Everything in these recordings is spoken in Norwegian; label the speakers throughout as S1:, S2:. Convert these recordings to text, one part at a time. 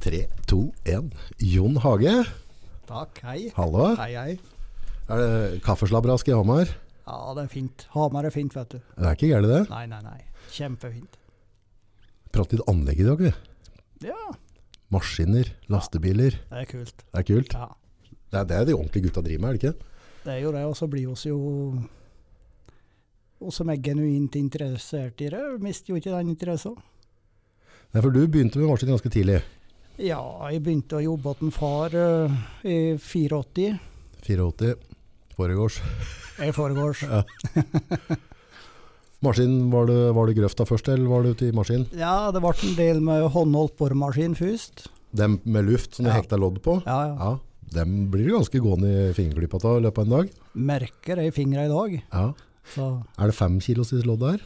S1: Tre, to, én. Jon Hage.
S2: Takk, hei.
S1: Hallo.
S2: Hei, hei.
S1: Er det kaffeslabrask i Hamar?
S2: Ja, det er fint. Hamar er fint, vet du.
S1: Det er ikke gærent, det.
S2: Nei, nei, nei. Kjempefint.
S1: Prat litt anlegg i dag, vi.
S2: Ja,
S1: Maskiner, lastebiler.
S2: det er kult.
S1: Det er kult.
S2: Ja,
S1: Det er det de ordentlige gutta driver med, er det ikke?
S2: det er jo det. Og så blir oss jo oss som er genuint interessert i det, mister jo ikke den interessen.
S1: Nei, for du begynte med maskin ganske tidlig.
S2: Ja, jeg begynte å jobbe hos en far eh, i 84.
S1: 84. Foregårs.
S2: I forgårs.
S1: Maskin, var det, var det grøfta først, eller var det ute i maskin?
S2: Ja, det ble en del med håndholdt boremaskin først.
S1: Dem med luft som du
S2: Ja.
S1: hekta lodd på?
S2: Ja, ja.
S1: Ja. Dem blir du ganske gående i fingerklippa av i løpet av en dag.
S2: Merker det i fingrene i dag.
S1: Ja.
S2: Så
S1: Er det fem kilos i lodd der?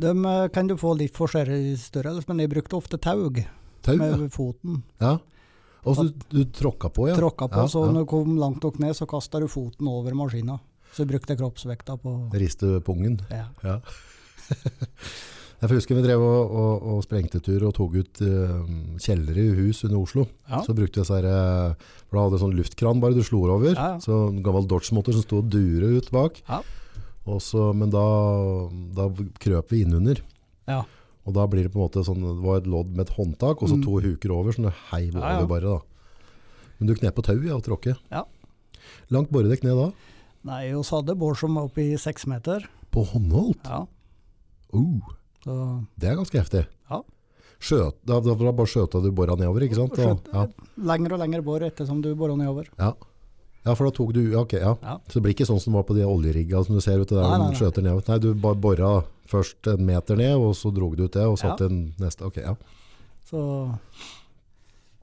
S2: de eh, kan du få litt forskjellig størrelse, men jeg brukte ofte taug
S1: Tau? Ja.
S2: med foten.
S1: ja. Og så du, du tråkka på, ja?
S2: tråkka på,
S1: Ja,
S2: så
S1: ja.
S2: når du kom langt nok ned, så kasta du foten over maskina. Så brukte jeg kroppsvekta på
S1: Riste pungen.
S2: ja.
S1: Ja. Jeg husker vi drev og, og, og sprengte tur og tok ut eh, kjellere i hus under Oslo.
S2: Ja.
S1: Så brukte vi sånn her, eh, for da hadde vi sånn luftkran bare du slo over.
S2: Ja, ja.
S1: Så en gammel Dodge-motor som sto og dure ut bak.
S2: Ja.
S1: Og så- men da, da krøp vi innunder.
S2: ja.
S1: Og da blir det på en måte sånn, det var et lodd med et håndtak, og så
S2: Mm.
S1: to huker over, sånn det heiv
S2: Ja, ja.
S1: over bare da. Men du knep på tau ja, og tråkke.
S2: Ja.
S1: Langt boredekk ned da?
S2: Nei, vi hadde bår som var oppe i seks meter.
S1: På håndholdt?
S2: Ja.
S1: Oh,
S2: Så
S1: det er ganske heftig.
S2: Ja.
S1: Skjøt, da, da da bare skjøta du bora nedover, ikke sant? Og-
S2: skjøt- lengre og lengre bår ettersom du bora nedover.
S1: Ja, ja. ja, for da tok du, ja, ok, ja.
S2: Ja.
S1: Så det blir ikke sånn som det var på de oljerigga som du ser ute der,
S2: Nei,
S1: nei,
S2: nei, nei.
S1: skjøter nedover. Nei, du bare bora først en meter ned, og så drog du ut det, og satt en neste, ok, ja.
S2: Så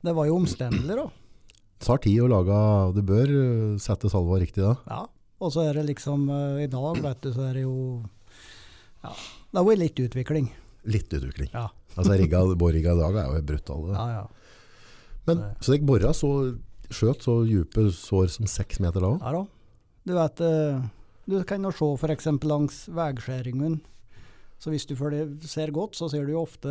S2: det var jo omstendelig, da.
S1: Det tar tid å lage, du bør øh, sette salva riktig da.
S2: Ja. Og så er det liksom eh, I dag, vet du, så er det jo Ja. Det har vært litt utvikling.
S1: Litt utvikling.
S2: Ja.
S1: Altså rigga, borrigga i dag er jo brutale.
S2: Ja, ja.
S1: Men så dere borra så skjøt så dype sår som seks meter da?
S2: Ja da. Du vet, eh, du kan jo se for eksempel langs veiskjæringen. Så hvis du følger, ser godt, så ser du jo ofte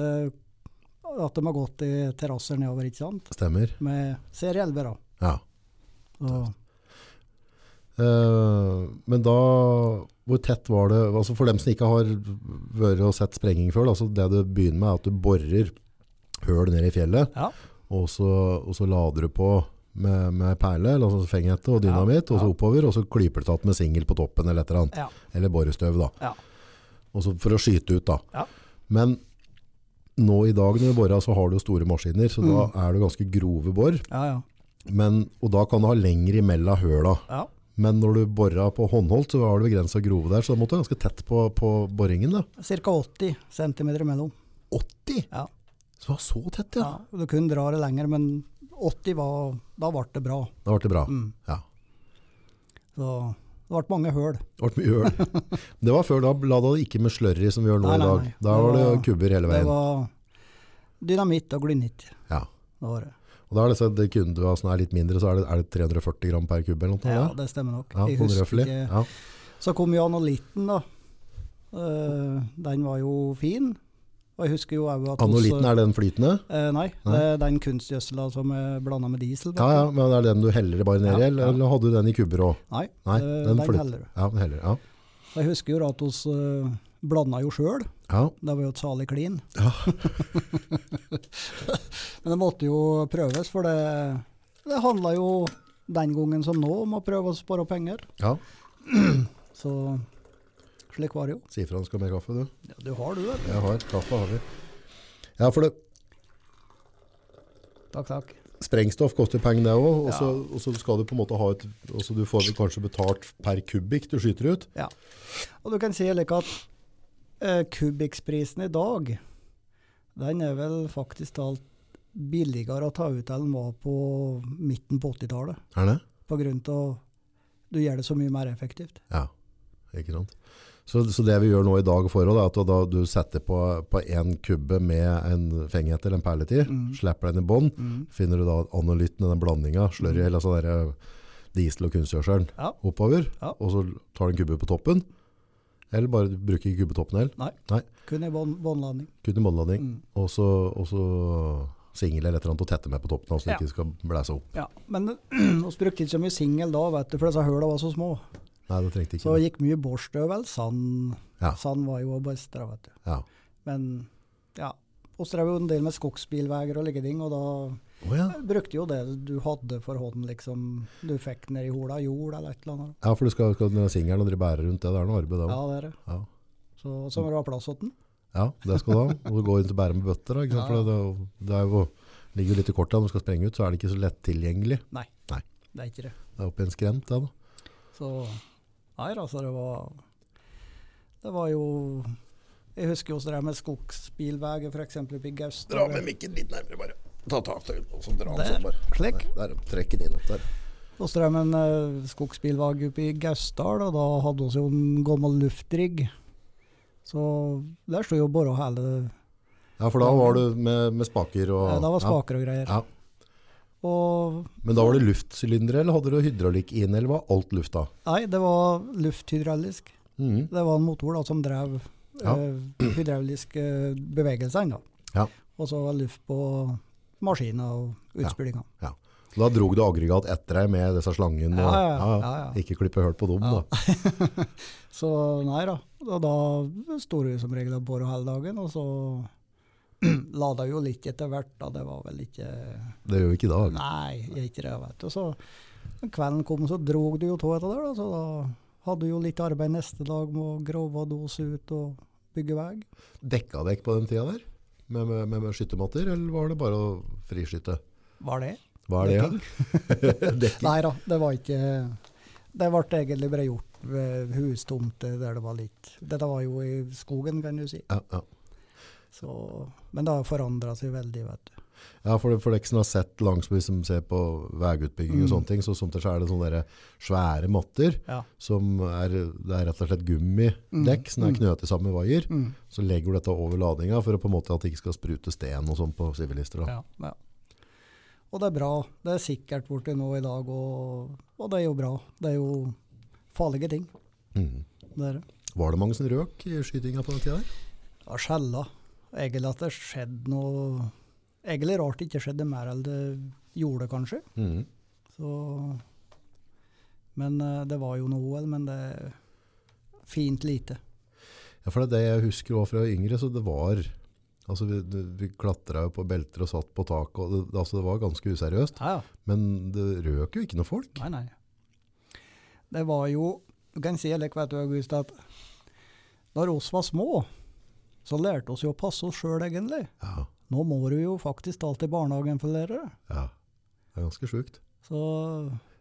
S2: at de har gått i terrasser nedover, ikke sant?
S1: Stemmer.
S2: Med serieelver, da.
S1: Ja.
S2: Og,
S1: Eh, men da, hvor tett var det, altså for dem som ikke har vært og sett sprenging før, da, så det du begynner med er at du borrer høl ned i fjellet,
S2: ja.
S1: og så, og så lader du på med, med perle, eller altså fenghette og dynamitt, og så
S2: ja.
S1: oppover, og så klyper du tatt med singel på toppen eller et eller annet,
S2: Ja.
S1: eller borrestøv da.
S2: ja.
S1: Og så for å skyte ut da.
S2: Ja.
S1: Men nå i dag når du borer, så har du jo store maskiner, så
S2: Mm.
S1: da er det ganske grove bor.
S2: Ja, ja.
S1: Men, og da kan du ha lengre imellom høla.
S2: ja.
S1: Men når du borer på håndholdt, så har du begrenset grove der, så da måtte du ganske tett på, på borringen da.
S2: Cirka 80 cm imellom.
S1: 80?
S2: Ja.
S1: Så det var så tett, ja.
S2: Ja. Du kunne dra det lenger, men 80 var Da ble det bra.
S1: Da ble det bra.
S2: Mm.
S1: Ja.
S2: Så det ble mange høl.
S1: Det ble mye høl. Det var før da, la det ikke med slørri som vi gjør nå
S2: Nei,
S1: i
S2: nei,
S1: dag.
S2: nei.
S1: Da
S2: Det
S1: var det
S2: var-
S1: kubber hele
S2: Det
S1: veien.
S2: var dynamitt og glynitt.
S1: Ja.
S2: Det var det.
S1: Og da er det sånn, det kunne du ha sånn her litt mindre, så er det, er det 340 gram per kubbe eller noe?
S2: Ja,
S1: eller?
S2: det stemmer nok.
S1: ja
S2: Jeg
S1: sånn
S2: husker
S1: røffelig.
S2: ikke-
S1: Ja.
S2: Så kom jo Anolitten, da. Eh, den var jo fin. Og jeg husker jo òg at
S1: Anolitten, er den flytende?
S2: Eh, nei,
S1: Nei.
S2: det er den kunstgjødsela som er blanda med diesel. vet
S1: Ja, ja,
S2: du.
S1: men er det den du heller bare ned i,
S2: Ja,
S1: eller,
S2: ja.
S1: eller hadde du den i kubber òg?
S2: Nei,
S1: Nei,
S2: eh,
S1: den
S2: den,
S1: flyt-
S2: heller du.
S1: Ja, den heller, ja.
S2: Og Jeg husker jo da at vi blanda jo sjøl.
S1: ja.
S2: Det var jo et salig klin.
S1: Ja.
S2: Men det måtte jo prøves, for det, det handla jo den gangen som nå om å prøve å spare penger.
S1: ja.
S2: Så slik var det jo.
S1: Si ifra om du skal ha mer kaffe, du.
S2: Ja, du har du, vet du.
S1: Jeg har kaffe, har vi. Ja, for det,
S2: Takk, takk.
S1: sprengstoff koster penger det òg, og, så- og så skal du på en måte ha et og så Du får vel kanskje betalt per kubikk du skyter ut?
S2: Ja. Og du kan si like at eh, kubikksprisen i dag, den er vel faktisk talt billigere å ta ut enn den var på midten på 80-tallet.
S1: Er det?
S2: På grunn av du gjør det så mye mer effektivt.
S1: Ja, ikke sant. Så, så det vi gjør nå i dag i forhold, er at da du setter på, på en kubbe med en fenghet eller en perlet i, slipper den i bånd, finner du da anolytten, den blandinga, slørry eller sånn der diesel og kunstgjødselen
S2: Ja.
S1: oppover,
S2: Ja.
S1: og så tar du en kubbe på toppen, eller bare du bruker ikke kubbetoppen heller.
S2: Nei,
S1: Nei,
S2: kun i bånd- båndladning.
S1: kun i månelanding. Og så, og så singel eller et eller annet å tette med på toppen, av, så det
S2: Ja.
S1: ikke skal blæse opp.
S2: Ja, men vi brukte ikke så mye singel da, vet du, for disse høla var så små.
S1: Nei, det trengte ikke.
S2: Så
S1: det.
S2: gikk mye borstøvel, sand.
S1: Ja.
S2: Sand var jo best, da, vet du.
S1: Ja.
S2: Men ja, vi drev jo en del med skogsbilveier og like ting, og da
S1: Å ja.
S2: brukte jo det du hadde for hånden, liksom. Du fikk ned i hola jord eller et eller annet.
S1: ja, for du skal, skal den singelen og dere bærer rundt det, det er noe arbeid da.
S2: Ja,
S1: også.
S2: det er det.
S1: Ja.
S2: Så, så må du ha plass til den.
S1: ja, det skal du ha. Og du går rundt og bærer med bøtter da, ikke sant?
S2: Ja.
S1: For det, det, er jo, ligger jo litt i kortet, når du skal sprenge ut, så er det ikke så lett tilgjengelig.
S2: Nei,
S1: Nei.
S2: det er ikke det.
S1: Det er oppi en skrent det da.
S2: Så nei, altså det var Det var jo Jeg husker jo også det her med skogsbilveier, f.eks. oppe i Gausdal.
S1: mikken litt nærmere bare. Ta tak til, og så dra
S2: den sånn bare. Slik.
S1: Der, trekker den inn opp der.
S2: Og så drev vi en eh, skogsbilvag oppe i Gausdal, og da hadde vi jo en gammel luftrigg. Så der sto jo bare hele
S1: Ja, for da var du med, med spaker og...
S2: eh, Da var
S1: ja.
S2: spaker og greier.
S1: Ja.
S2: Og
S1: Men da var det luftsylindere, eller hadde du hydraulikk inn, eller var alt luft da?
S2: nei, det var lufthydraulisk.
S1: Mhm.
S2: Det var en motor da, som drev
S1: Ja.
S2: eh, hydrauliske bevegelser. Da.
S1: Ja.
S2: Og så var luft på maskiner og utspylinga.
S1: Ja. Så Da drog du aggregat etter deg med disse slangene. og-
S2: Ja, ja, ja. Ja, ja.
S1: Ikke klippe høl på dem.
S2: Ja.
S1: Da.
S2: Så nei da. Og da sto det jo som regel og bora hele dagen, og så lada jo litt etter hvert. da, Det var vel ikke
S1: Det gjør vi ikke i dag.
S2: Nei, jeg er ikke det, vet du. Så når kvelden kom, så drog du jo tå etter det, da. Så da hadde du jo litt arbeid neste dag med å grove og dose ut og bygge vei.
S1: Dekka dekk på den tida der? Med, med, med, med skyttermatter, eller var det bare å friskytte?
S2: Var det?
S1: Hva er det? ja? Dekking.
S2: Nei da, det var ikke Det ble egentlig bare gjort ved hustomter der det var litt Dette var jo i skogen, kan du si.
S1: Ja, ja.
S2: Så, men det har forandra seg veldig, vet du.
S1: ja, for, for dere som har sett langsby som ser på veiutbygging og
S2: Mm.
S1: sånne ting, så som til så er det sånne der svære matter
S2: Ja.
S1: som er, det er rett og slett gummidekk som er knøtet sammen med vaier.
S2: Mm.
S1: Så legger du dette over ladinga for å på en måte at det ikke skal sprute sten og sånn på sivilister. da.
S2: Ja, ja. Og det er bra. Det er sikkert borti nå i dag, og, og det er jo bra. Det er jo farlige ting.
S1: Mhm.
S2: Det er det.
S1: Var det mange som røk i skytinga på den tida der?
S2: Ja, skjella. Egentlig at det skjedde noe Egentlig rart det ikke skjedde mer enn det gjorde, kanskje. Så, men eh, det var jo noe OL, men det er fint lite.
S1: Ja, for det er det jeg husker også fra yngre, så det var Altså, vi, det- vi klatra jo på belter og satt på tak, og det, altså det var ganske useriøst.
S2: Ja, ja.
S1: Men det røk jo ikke noe folk.
S2: Nei, nei. Det var jo Du kan si eller, vet du, August, at når oss var små, så lærte oss jo å passe oss sjøl, egentlig.
S1: Ja,
S2: Nå må du jo faktisk alt i barnehagen for lærere.
S1: ja. Det er ganske sjukt.
S2: Så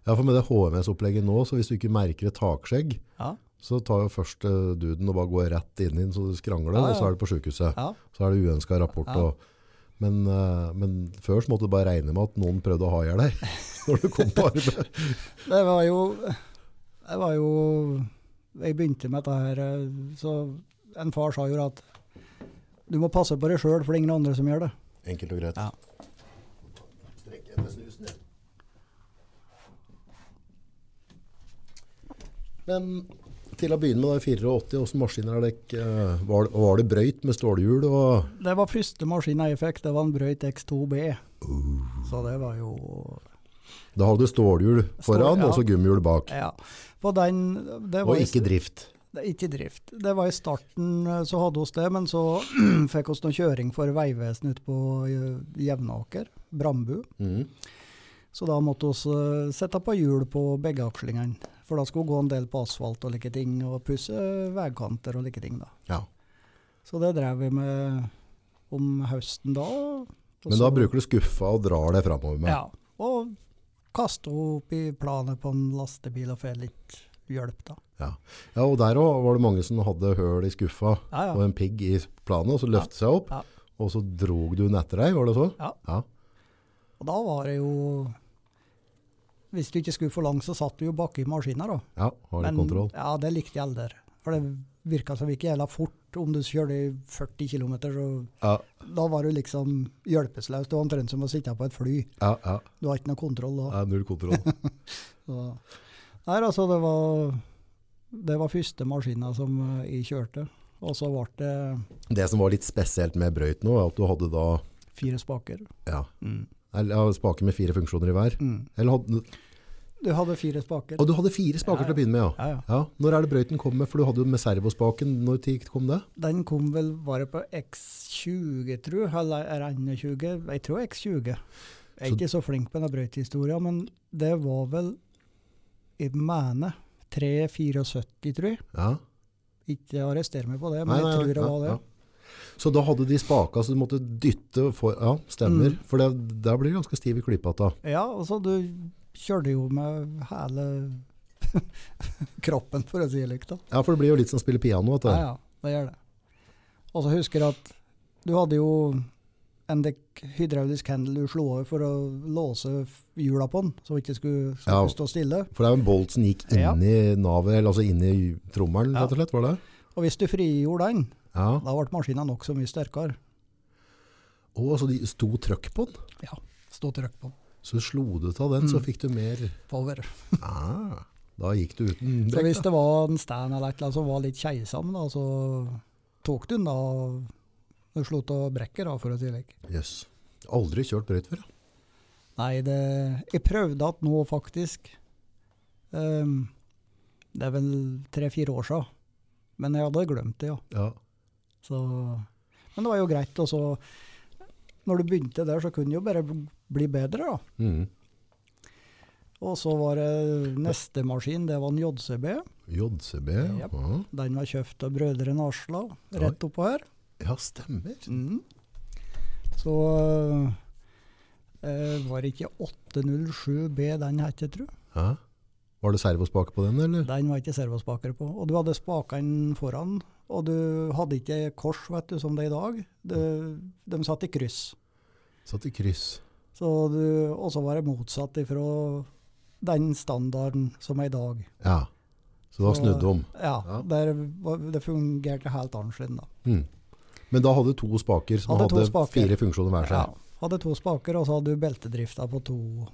S1: Ja, for med det HMS-opplegget nå, så hvis du ikke merker et takskjegg,
S2: ja.
S1: så tar jo først eh, duden og bare går rett inn i den så du skrangler,
S2: Ja, ja.
S1: og så er det på sjukehuset.
S2: ja.
S1: Så er det uønska rapport.
S2: Ja.
S1: Og, men, eh, men før så måtte du bare regne med at noen prøvde å ha i hjel deg når du kom på arbeid.
S2: Det var jo Det var jo Jeg begynte med dette her, eh, så en far sa jo at du må passe på deg sjøl, for det er ingen andre som gjør det.
S1: Enkelt og greit.
S2: Ja.
S1: Strekke etter snusen. jeg. Men til å begynne med, da, i 84, hvordan maskiner er det eh, var, det- var det brøyt med stålhjul? Og,
S2: Det var første maskinen jeg fikk, det var en Brøyt X2B. Så det var jo
S1: da hadde du stålhjul foran,
S2: Stål, ja.
S1: og så gummihjul bak.
S2: Ja. På den det var
S1: Og ikke drift.
S2: Det er Ikke drift. Det var i starten eh, så hadde oss det, men så fikk oss noe kjøring for Vegvesenet ute på eh, Jevnaker, Brambu.
S1: Mhm.
S2: Så da måtte oss eh, sette på hjul på begge akslingene. For da skulle gå en del på asfalt og like ting, og pusse veikanter og like ting da.
S1: Ja.
S2: Så det drev vi med om høsten da. og
S1: Men
S2: så-
S1: da bruker du skuffa og drar det framover med.
S2: Ja, og kaste opp i planet på en lastebil og få litt hjelp da.
S1: Ja. Ja, og der òg var det mange som hadde høl i skuffa
S2: Ja,
S1: og
S2: ja.
S1: en pigg i planet, og så løftet seg opp,
S2: Ja.
S1: og så drog du den etter deg, var det så?
S2: Ja.
S1: ja.
S2: Og da var det jo Hvis du ikke skulle for langt, så satt du jo baki maskina, da.
S1: Ja, har du
S2: Men-
S1: kontroll?
S2: Ja, det likte jeg aldri. For det virka som ikke gjelda fort. Om du kjørte i 40 km, så
S1: Ja,
S2: da var du liksom hjelpeløs. Det var omtrent som å sitte på et fly.
S1: ja, ja.
S2: Du har ikke noe kontroll da.
S1: ja null kontroll.
S2: Så. Nei, altså, det var Det var første maskina som eh, jeg kjørte. Og så ble det
S1: Det som var litt spesielt med brøyt nå, er at du hadde da
S2: fire spaker.
S1: Ja.
S2: Mm.
S1: Eller ja, spaker med fire funksjoner i hver.
S2: Mm.
S1: Eller hadde,
S2: Du hadde fire spaker.
S1: og du hadde fire spaker
S2: Ja,
S1: til å begynne med, ja.
S2: Ja, ja.
S1: ja. Når er det brøyten kommer? For du hadde jo med servospaken. Når tid kom det?
S2: Den kom vel bare på X20, tror jeg, eller RN20. Jeg tror X20. Jeg er
S1: Så-
S2: ikke så flink med den brøytehistoria, men det var vel, jeg mener, 374, tror jeg.
S1: Ja.
S2: Ikke arrester meg på det, men jeg tror det var det.
S1: ja, ja. Så da hadde de spaka, så du måtte dytte for Ja, stemmer.
S2: Mm.
S1: For det, der blir du ganske stiv i klypata.
S2: Ja, og så du kjørte jo med hele kroppen, for å si det likt. da.
S1: Ja, for det blir jo litt som å spille piano. At det.
S2: Ja, ja, det gjør det. Og så husker jeg at du hadde jo en dek hydraulisk handle du slo over for å låse f- hjula på den, så det ikke skulle, så det
S1: Ja.
S2: skulle stå stille.
S1: For det er jo en bolt som gikk
S2: Ja.
S1: inni navet, eller altså inni trommelen,
S2: Ja.
S1: rett og slett, var det?
S2: Og hvis du frigjorde den,
S1: Ja.
S2: da ble maskina nokså mye sterkere.
S1: Å, så de sto trøkk på den?
S2: Stå trykk på den.
S1: Så slo du av den, så
S2: Mm.
S1: fikk du mer
S2: power.
S1: ah, Da gikk du uten
S2: Så hvis
S1: brekk. da.
S2: det var en stand eller et eller annet som var litt keisam, da, så tok du den da du slo av brekket, da, for å si det slik.
S1: Jøss. Aldri kjørt brøyt før. da.
S2: Nei, det, jeg prøvde at nå faktisk ehm, Det er vel tre-fire år siden. Men jeg hadde glemt det, ja.
S1: Ja.
S2: Så, men det var jo greit. Og så, når du begynte der, så kunne det jo bare bl- bli bedre, da.
S1: Mm.
S2: Og så var det neste maskin, det var en JCB.
S1: JCB.
S2: Japp.
S1: Ja.
S2: Den var kjøpt av brødrene Asla, rett oppå her.
S1: ja, stemmer.
S2: Mm. Så eh, var det ikke 807B den het, tror jeg.
S1: Ja. Var det servospake på den, eller?
S2: Den var ikke servospaker på. Og du hadde spakene foran, og du hadde ikke kors vet du, som det er i dag. De, de satt i kryss.
S1: Satt i kryss.
S2: Så du, og så var det motsatt ifra den standarden som er i dag.
S1: Ja. Så du har
S2: Så-
S1: snudd om.
S2: Ja,
S1: Ja.
S2: Der, var- det fungerte helt annerledes da.
S1: Mm. Men da hadde du to spaker som
S2: Hadde
S1: hadde,
S2: to spaker.
S1: fire funksjoner hver seg.
S2: Ja, hadde to spaker, og så hadde du beltedrifta på to.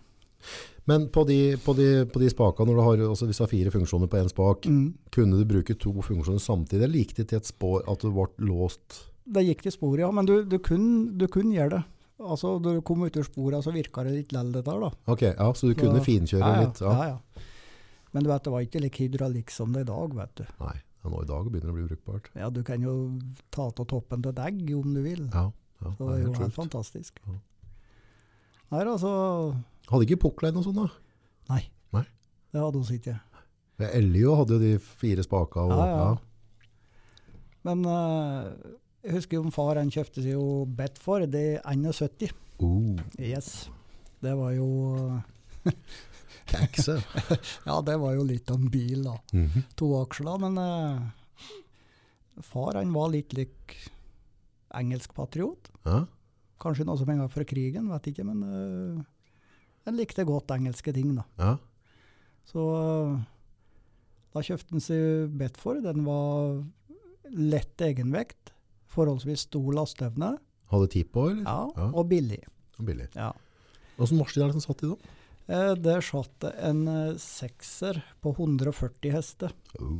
S1: Men på de, på de, på de spakene, når du har, altså hvis du har fire funksjoner på én spak,
S2: Mm.
S1: kunne du bruke to funksjoner samtidig? Eller gikk det til et spår at du ble låst?
S2: Det gikk til sporet, ja. Men du, du, kunne, du kunne gjøre det. Altså, du kom ut av sporet, så virka det litt lell, dette her, da.
S1: Ok, ja, Så du kunne
S2: Så-
S1: finkjøre
S2: ja, ja,
S1: litt? Ja.
S2: Ja, ja. Men du vet, det var ikke like hydraulikk som det er i dag, vet du.
S1: Nei, ja, nå i dag begynner det å bli brukbart.
S2: Ja, du kan jo ta av toppen til deg om du vil.
S1: Ja, ja
S2: Så sånn.
S1: det er
S2: jo
S1: helt
S2: helt
S1: sjukt.
S2: fantastisk.
S1: Ja.
S2: Nei, altså,
S1: Hadde ikke Puklein og sånn, da?
S2: nei.
S1: Nei.
S2: Det hadde hun ikke.
S1: Ja, Elio hadde jo de fire spaka. Og,
S2: Ja, ja.
S1: ja.
S2: Men eh, jeg husker jo om far, han kjøpte seg jo Bedford, det er 71.
S1: Oh,
S2: Yes. Det var jo, eh,
S1: kekse.
S2: ja, det var jo litt av en bil da.
S1: Mhm.
S2: to aksler, men eh, far han var litt lik engelsk patriot.
S1: ja.
S2: Kanskje noe som en gang fra krigen, vet ikke, men eh, han likte godt engelske ting da.
S1: ja.
S2: Så eh, da kjøpte han seg Bedford, den var lett egenvekt, forholdsvis stor lastevne,
S1: Hadde ti på, eller?
S2: ja,
S1: Ja.
S2: og billig.
S1: Billig.
S2: Ja.
S1: Åssen maskin er det som satt i da?
S2: Eh, Der satt det en eh, sekser på 140 hester.
S1: Oh.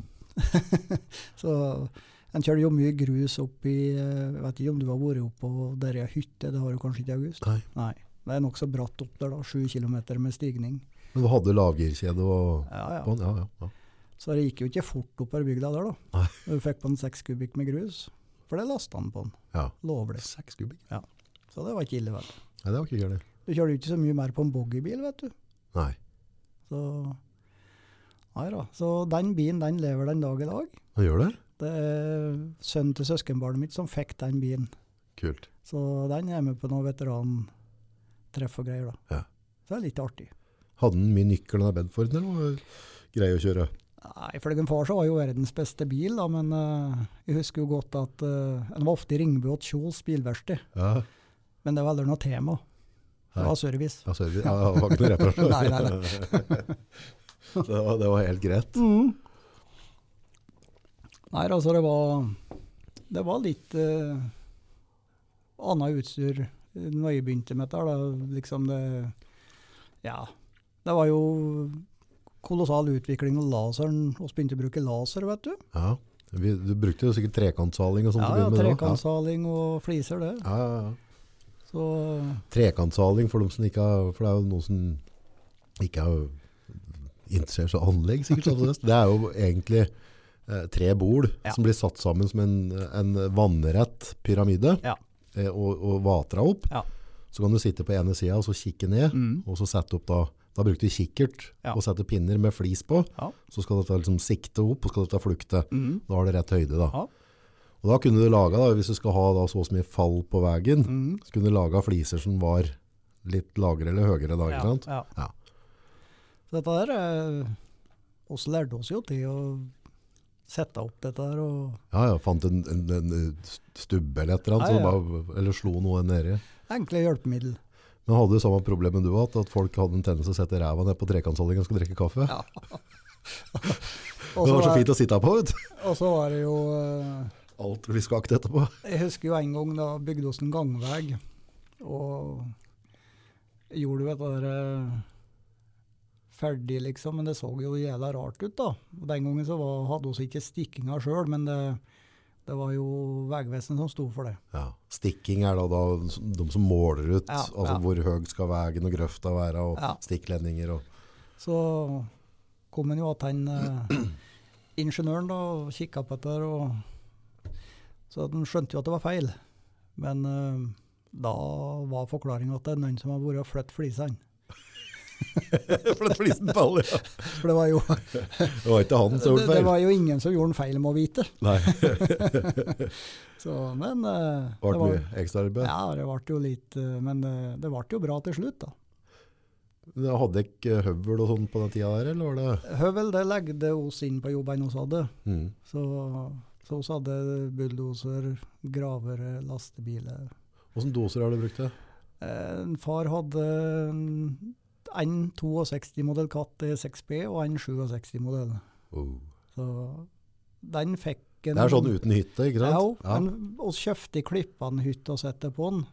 S2: Så en kjører jo mye grus opp i eh, Vet ikke om du har vært oppe på der jeg har hytte, det har du kanskje ikke i august?
S1: Nei.
S2: Nei. Det er nokså bratt opp der, da. Sju kilometer med stigning.
S1: Men du hadde lavgirkjede og
S2: Ja, ja.
S1: Bånd, ja, ja, ja.
S2: Så det gikk jo ikke fort oppover bygda der, da.
S1: Nei.
S2: Du fikk på en seks kubikk med grus. For det lasta han på den.
S1: ja.
S2: Lovlig.
S1: Seks kubikk.
S2: Så det var ikke ille, vel.
S1: Nei, det var ikke gærent.
S2: Du kjører jo ikke så mye mer på en boggybil, vet du.
S1: Nei.
S2: Så Nei da. Så den bilen, den lever den dag i dag.
S1: Han gjør det?
S2: Det er sønnen til søskenbarnet mitt som fikk den bilen.
S1: Kult.
S2: Så den er med på noen veterantreff og greier, da.
S1: Ja.
S2: Så det er litt artig.
S1: Hadde han mye nykkel den Bedforden, eller var det grei å kjøre?
S2: Nei, Ifølge far så var jo verdens beste bil, da, men eh, jeg husker jo godt at eh, en var ofte i Ringebu og Kjols bilverksted.
S1: Ja.
S2: Men det var aldri noe tema. Det var service.
S1: Altså, vi- ja, det var ikke noe reparasjon.
S2: Nei, nei,
S1: det, var, det var helt greit.
S2: Nei, altså det var Det var litt uh, annet utstyr når jeg begynte med dette. her, Da. Liksom det Ja. Det var jo kolossal utvikling av laseren. Vi begynte å bruke laser, vet du.
S1: Ja. Vi, du brukte jo sikkert trekantsaling og sånt.
S2: Ja,
S1: til å
S2: ja
S1: begynne med da.
S2: Trekantsaling og fliser, det.
S1: Ja, ja, ja.
S2: Så
S1: Trekantsaling for, dem som ikke har, for det er jo noen som ikke har interessert seg i anlegg. sikkert. sånn som det. Det er jo egentlig eh, tre bol
S2: Ja.
S1: som blir satt sammen som en, en vannrett pyramide
S2: Ja.
S1: eh, og, og vatra opp.
S2: Ja.
S1: Så kan du sitte på ene sida og så kikke ned,
S2: mm.
S1: og så sette opp da da brukte vi kikkert
S2: Ja.
S1: og sette pinner med flis på.
S2: Ja.
S1: Så skal dette liksom sikte opp, og skal dette flukte.
S2: Mm.
S1: Da har det rett høyde. Da,
S2: Ja.
S1: og da kunne du laga, da, hvis du skal ha da, så og så mye fall på veien,
S2: Mm.
S1: så kunne du laga fliser som var litt lagere eller høyere. Da, ikke sant?
S2: Ja, ja.
S1: Ja.
S2: Så dette her eh, oss lærte oss jo til å sette opp dette her og
S1: Ja, ja, fant en, en, en stubbe eller et eller annet,
S2: Ja, ja.
S1: så det bare, eller slo noe nedi.
S2: enkle hjelpemiddel.
S1: Men hadde du samme problemet du har hatt, at folk hadde en tendens til å sette ræva ned på trekantsalingen og skulle drikke kaffe?
S2: Ja.
S1: det var så fint å sitte her på, vet du.
S2: Og så var det jo eh,
S1: Alt blir skakt etterpå.
S2: Jeg husker jo en gang da bygde oss en gangvei, og gjorde jo dette der eh, ferdig, liksom, men det så jo jævla rart ut, da. Og den gangen så var, hadde vi ikke stikkinga sjøl, men det, det var jo Vegvesenet som sto for det.
S1: Ja. Stikking er da, da de som måler ut
S2: Ja,
S1: altså,
S2: ja.
S1: hvor høy skal veien og grøfta være, og
S2: Ja.
S1: stikklendinger. Og,
S2: Så kom en jo at han eh, ingeniøren da, og kikka på dette, her, og så at han skjønte jo at det var feil. Men eh, da var forklaringa at det er noen som har vært og flyttet flisene.
S1: for den flisen faller, ja.
S2: For det var jo
S1: Det var ikke han som
S2: det,
S1: gjorde
S2: det
S1: feil.
S2: var jo ingen som gjorde en feil med å vite.
S1: Nei, det
S2: Så, men eh,
S1: ble
S2: det var,
S1: mye ekstraarbeid.
S2: ja, det ble jo litt eh, Men eh, det ble jo bra til slutt, da.
S1: Men Hadde ikke høvel og sånn på den tida der, eller var det?
S2: Høvel det legde oss inn på jobben vi hadde.
S1: Mm.
S2: Så, så oss hadde bulldoser, gravere, lastebiler.
S1: Hvordan doser har du brukt det?
S2: Eh, en far hadde en- en 62-modell katt i 6B og en 67-modell.
S1: Oh.
S2: Så den fikk en
S1: Det er sånn uten hytte, ikke
S2: Ja, Mm. jo,
S1: sant?
S2: men vi kjøpte klippene hytte og sette på den.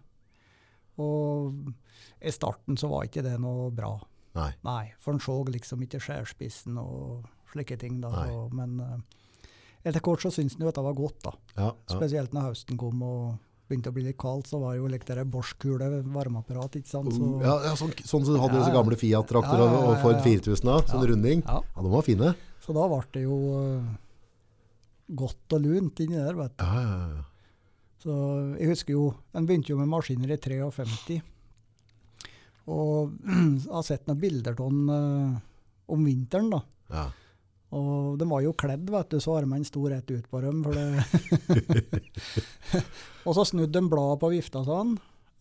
S2: Og i starten så var ikke det noe bra.
S1: Nei.
S2: Nei, for en så liksom ikke skjærspissen og slike ting. da.
S1: Nei.
S2: Og, men eh, etter hvert så syntes en jo at det var godt, da.
S1: Ja, ja.
S2: Spesielt når høsten kom og begynte å bli litt kaldt, så var det jo litt der borskule, varmeapparat, ikke sant. Så,
S1: Uh, ja, ja, sånn, sånn som du hadde
S2: Ja,
S1: disse
S2: ja.
S1: gamle Fiat-traktorer
S2: Ja, ja, ja,
S1: og Ford
S2: ja.
S1: 4000 av, sånn
S2: Ja.
S1: runding.
S2: Ja,
S1: Ja, de var fine.
S2: så da ble det jo eh, godt og lunt inni der, vet du.
S1: Ja, ja, ja.
S2: Så jeg husker jo, Den begynte jo med maskiner i 53. Og jeg har sett noen bilder av den eh, om vinteren. da.
S1: ja.
S2: Og de var jo kledd, vet du, så armene sto rett ut på dem. For det og så snudde de bladet på vifta sånn,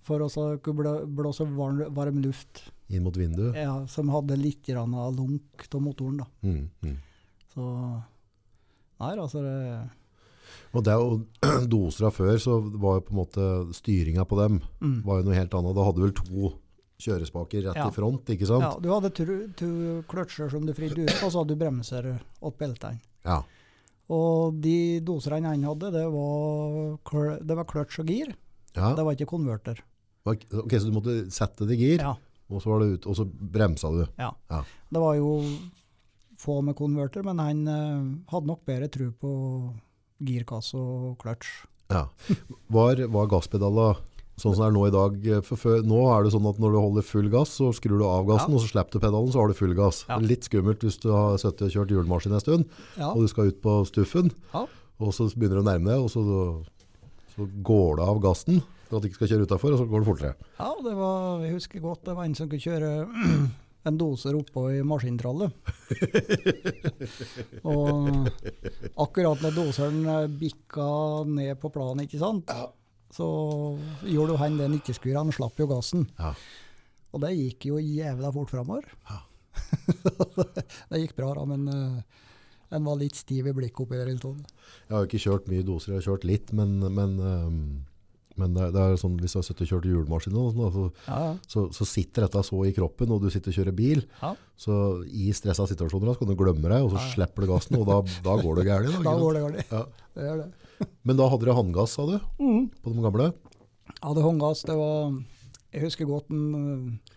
S2: for å så kunne blå- blåse varm, varm luft
S1: Inn mot vinduet.
S2: ja, som hadde litt grann av lunk av motoren. da.
S1: Mm, mm.
S2: Så Nei, altså det,
S1: Og det er jo doser av før, så var jo på en måte styringa på dem
S2: mm.
S1: var jo noe helt annet. Da hadde du vel to kjørespaker rett
S2: Ja.
S1: i front, ikke
S2: Ja,
S1: sant?
S2: du hadde to, to kløtsjer som du fridde ut, og så hadde du bremser åt beltene.
S1: Ja.
S2: Og de doserne han hadde, det var, klø- det var kløtsj og gir.
S1: ja.
S2: Det var ikke konverter.
S1: Ok, så du måtte sette det i gir,
S2: Ja,
S1: og, så var det ut, og så bremsa du.
S2: det var jo få med konverter, men han eh, hadde nok bedre tro på girkasse og kløtsj.
S1: Ja. Var, var gasspedala sånn som det er nå i dag? For før, nå er det sånn at når du holder full gass, så skrur du av gassen, og
S2: Ja.
S1: så slipper du pedalen, så har du full gass.
S2: Ja.
S1: Det er Litt skummelt hvis du har sittet og kjørt hjulmaskin en stund,
S2: Ja,
S1: og du skal ut på stuffen,
S2: ja,
S1: og så begynner du å nærme deg, og så, så går du av gassen for at du ikke skal kjøre utafor, og så går det fortere.
S2: ja det var, jeg husker godt det var en som kunne kjøre en doser oppå i maskintrallet. og akkurat når doseren eh, bikka ned på planen, ikke sant, så gjorde jo han det han ikke skulle gjøre, han slapp jo gassen.
S1: Ja.
S2: Og det gikk jo jævla fort framover.
S1: Ja.
S2: det gikk bra, da, men eh, en var litt stiv i blikket oppi der en stund.
S1: Jeg har jo ikke kjørt mye doser, jeg har kjørt litt, men, men, øhm, men det, er, det er sånn, hvis du har sittet og kjørt hjulmaskin, og sånn, da, så,
S2: Ja,
S1: så, så sitter dette så i kroppen, og du sitter og kjører bil,
S2: Ja.
S1: så i stressa situasjoner da, så kan du glemme deg, og så
S2: Ja, ja.
S1: slipper du gassen, og da, da går det gærlig. Da,
S2: Da
S1: ikke sant?
S2: går det galt.
S1: Ja.
S2: Det gjør det.
S1: Men da hadde dere handgass, sa du,
S2: Mm.
S1: på de gamle?
S2: Ja, det håndgass, det var Jeg husker godt en eh,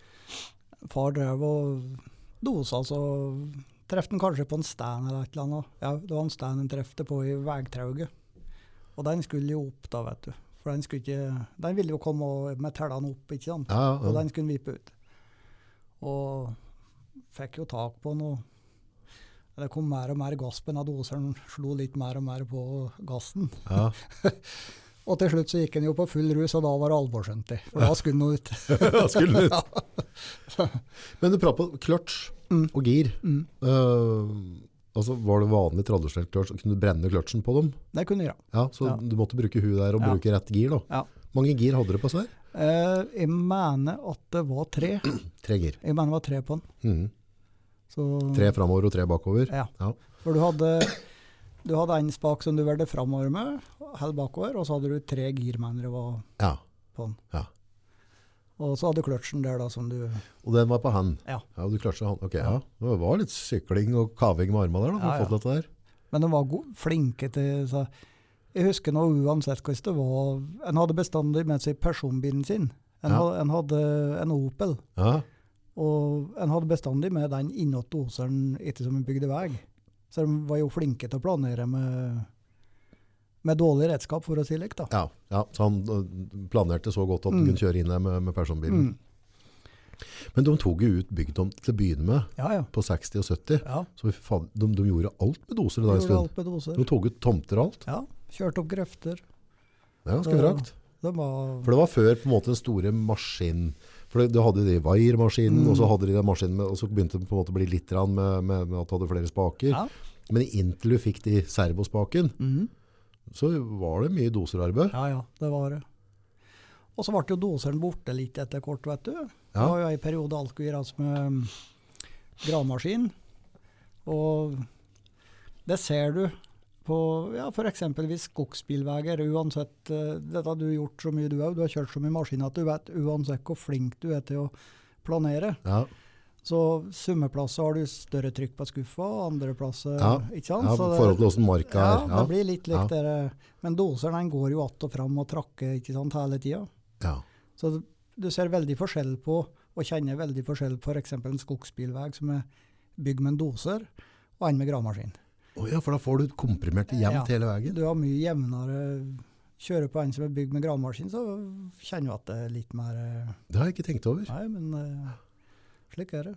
S2: far drev og dosa, så traff han kanskje på en stand eller et eller annet. Ja, det var en stand han trefte på i vegtrauget. Og den skulle jo opp, da, vet du. For den, skulle ikke, den ville jo komme og- med tellene opp, ikke sant?
S1: Ja,
S2: og
S1: ja.
S2: den skulle den vippe ut. Og fikk jo tak på den. og Det kom mer og mer gass på den. Doseren slo litt mer og mer på gassen.
S1: ja.
S2: Og til slutt så gikk den jo på full rus, og da var det alvorskjønt. i, For da skulle den ut.
S1: ja. Skulle ut. Men du prater på kløtsj
S2: Mm.
S1: og gir.
S2: Mm.
S1: Eh, altså, var det vanlig tradisjonell kløtsj? Kunne du brenne kløtsjen på dem?
S2: Det kunne jeg gjøre.
S1: Ja, så
S2: Ja.
S1: du måtte bruke huet der og
S2: Ja.
S1: bruke rett gir da.
S2: Ja.
S1: Mange gir hadde du på seg?
S2: Eh, jeg mener at det var tre.
S1: Tre gir.
S2: Jeg mener det var tre på den.
S1: Mhm.
S2: Så,
S1: Tre fremover og tre bakover.
S2: Ja.
S1: Ja.
S2: For du hadde, du hadde en spak som du valgte framover med, held bakover, og så hadde du tre girmennere var
S1: Ja.
S2: på den.
S1: Ja.
S2: Og så hadde du kløtsjen der da, som du
S1: Og den var på hand?
S2: Ja.
S1: og du kløtsja hand. Ok, ja. Det var litt sykling og kaving med armene der da, for
S2: Ja,
S1: å
S2: ja.
S1: få til dette der.
S2: Men de var go- flinke til så, Jeg husker nå uansett hvordan det var En hadde bestandig med seg personbilen sin. En,
S1: Ja.
S2: ha- en hadde en Opel.
S1: Ja.
S2: Og en hadde bestandig med den innåt doseren etter som en bygde vei. Så de var jo flinke til å planere med, med dårlig redskap, for å si likt. da.
S1: Ja. ja, så han øh, planerte så godt at han
S2: Mm.
S1: kunne kjøre inn der med, med personbilen.
S2: Mm.
S1: Men de tok jo ut bygdom til å begynne med,
S2: Ja, ja.
S1: på 60 og 70.
S2: ja.
S1: Så vi faen, de, de gjorde alt med doser da en
S2: Gjorde
S1: stund.
S2: alt med doser.
S1: De tok ut tomter og alt.
S2: Ja, kjørte opp grøfter.
S1: Det er ganske
S2: Ja.
S1: brakt.
S2: Det var
S1: For det var før på en måte den store maskinen. For det- du hadde de Wire-maskinen,
S2: Mm.
S1: og så hadde de den maskinen, med, og så begynte det på en måte å bli litt rann med, med, med at du hadde flere spaker.
S2: Ja.
S1: Men inntil du fikk de servospaken,
S2: Mhm.
S1: så var det mye doserarbeid.
S2: Ja, ja, det var det. Og så ble jo doseren borte litt etter kort, vet du. Det
S1: Ja.
S2: var jo en periode alt skulle gjøres med um, gravemaskin. Og det ser du på ja, f.eks. hvis skogsbilveier uansett eh, Dette har du gjort så mye, du òg. Du har kjørt så mye maskin at du vet uansett hvor flink du er til å planere.
S1: Ja.
S2: Så summe plasser har du større trykk på skuffa, andre plasser
S1: Ja.
S2: ikke sant?
S1: Ja, I
S2: Sånn, Så det-
S1: forhold til hvordan marka
S2: ja,
S1: er.
S2: det
S1: Ja.
S2: blir litt likt dere. Men doseren den går jo att og fram og trakker ikke sant, hele tida.
S1: Ja.
S2: Så du- du ser veldig forskjell på, og kjenner veldig forskjell på f.eks. en skogsbilvei som er bygd med en doser, og en med gravemaskin.
S1: Å ja, for da får du komprimert det jevnt
S2: Ja.
S1: hele veien.
S2: Du har mye jevnere Kjører på en som er bygd med gravemaskin, så kjenner du at det er litt mer eh,
S1: Det har jeg ikke tenkt over.
S2: Nei, men eh, slik er det.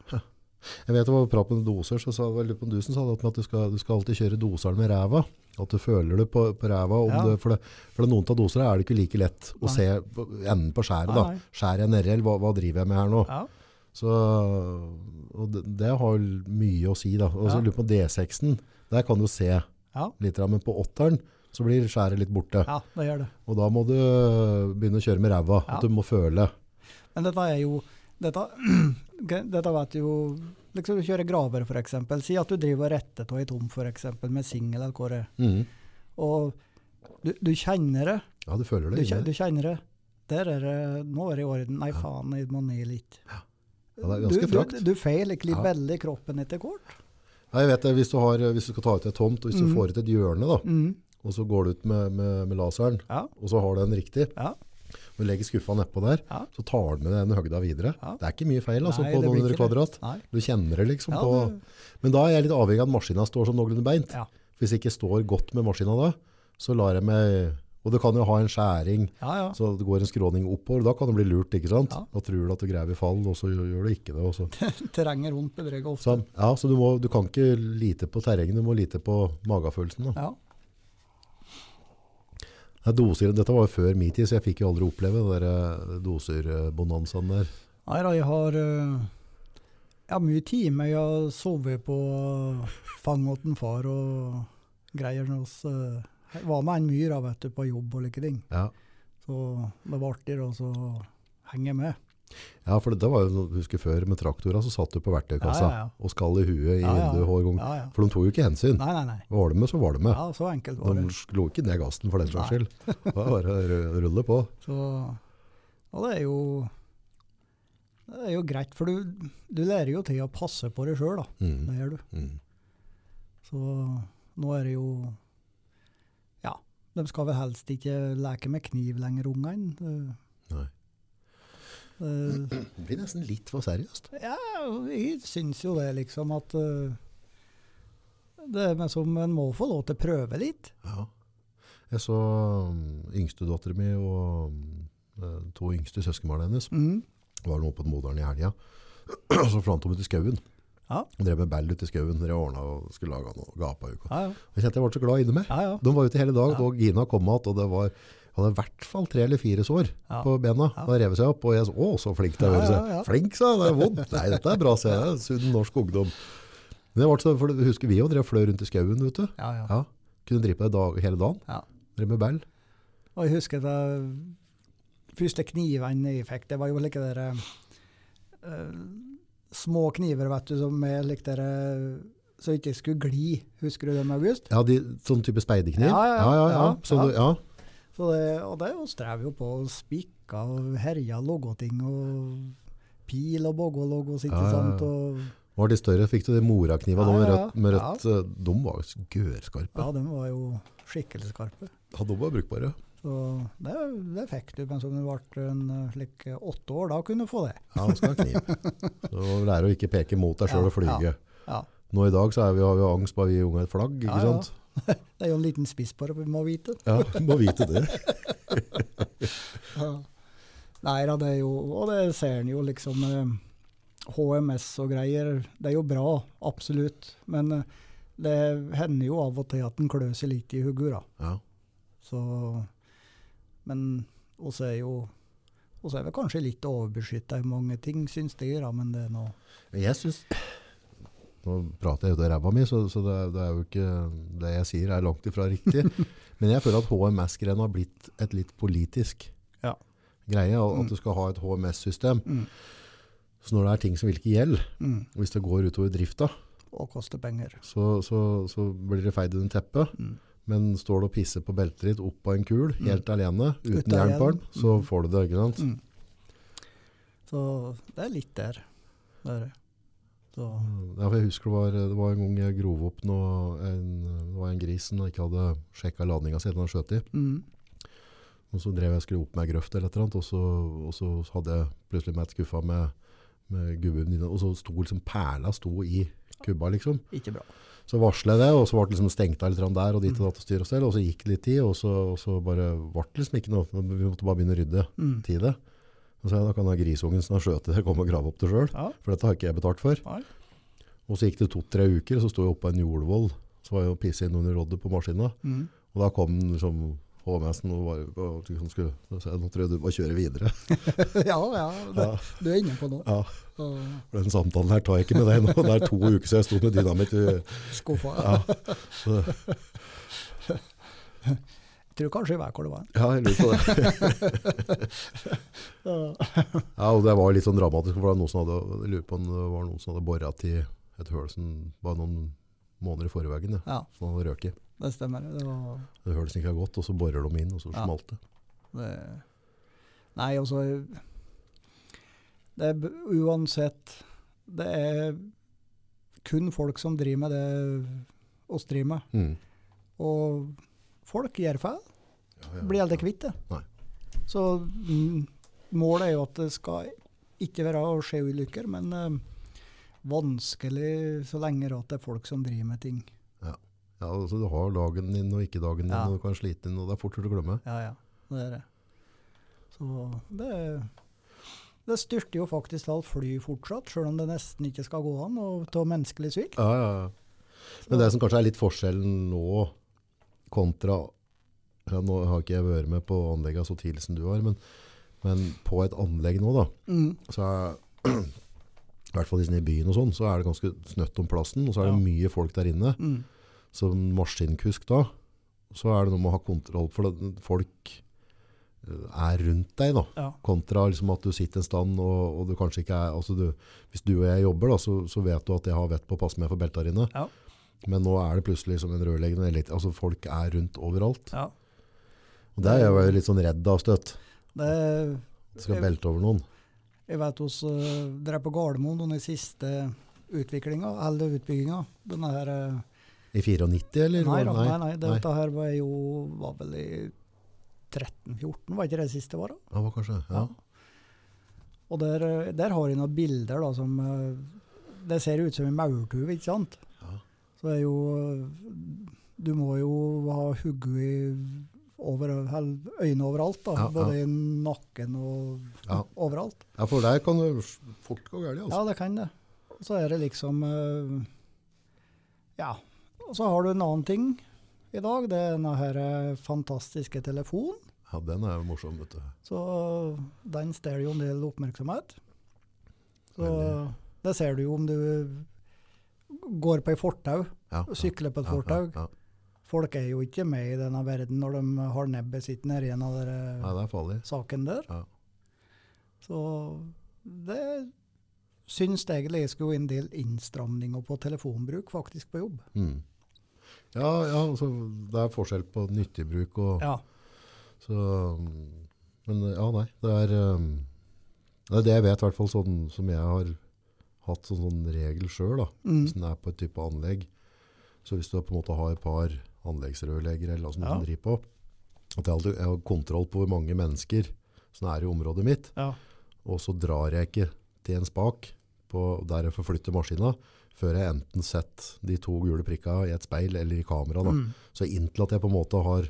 S1: Jeg vet det var prat med doser, så sa vel på dusen sa det at du skal, du skal alltid kjøre doseren med ræva. At du føler det på, på ræva. Om
S2: Ja.
S1: det, for, det, for det, noen av dosere er det ikke like lett å
S2: Nei.
S1: se på, enden på skjæret.
S2: Nei,
S1: da.
S2: nei.
S1: Skjæret jeg nedi, eller hva, hva driver jeg med her nå?
S2: Ja,
S1: Så, og det, det har jo mye å si. da. Og så
S2: Ja.
S1: lurer på D6-en. Der kan du se
S2: ja,
S1: litt, men på åtteren så blir skjæret litt borte.
S2: ja det gjør det.
S1: Og da må du begynne å kjøre med ræva.
S2: Ja.
S1: At du må føle.
S2: Men dette er jo Dette, dette vet jo liksom Du kjører graver, f.eks. Si at du driver og retter av ei tom for eksempel, med singel eller hva det er.
S1: Mhm.
S2: Og du, du kjenner det.
S1: Ja, du føler
S2: Du,
S1: det.
S2: kje-
S1: inni deg.
S2: du kjenner det. Der er det Nå er det i orden. Nei, faen, jeg må ned litt.
S1: Ja, det er
S2: du,
S1: ganske
S2: du,
S1: frakt.
S2: du feil ikke
S1: Ja.
S2: veldig kroppen etter kort.
S1: Nei, jeg vet det, hvis du, har, hvis du skal ta ut et tomt, og hvis du
S2: Mhm.
S1: får ut et hjørne, da,
S2: Mm.
S1: og så går du ut med, med, med laseren,
S2: Ja,
S1: og så har du den riktig,
S2: ja.
S1: og du legger skuffa nedpå der,
S2: Ja.
S1: så tar du med den høgda videre.
S2: Ja.
S1: Det er ikke mye feil altså,
S2: Nei,
S1: på
S2: det
S1: noen
S2: blir
S1: hundre
S2: ikke det.
S1: kvadrat.
S2: Nei.
S1: Du kjenner det liksom
S2: Ja,
S1: på...
S2: det-
S1: Men da er jeg litt avhengig av at maskina står som noenlunde beint.
S2: Ja.
S1: Hvis jeg ikke står godt med maskina da, så lar jeg meg... Og det kan jo ha en skjæring,
S2: Ja, ja.
S1: så det går en skråning oppover, da kan det bli lurt, ikke sant?
S2: Ja.
S1: Da tror du at du greier i fall, og så gjør gjør du ikke det. Og så.
S2: Terrenget rundt bedreger ofte.
S1: Så, ja, så du, må, du kan ikke lite på terrengen, du må lite på magefølelsen da.
S2: Ja.
S1: Ja, doser, dette var jo før min tid, så jeg fikk jo aldri oppleve den der eh, doserbonanzaen der.
S2: Nei da, jeg har eh, Jeg har mye time. Jeg har sovet på fanget til en far og greier med oss. eh, Jeg var med en myr da, vet du, på jobb og like ting.
S1: Ja,
S2: Så det var artig da, så henger jeg med.
S1: ja for det var jo, noe- husker før med traktora, så satt du på verktøykassa
S2: Ja, ja, ja.
S1: og skall i huet i
S2: Ja, ja.
S1: vinduet hver gang.
S2: Ja, ja.
S1: For de tog jo ikke hensyn.
S2: Nei, nei, nei.
S1: Var det med, så var det med.
S2: Ja, så enkelt var
S1: De
S2: det.
S1: slo ikke ned gassen for den slags
S2: Nei.
S1: skyld. Det var bare å ru- rulle på.
S2: Så, og det er jo det er jo greit, for du, du lærer jo til å passe på deg sjøl, da.
S1: Mm.
S2: Det gjør du.
S1: Mm.
S2: Så nå er det jo Ja, de skal vel helst ikke leke med kniv lenger, ungene.
S1: Nei.
S2: Eh,
S1: Det blir nesten litt for seriøst.
S2: Ja, jeg syns jo det, liksom, at eh, Det er men som en må få lov til å prøve litt.
S1: Ja. Jeg så um, yngstedatteren min og um, to yngste søskenbarna hennes
S2: Mm.
S1: var nå på den moderen i helga. Så fant hun ut i skauen.
S2: Ja.
S1: Og drev med ball ute i skauen. Dere ordna og skulle lage noe gapauk.
S2: Ja, ja.
S1: Jeg kjente jeg ble så glad inni meg.
S2: ja, ja.
S1: De var ute hele dag,
S2: Ja.
S1: og Gina kom igjen, og det var jeg hadde i hvert fall tre eller fire sår
S2: Ja.
S1: på bena.
S2: Ja.
S1: Da rev seg opp, og jeg så, å, så flink det
S2: Ja,
S1: høres.
S2: ja, ja.
S1: Flink, sa jeg, det er vondt. Nei, dette er bra, sa jeg. Det er Sunn norsk ungdom. Men jeg ble så, for det- husker vi jo, dere fløy rundt i skauen, vet du.
S2: ja, ja.
S1: Ja, kunne drive på det dag, hele dagen.
S2: Ja.
S1: Drev med ball.
S2: Og jeg husker det første knivene jeg fikk, det var jo like der eh, små kniver, vet du, som er like der eh, så ikke skulle gli. Husker du dem, August?
S1: Ja, de, sånn type speidekniv.
S2: Ja, ja,
S1: ja. ja, ja.
S2: ja,
S1: Så,
S2: ja.
S1: du- ja.
S2: Så det, og det jo strev jo på å spikke og herja logoting og pil og boggologo, ikke
S1: Ja, ja, ja.
S2: sant? Og,
S1: Var de større, fikk du de morakniva
S2: Ja,
S1: da med
S2: ja,
S1: rødt, med
S2: ja.
S1: rødt eh, de var jo gørskarpe.
S2: ja, de var jo skikkelig skarpe.
S1: Ja, de var brukbare.
S2: Så det, det fikk du, men som du ble en eh, slik åtte år, da kunne du få det.
S1: Ja, de skal ha kniv. Så lærer å ikke peke mot deg selv
S2: Ja,
S1: og flyge.
S2: Ja.
S1: Nå i dag så er vi, har vi jo angst bare vi unge har et flagg, ikke
S2: Ja, ja.
S1: sant?
S2: Det er jo en liten spiss på det, vi må vite.
S1: Ja, du må vite det.
S2: Ja. Nei da, det er jo Og det ser en jo liksom eh, HMS og greier. Det er jo bra, absolutt. Men eh, det hender jo av og til at en klør seg litt i hodet, da.
S1: Ja,
S2: Så Men oss er jo oss er vi kanskje litt overbeskytta i mange ting, syns de, da, men det er nå
S1: men jeg synes... Nå prater jeg ut av ræva mi, så, så det, er- det er jo ikke det jeg sier er langt ifra riktig. Men jeg føler at HMS-greien har blitt et litt politisk
S2: Ja.
S1: greie, og
S2: Mm.
S1: at du skal ha et HMS-system.
S2: mm,
S1: Så når det er ting som vil ikke gjelde,
S2: mm,
S1: hvis det går utover drifta,
S2: Og koster penger.
S1: så, så, så blir det feid under teppet.
S2: Mm.
S1: Men står du og pisser på beltet ditt opp av en kul,
S2: Mm.
S1: helt alene,
S2: Uten
S1: uten jern på den,
S2: hjelm.
S1: så
S2: Mm.
S1: får du det, ikke sant?
S2: Mm. Så det er litt der. Det er det. Så
S1: Ja, for jeg husker det var, det var en gang jeg grov opp nå, en, det var en gris som ikke hadde sjekket ladninga si, den hadde skjøt i.
S2: mm,
S1: Og så drev jeg og skrev opp med ei grøft eller et eller annet, og så, og så hadde jeg plutselig med et skuffa med, med gubben din, og så sto liksom perla sto i kubba liksom.
S2: ikke bra.
S1: Så varslet jeg det, og så ble det liksom stengt av litt grann der, og dit og datt og styr og stell, og så gikk det litt tid, og så, og så bare ble det liksom ikke noe, vi måtte bare begynne å rydde
S2: Mm.
S1: til det. Og så sa jeg, da kan da grisungen som har skjøt i det komme og grave opp det selv,
S2: Ja.
S1: for dette har ikke jeg betalt for.
S2: Nei.
S1: Og så gikk det to-tre uker, så sto jeg oppe på en jordvoll, så var jeg og pisset inn under roddet på maskina,
S2: Mm.
S1: og da kom den liksom HMS-en og var, og liksom skulle, så sa jeg, nå tror jeg du må kjøre videre.
S2: ja, ja. Det,
S1: Ja.
S2: Du er inne på noe.
S1: Ja,
S2: Og
S1: for den samtalen her tar jeg ikke med deg nå, det er to uker siden jeg sto med dynamitt i,
S2: skuffa.
S1: ja, så,
S2: Jeg tror kanskje jeg vet hvor det var.
S1: ja, jeg lurer på det.
S2: Ja.
S1: Ja, og det var litt sånn dramatisk, for det var noen som hadde, jeg lurer på om det var noen som hadde borret til et høl som var noen måneder i forveien, ja,
S2: ja,
S1: som hadde røket.
S2: det stemmer. Det var
S1: Det hølet som ikke har gått, og så borer de inn, og så
S2: Ja.
S1: smalt det.
S2: det. Nei, altså Det er b- uansett Det er kun folk som driver med det oss driver
S1: Mm.
S2: med. Og folk gjør feil.
S1: Ja, ja,
S2: Blir aldri kvitt det.
S1: Nei.
S2: Så mm, målet er jo at det skal ikke være å skje ulykker, men eh, vanskelig så lenge at det er folk som driver med ting.
S1: Ja, altså du har dagen din og ikke dagen din,
S2: Ja.
S1: og du kan slite inn, og det er fort gjort å glemme.
S2: Ja, ja. Det er det. Så det, det styrter jo faktisk all fly fortsatt, sjøl om det nesten ikke skal gå an og av menneskelig svikt.
S1: Ja, ja, ja. Men det som kanskje er litt forskjellen nå, kontra, ja, nå har ikke jeg vært med på anlegget så tidlig som du har, men, men på et anlegg nå da,
S2: Mm.
S1: så er, i hvert fall liksom i byen og sånn, så er det ganske snøtt om plassen, og så er det
S2: Ja.
S1: mye folk der inne.
S2: Mm.
S1: Som maskinkusk da, så er det noe med å ha kontroll, for det- folk eh, er rundt deg da,
S2: Ja.
S1: kontra liksom at du sitter en stand, og, og du kanskje ikke er, altså du, hvis du og jeg jobber da, så, så vet du at jeg har vett på å passe meg for beltet her inne.
S2: Ja.
S1: Men nå er det plutselig som en rørleggende, eller- altså folk er rundt overalt.
S2: ja.
S1: Og det er jeg jo litt sånn redd av støtt,
S2: Det,
S1: at du skal belte over noen.
S2: jeg vet hos eh, dere på Gardermoen, den siste utviklinga, eller utbygginga, denne her eh,
S1: I 94 eller?
S2: Nei, da,
S1: Nei.
S2: nei, nei, dette her var jo var vel i 13-14, var ikke det siste var da?
S1: Ja, hva kanskje, ja.
S2: Og der, eh, der har jeg noen bilder da, som eh, Det ser ut som en maurtue, ikke sant?
S1: Ja.
S2: Så det er jo eh, Du må jo ha hodet i over, hel- øynene overalt. da,
S1: Ja, ja.
S2: Både i nakken og
S1: Ja.
S2: overalt.
S1: Ja, for der kan det fort gå galt. Altså.
S2: Ja, det kan det. Og så er det liksom eh, Ja. Og så har du en annen ting i dag. Det er denne her eh, fantastiske telefonen.
S1: Ja, den er jo morsom, vet du.
S2: Så den stjeler jo en del oppmerksomhet. Så
S1: Veldig.
S2: det ser du jo om du går på ei fortau,
S1: Ja, ja,
S2: sykler på et
S1: ja,
S2: fortau.
S1: Ja, ja.
S2: Folk er jo ikke med i denne verden når de har nebbet sitt nedi en av
S1: Nei,
S2: denne
S1: det er farlig.
S2: saken der.
S1: Ja.
S2: Så det syns egentlig jeg skulle en del innstramninger på telefonbruk faktisk på jobb.
S1: Mm. Ja, ja altså, det er forskjell på nyttig bruk og
S2: Ja.
S1: så, um, Men ja, nei. Det er um, det, er det jeg vet, i hvert fall sånn, som jeg har hatt sånn, sånn regel sjøl.
S2: Mm.
S1: Hvis den er på et type anlegg. Så hvis du på en måte har et par anleggsrørleggere eller noe sånt
S2: Ja.
S1: som driver på, at jeg, alltid, jeg har kontroll på hvor mange mennesker som er i området mitt,
S2: ja.
S1: og så drar jeg ikke til en spak på, der jeg forflytter maskina, før jeg enten sett de to gule prikka i et speil eller i kamera. Da.
S2: Mm.
S1: Så inntil at jeg på en måte har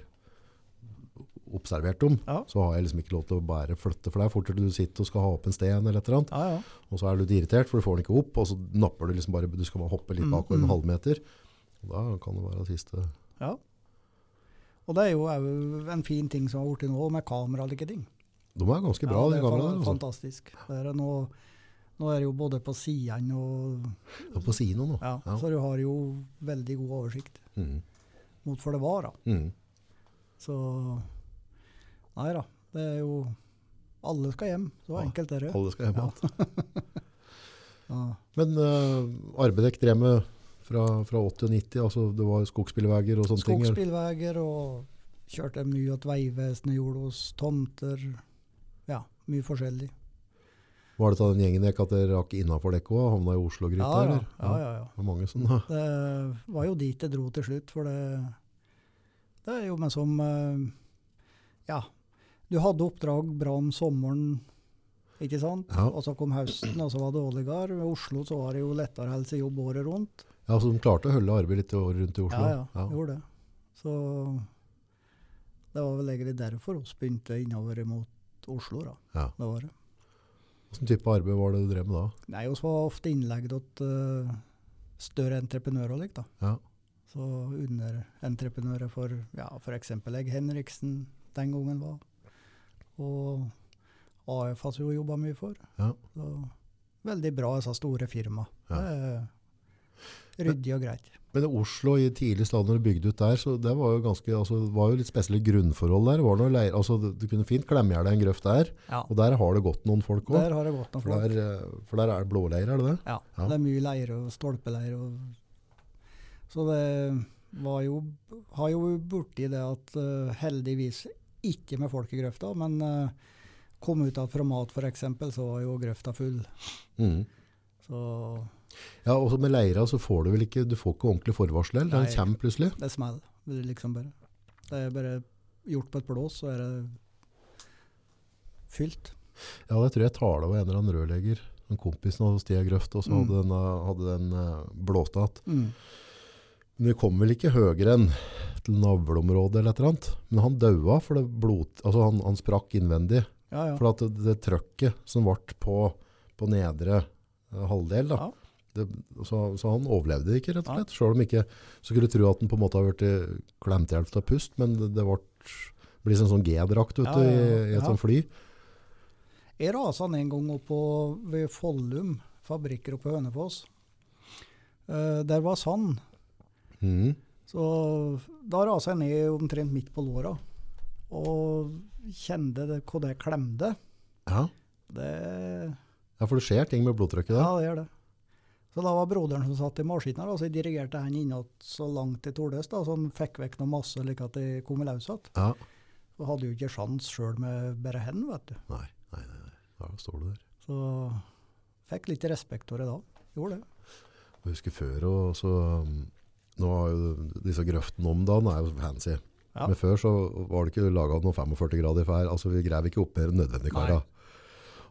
S1: observert dem,
S2: Ja.
S1: så har jeg liksom ikke lov til å bare flytte, for det er fortere du sitter og skal ha opp en sten eller et eller annet,
S2: ja, ja.
S1: og så er du litt irritert, for du får den ikke opp, og så napper du liksom bare, du skal bare hoppe litt
S2: Mm,
S1: bakover
S2: mm.
S1: en halvmeter. Og Da kan det være siste.
S2: Ja. Og det er jo òg en fin ting som har blitt nå, med kamera og like ting.
S1: De er ganske bra,
S2: det
S1: de
S2: er
S1: kameraene.
S2: fan-
S1: Altså.
S2: fantastisk. Det er nå, nå er det jo både på sidene og
S1: Ja, På siden nå.
S2: ja,
S1: Ja.
S2: Så du har jo veldig god oversikt
S1: Mm.
S2: mot for det var. da.
S1: Mm.
S2: Så Nei da. Det er jo Alle skal hjem. Så
S1: Ja,
S2: enkelt er det.
S1: Alle skal hjem
S2: Ja.
S1: igjen.
S2: Ja.
S1: Men uh, arbeidet drev med fra, fra 80 og 90, altså det var skogsbilveier og sånne ting. eller?
S2: Skogsbilveier og kjørte mye at Vegvesenet gjorde hos tomter. Ja, mye forskjellig.
S1: Var det av den gjengen jeg ikke at dere rakk innenfor dekk også, havna i Oslo-gryta?
S2: Ja, ja,
S1: eller?
S2: ja, ja, ja.
S1: Det var mange sånne.
S2: Det var jo dit det dro til slutt, for det, det er jo meg som eh, Ja, du hadde oppdrag bra om sommeren, ikke sant?
S1: Ja.
S2: Og så kom høsten, og så var det dårligere. I Oslo så var det jo lettere å helse jobb året rundt.
S1: Ja, så de klarte å holde arbeidet litt i år rundt i Oslo.
S2: Ja, ja, gjorde det. Så det var vel egentlig derfor vi begynte innover mot Oslo, da.
S1: Ja.
S2: Det var det.
S1: Hvilken type arbeid var det du drev med da?
S2: Nei, vi var ofte innlegg til større entreprenører og likt, da.
S1: Ja.
S2: Så underentreprenører for ja, f.eks. jeg Henriksen den gangen var. Og AF har vi jo jobba mye for.
S1: Ja.
S2: Så, veldig bra, disse store firma.
S1: Ja.
S2: Det er Ryddig og greit.
S1: Men i Oslo i tidlig stad når du bygde ut der, så det var jo, ganske, altså, det var jo litt spesielle grunnforhold der. Det Var noe leir, altså, du du kunne fint klemme i deg en grøft der,
S2: Ja.
S1: og der har det gått noen folk òg.
S2: Der har det gått noen
S1: For,
S2: folk.
S1: der, eh, for der er det blåleir, er det det?
S2: Ja.
S1: Ja.
S2: Det er mye leire og stolpeleire. Og så det var jo, har jo borti det at eh, heldigvis ikke med folk i grøfta, men eh, kom ut at fra mat f.eks., så var jo grøfta full.
S1: Mm.
S2: Så
S1: Ja, også med leira så får du vel ikke, du får ikke ordentlig forvarsel, eller?
S2: Nei.
S1: den kommer plutselig.
S2: det smeller det er liksom bare. Det er bare gjort på et blås, så er det fylt.
S1: Ja, det tror jeg tala var en eller annen rørlegger. En kompis av Stia Grøft, og så
S2: Mm.
S1: hadde den, eh, hadde den eh, blåst av.
S2: Mm.
S1: Men vi kom vel ikke høyere enn til navleområdet eller et eller annet. Men han daua, for det blod, altså han, han sprakk innvendig.
S2: Ja, ja.
S1: For at det, det trøkket som ble på, på nedre eh, halvdel, da,
S2: Ja.
S1: det, så, så han overlevde ikke, rett og
S2: Nei.
S1: slett. Selv om ikke, så skulle du tro at han på en måte har vært klemt i hjelp av pust, men det, det ble, ble sånn, sånn G-drakt ute
S2: Ja, ja, ja.
S1: i, i et
S2: Ja.
S1: sånt fly.
S2: Jeg rasa en gang opp på, ved Follum fabrikker oppe på Hønefoss. Eh, der var sand.
S1: Mm.
S2: Så da rasa jeg ned omtrent midt på låra. Og kjente det, hva det klemte.
S1: Ja.
S2: Det,
S1: ja, for det skjer ting med blodtrykket
S2: ja,
S1: da.
S2: det gjør det. Så da var broderen som satt i maskinen her, og så jeg dirigerte han innad så langt jeg tordes, da, så han fikk vekk noe masse slik at jeg kom i løs igjen.
S1: Ja.
S2: Og hadde jo ikke sjans sjøl med bare hen, vet du.
S1: Nei, nei, nei, nei. Da står du der.
S2: Så fikk litt respekt for det da. Gjorde det.
S1: Jeg husker før, og så um, Nå har jo disse grøftene om dagen er jo fancy.
S2: Ja.
S1: Men før så var det ikke laga noen 45 grader fær. Altså, vi grev ikke opp mer enn nødvendig,
S2: Nei.
S1: kara.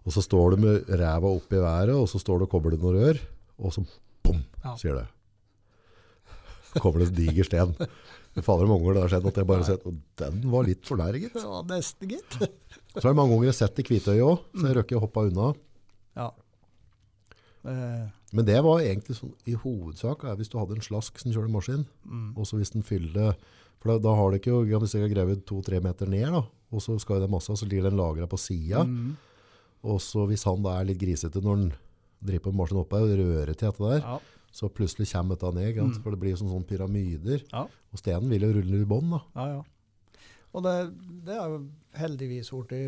S1: Og så står du med ræva opp i været, og så står du og kobler noen rør, og så bom,
S2: Ja.
S1: sier det. kommer det en diger sten. Fader med unger, det har skjedd at jeg bare har sett Og den var litt for nær, gitt.
S2: Det var nesten, gitt.
S1: Så er det mange ganger jeg har sett i Kvitøyet òg, så jeg røkker å hoppe unna.
S2: Ja. Eh,
S1: Men det var egentlig sånn, i hovedsak er hvis du hadde en slask som kjørte maskin,
S2: mm,
S1: og så hvis den fyller For da, da har det ikke jo, hvis jeg har grevet to-tre meter ned, da, og så skal jo den massa, så ligger den lagra på sida.
S2: mm,
S1: Og så hvis han da er litt grisete når han driver på maskinen oppe og rører til dette der,
S2: ja. Mm.
S1: så plutselig kommer dette ned, ikke sant? for det blir jo sånn, sånn pyramider.
S2: Ja.
S1: Og stenen vil jo rulle i bånd da.
S2: Ja, ja. Og det, det er jo heldigvis borti.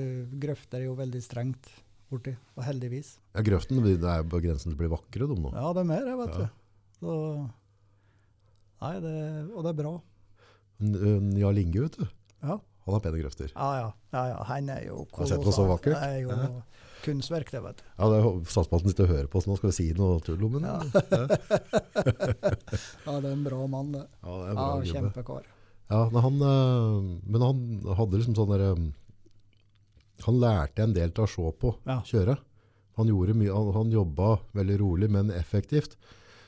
S2: Grøfter er jo veldig strengt borti. Og heldigvis.
S1: Ja, grøften det er jo på grensen til å bli vakre, de nå.
S2: Ja, det er mer, jeg vet
S1: Ja.
S2: du. Så, nei, det, og det er bra.
S1: N- n- Jarl Inge, vet du.
S2: Ja,
S1: Han har pene grøfter.
S2: ja. ja, ja, ja. Han er jo
S1: Har sett noe så
S2: kolossal.
S1: vakkert?
S2: Det er jo
S1: Ja.
S2: kunstverk, det, vet du.
S1: Ja, det er statsmaten sitter og hører på, så nå skal vi si noe tull om den. Ja,
S2: Ja, det er en bra mann, det.
S1: ja det er
S2: Ja,
S1: bra gubbe.
S2: Kjempekar.
S1: Ja, men han, eh, men han hadde liksom sånn der eh, Han lærte en del til å se på
S2: Ja.
S1: kjøre. Han, gjorde mye, han, han jobba veldig rolig, men effektivt.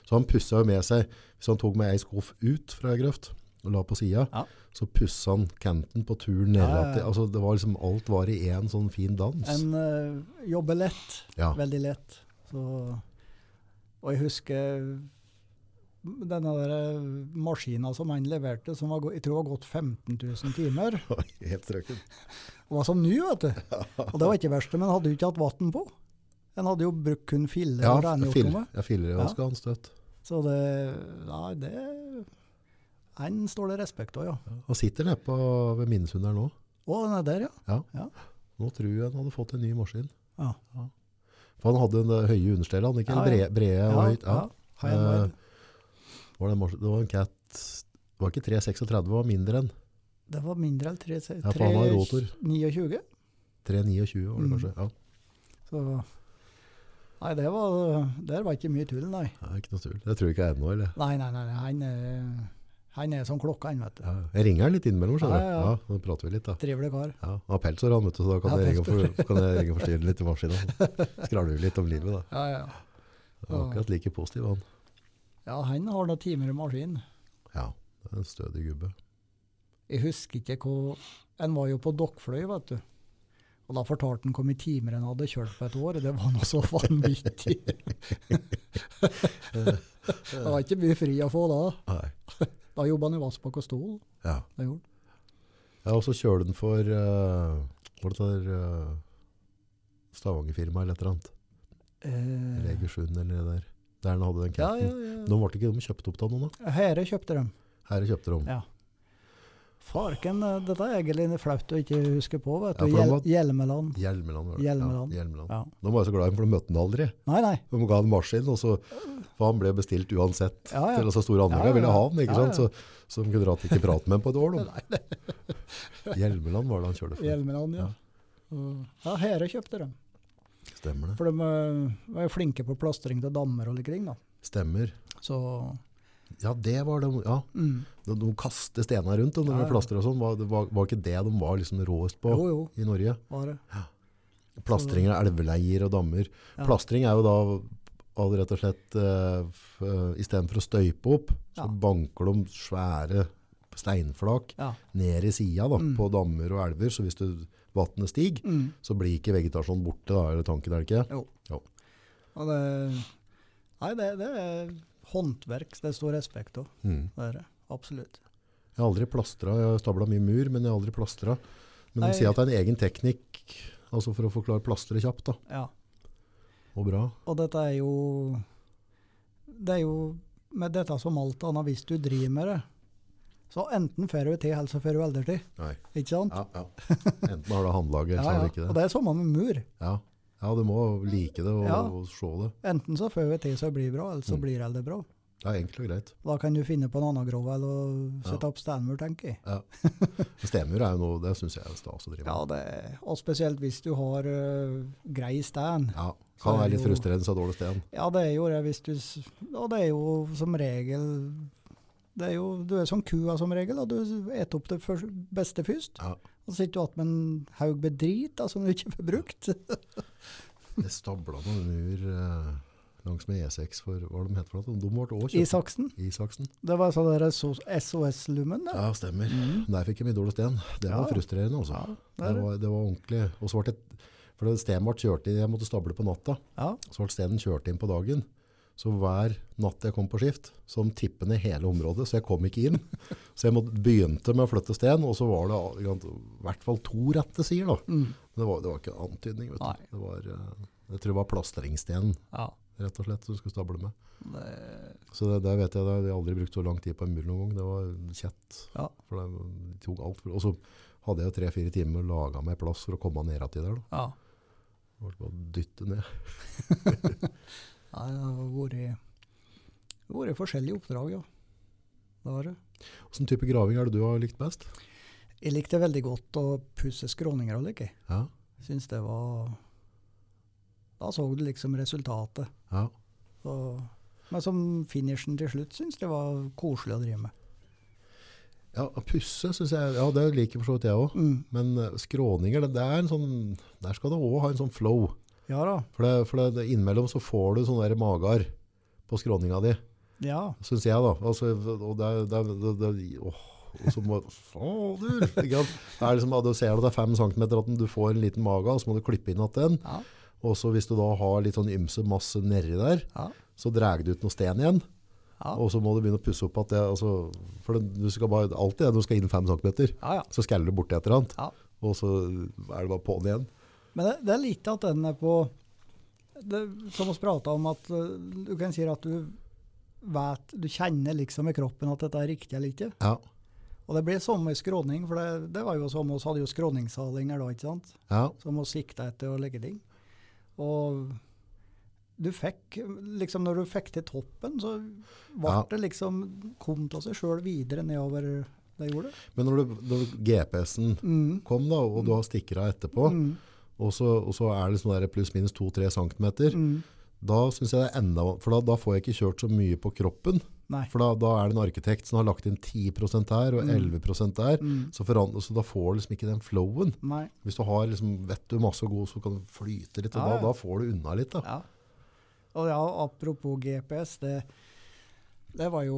S1: Så han pussa jo med seg Hvis han tok med ei skuff ut fra ei grøft og la på sida,
S2: Ja.
S1: så pussa han kanten på turen ned.
S2: Ja, ja, ja.
S1: altså, det var liksom, alt var i én sånn fin dans.
S2: En eh, jobber lett.
S1: ja.
S2: Veldig lett. Så, og jeg husker denne der eh, maskinen som han leverte, som var, gå- jeg tror var gått 15 000 timer,
S1: Helt strøken.
S2: var som ny, vet du. Og det var ikke verst, men han hadde jo ikke hatt vann på. En hadde jo brukt kun filler
S1: Ja,
S2: og rengjort
S1: fil-
S2: noe.
S1: ja, filleranske ja. han støtt.
S2: Så det Nei, det Han står det respekt av, ja.
S1: Han sitter nede på, ved Minnesund her nå.
S2: Å, den er der, ja.
S1: Nå tror jeg han hadde fått en ny maskin.
S2: Ja.
S1: For han hadde en eh, høye understell, han ikke
S2: Ja,
S1: Eller brede, brede og høyt. Ja. Eh,
S2: High and wide.
S1: Var det, en maskin- det var en Cat Det var ikke 336, det var mindre enn
S2: Det var mindre enn tre-
S1: Ja, for han har rotor.
S2: 329.
S1: 329, var det
S2: Mm.
S1: kanskje. Ja,
S2: Så Nei, det var, der var ikke mye tull, nei.
S1: det er ikke noe tull. Det tror jeg ikke er ennå, eller?
S2: Nei, nei, nei, nei, han er, han er som klokka, han, vet du.
S1: Ja. Jeg ringer han litt innimellom, skjønner du.
S2: Ja,
S1: Ja,
S2: ja, ja.
S1: nå prater vi litt, da.
S2: Trivelig kar.
S1: Ja, han har pelshår, han, vet du, så da kan,
S2: Ja,
S1: jeg ringe og for, kan jeg ringe og forstyrre litt i maskina. Skravler litt om livet, da.
S2: Ja, ja.
S1: Han var Akkurat like positiv, han.
S2: ja, han har noen timer i maskin.
S1: Ja, det er en stødig gubbe.
S2: Jeg husker ikke hva Han var jo på Dokkfløy, vet du. Og da fortalte han hvor mye timer han hadde kjørt på et år. Det var noe så vanvittig. det var ikke mye fri å få da.
S1: Nei.
S2: Da jobba han i Vassbakk og Stol.
S1: Ja.
S2: Det gjorde han.
S1: Ja, og så kjører den for uh, Var det der uh, Stavanger-firmaet eller et eller annet? Eller
S2: Eh,
S1: Egersund eller det der. Der den hadde den
S2: ja,
S1: casten.
S2: ja, ja.
S1: Nå ble ikke de kjøpt opp av noen, da.
S2: Herre kjøpte dem.
S1: Her er kjøpte de.
S2: Ja. Farken, eh, dette er egentlig flaut å ikke huske på, vet
S1: Ja,
S2: du.
S1: for de
S2: Hjel
S1: var-
S2: Hjelmeland.
S1: Hjelmeland. var det.
S2: Hjelmeland.
S1: Ja, Hjelmeland.
S2: Ja.
S1: De var jo så glad i ham, for de møtte han aldri.
S2: Nei, nei.
S1: De ga han maskin, og så, for han ble bestilt uansett.
S2: Ja, ja.
S1: Til altså store anlegg
S2: Ja, ja,
S1: ville ha han,
S2: ja,
S1: ikke
S2: ja.
S1: sant? Så, så de kunne dra til ikke prate med ham på et år. De. Hjelmeland var det han kjørte for.
S2: Hjelmeland, ja. Og- Ja, Herre kjøpte dem.
S1: Stemmer det.
S2: For de eh, var jo flinke på plastring til dammer og litt kring, da.
S1: Stemmer.
S2: Så
S1: Ja, det var de. Ja.
S2: mm.
S1: De, de kaster stener rundt, og de
S2: Ja, ja.
S1: plaster og sånn. Var, det var, var ikke det de var liksom råest på
S2: Jo, jo,
S1: i Norge?
S2: var det.
S1: Plastring av elveleier og dammer.
S2: Ja.
S1: Plastring er jo da all rett og slett eh, f- eh, Istedenfor å støype opp, så
S2: Ja.
S1: banker de svære steinflak
S2: Ja.
S1: ned i sida da,
S2: Mm.
S1: på dammer og elver. Så hvis du- vannet stiger,
S2: Mm.
S1: så blir ikke vegetasjonen borte, da, eller tanken er det ikke?
S2: Og det Nei, det, det er håndverk det står respekt av.
S1: Mm.
S2: Det er det. Absolutt.
S1: Jeg har aldri plastra. Jeg har stabla mye mur, men jeg har aldri plastra. Men de
S2: Nei.
S1: sier at det er en egen teknikk altså for å forklare plastre kjapt da,
S2: Ja.
S1: og bra.
S2: Og dette er jo Det er jo med dette som alt annet, hvis du driver med det, så enten får du til, eller så får du aldri til.
S1: Nei.
S2: Ikke sant?
S1: Ja, ja. Enten har du håndlaget, eller
S2: Ja,
S1: så har
S2: ja.
S1: du ikke
S2: Og
S1: det.
S2: det er samme med mur.
S1: Ja. ja, du må like det og,
S2: Ja.
S1: og se det.
S2: Enten så får vi til så det blir bra, eller så
S1: Mm.
S2: blir det aldri bra.
S1: Det er enkelt og greit.
S2: Da kan du finne på en annen grovel og sette
S1: Ja.
S2: opp steinmur, tenker jeg.
S1: Stemur er jo noe, det synes jeg er stas å drive
S2: Ja,
S1: med.
S2: det, og spesielt hvis du har ø, grei stein.
S1: Ja, kan
S2: Så er
S1: være
S2: det
S1: litt
S2: jo-
S1: frustrerende så dårlig sten.
S2: Ja, det er jo det hvis du s- Og det er jo som regel det er jo, Du er som kua som regel, og du spiser opp det først- beste først.
S1: Ja.
S2: Og så sitter du igjen med en haug med drit da, som du ikke får brukt.
S1: Jeg stabla noen mur eh, langs med E6 for hva var det de het for noe? De ble også kjøpt.
S2: Isaksen.
S1: Isaksen.
S2: Det var sånn der SOS-lummen. det.
S1: Ja, stemmer.
S2: Mhm.
S1: Der fikk jeg mye dårlig sten. Det var
S2: Ja.
S1: frustrerende, altså.
S2: Ja, det
S1: Det
S2: er det.
S1: var, det var ordentlig. Og så ble det, for det stedet ble kjørt inn, jeg måtte stable på natta,
S2: Ja.
S1: så ble stenen kjørt inn på dagen. Så hver natt jeg kom på skift, så de tippet ned hele området, så jeg kom ikke inn. Så jeg måtte, begynte med å flytte sten, og så var det i hvert fall to rette sider da.
S2: Mm.
S1: Men Det var, det var ikke antydning, vet
S2: Nei.
S1: du. Det var, eh, jeg tror det var plastringsten,
S2: ja.
S1: rett og slett, som du skulle stable med.
S2: Det,
S1: Så det, der vet jeg, det har jeg aldri brukt så lang tid på en mur noen gang. Det var kjett.
S2: Ja.
S1: For det tok alt. For, og så hadde jeg jo tre-fire timer og laget meg plass for å komme ned til der. Da.
S2: ja.
S1: Det var bare å dytte ned.
S2: Nei, det har vært, vært forskjellige oppdrag, ja. Det har det.
S1: Hvilken type graving er det du har likt best?
S2: Jeg likte veldig godt å pusse skråninger og like.
S1: Ja.
S2: Syns det var Da så du liksom resultatet.
S1: ja.
S2: Så, men som finishen til slutt syns det var koselig å drive med.
S1: ja å pusse synes jeg, ja det liker for så vidt jeg også.
S2: Mm.
S1: Men eh, skråninger, det, det er en sånn, der skal du også ha en sånn flow.
S2: Ja da.
S1: For, det, for det, det, innimellom så får du sånne der mager på skråninga di,
S2: Ja.
S1: synes jeg da. Altså, og det, er- det, er- det, det åh. Og så må, fader, ikke sant? Det er liksom, ja, du ser at det er fem centimeter at du får en liten mage, og så må du klippe inn at den.
S2: Ja.
S1: Og så hvis du da har litt sånn ymse masse nedi der,
S2: Ja.
S1: så drar du ut noe sten igjen.
S2: Ja.
S1: Og så må du begynne å pusse opp at det, altså, for det, du skal bare, alltid det, du skal inn fem centimeter,
S2: ja, ja.
S1: så skaller du borti et eller annet,
S2: ja.
S1: og så er det bare på'n igjen.
S2: Men det, det er lite at den er på det, Som vi prata om, at eh, du kan si at du vet Du kjenner liksom i kroppen at dette er riktig eller ikke.
S1: Ja,
S2: Og det ble samme skråning, for det, det var jo som oss hadde jo skråningssalinger da, ikke sant?
S1: ja,
S2: Som oss sikta etter å legge ting. Og du fikk liksom Når du fikk til toppen, så ble
S1: Ja.
S2: det liksom Kom til seg sjøl videre nedover det gjorde.
S1: men når, du, når du- GPS-en
S2: Mm.
S1: kom da, og du har stikkere etterpå,
S2: Mm.
S1: og, så, og så er det sånn der pluss minus 2-3 centimeter,
S2: Mm.
S1: da synes jeg det er enda, for da, da får jeg ikke kjørt så mye på kroppen,
S2: Nei.
S1: for da, da er det en arkitekt som har lagt inn 10% her og
S2: Mm.
S1: 11% der,
S2: Mm.
S1: så, forandrer- så da får du liksom ikke den flowen.
S2: Nei.
S1: Hvis du har liksom, vet du masse og god, så kan du flyte litt, og
S2: Ja, ja.
S1: da, da får du unna litt. Da.
S2: Ja. Og ja, apropos GPS, det, det var jo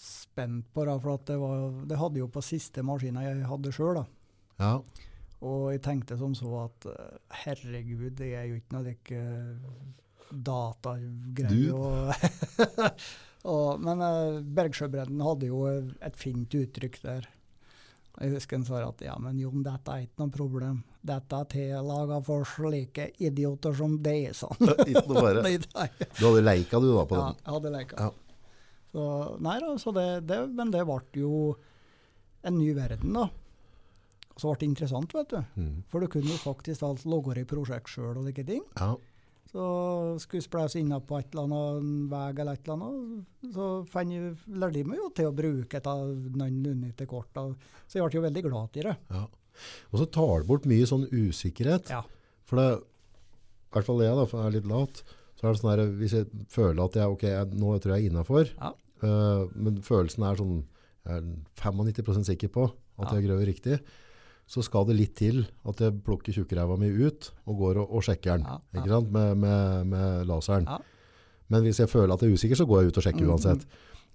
S2: spent på, da, for at det, var, det hadde jo på siste maskina jeg hadde sjøl.
S1: Ja.
S2: Og jeg tenkte som så at eh, herregud, det er jo ikke noe like eh,
S1: Du?
S2: datagreier. Og, og, men eh, Bergsjøbredden hadde jo et fint uttrykk der. Og Jeg husker han sa at ja, men Jon, dette er ikke noe problem. Dette er tillaga for slike idioter som deg, sa han.
S1: Ikke noe bare.
S2: Nei, nei.
S1: Du hadde leika du da på
S2: Ja,
S1: den.
S2: jeg hadde leka.
S1: Ja.
S2: Så, nei da, så det, det, men det ble jo en ny verden, da. Og så ble det interessant, vet du.
S1: Mm.
S2: For du kunne jo faktisk alt logge i prosjekt sjøl og like ting.
S1: Ja.
S2: Så skulle vi spleise inna på et eller annet en vei eller et eller annet, så fant jeg, lærte jeg meg jo til å bruke et av noen unnite korta. Så jeg ble jo veldig glad i det.
S1: ja. Og så tar det bort mye sånn usikkerhet.
S2: Ja.
S1: For det, i hvert fall jeg da, for jeg er litt lat, så er det sånn her, hvis jeg føler at jeg, ok, jeg, nå tror jeg jeg er innenfor,
S2: Ja.
S1: eh, men følelsen er sånn, jeg er 95% sikker på at
S2: Ja.
S1: jeg grøver riktig, så skal det litt til at jeg plukker tjukkreva mi ut og går og, og sjekker den,
S2: Ja, ja.
S1: ikke sant, med, med, med laseren.
S2: Ja.
S1: Men hvis jeg føler at jeg er usikker, så går jeg ut og sjekker
S2: Mm,
S1: uansett.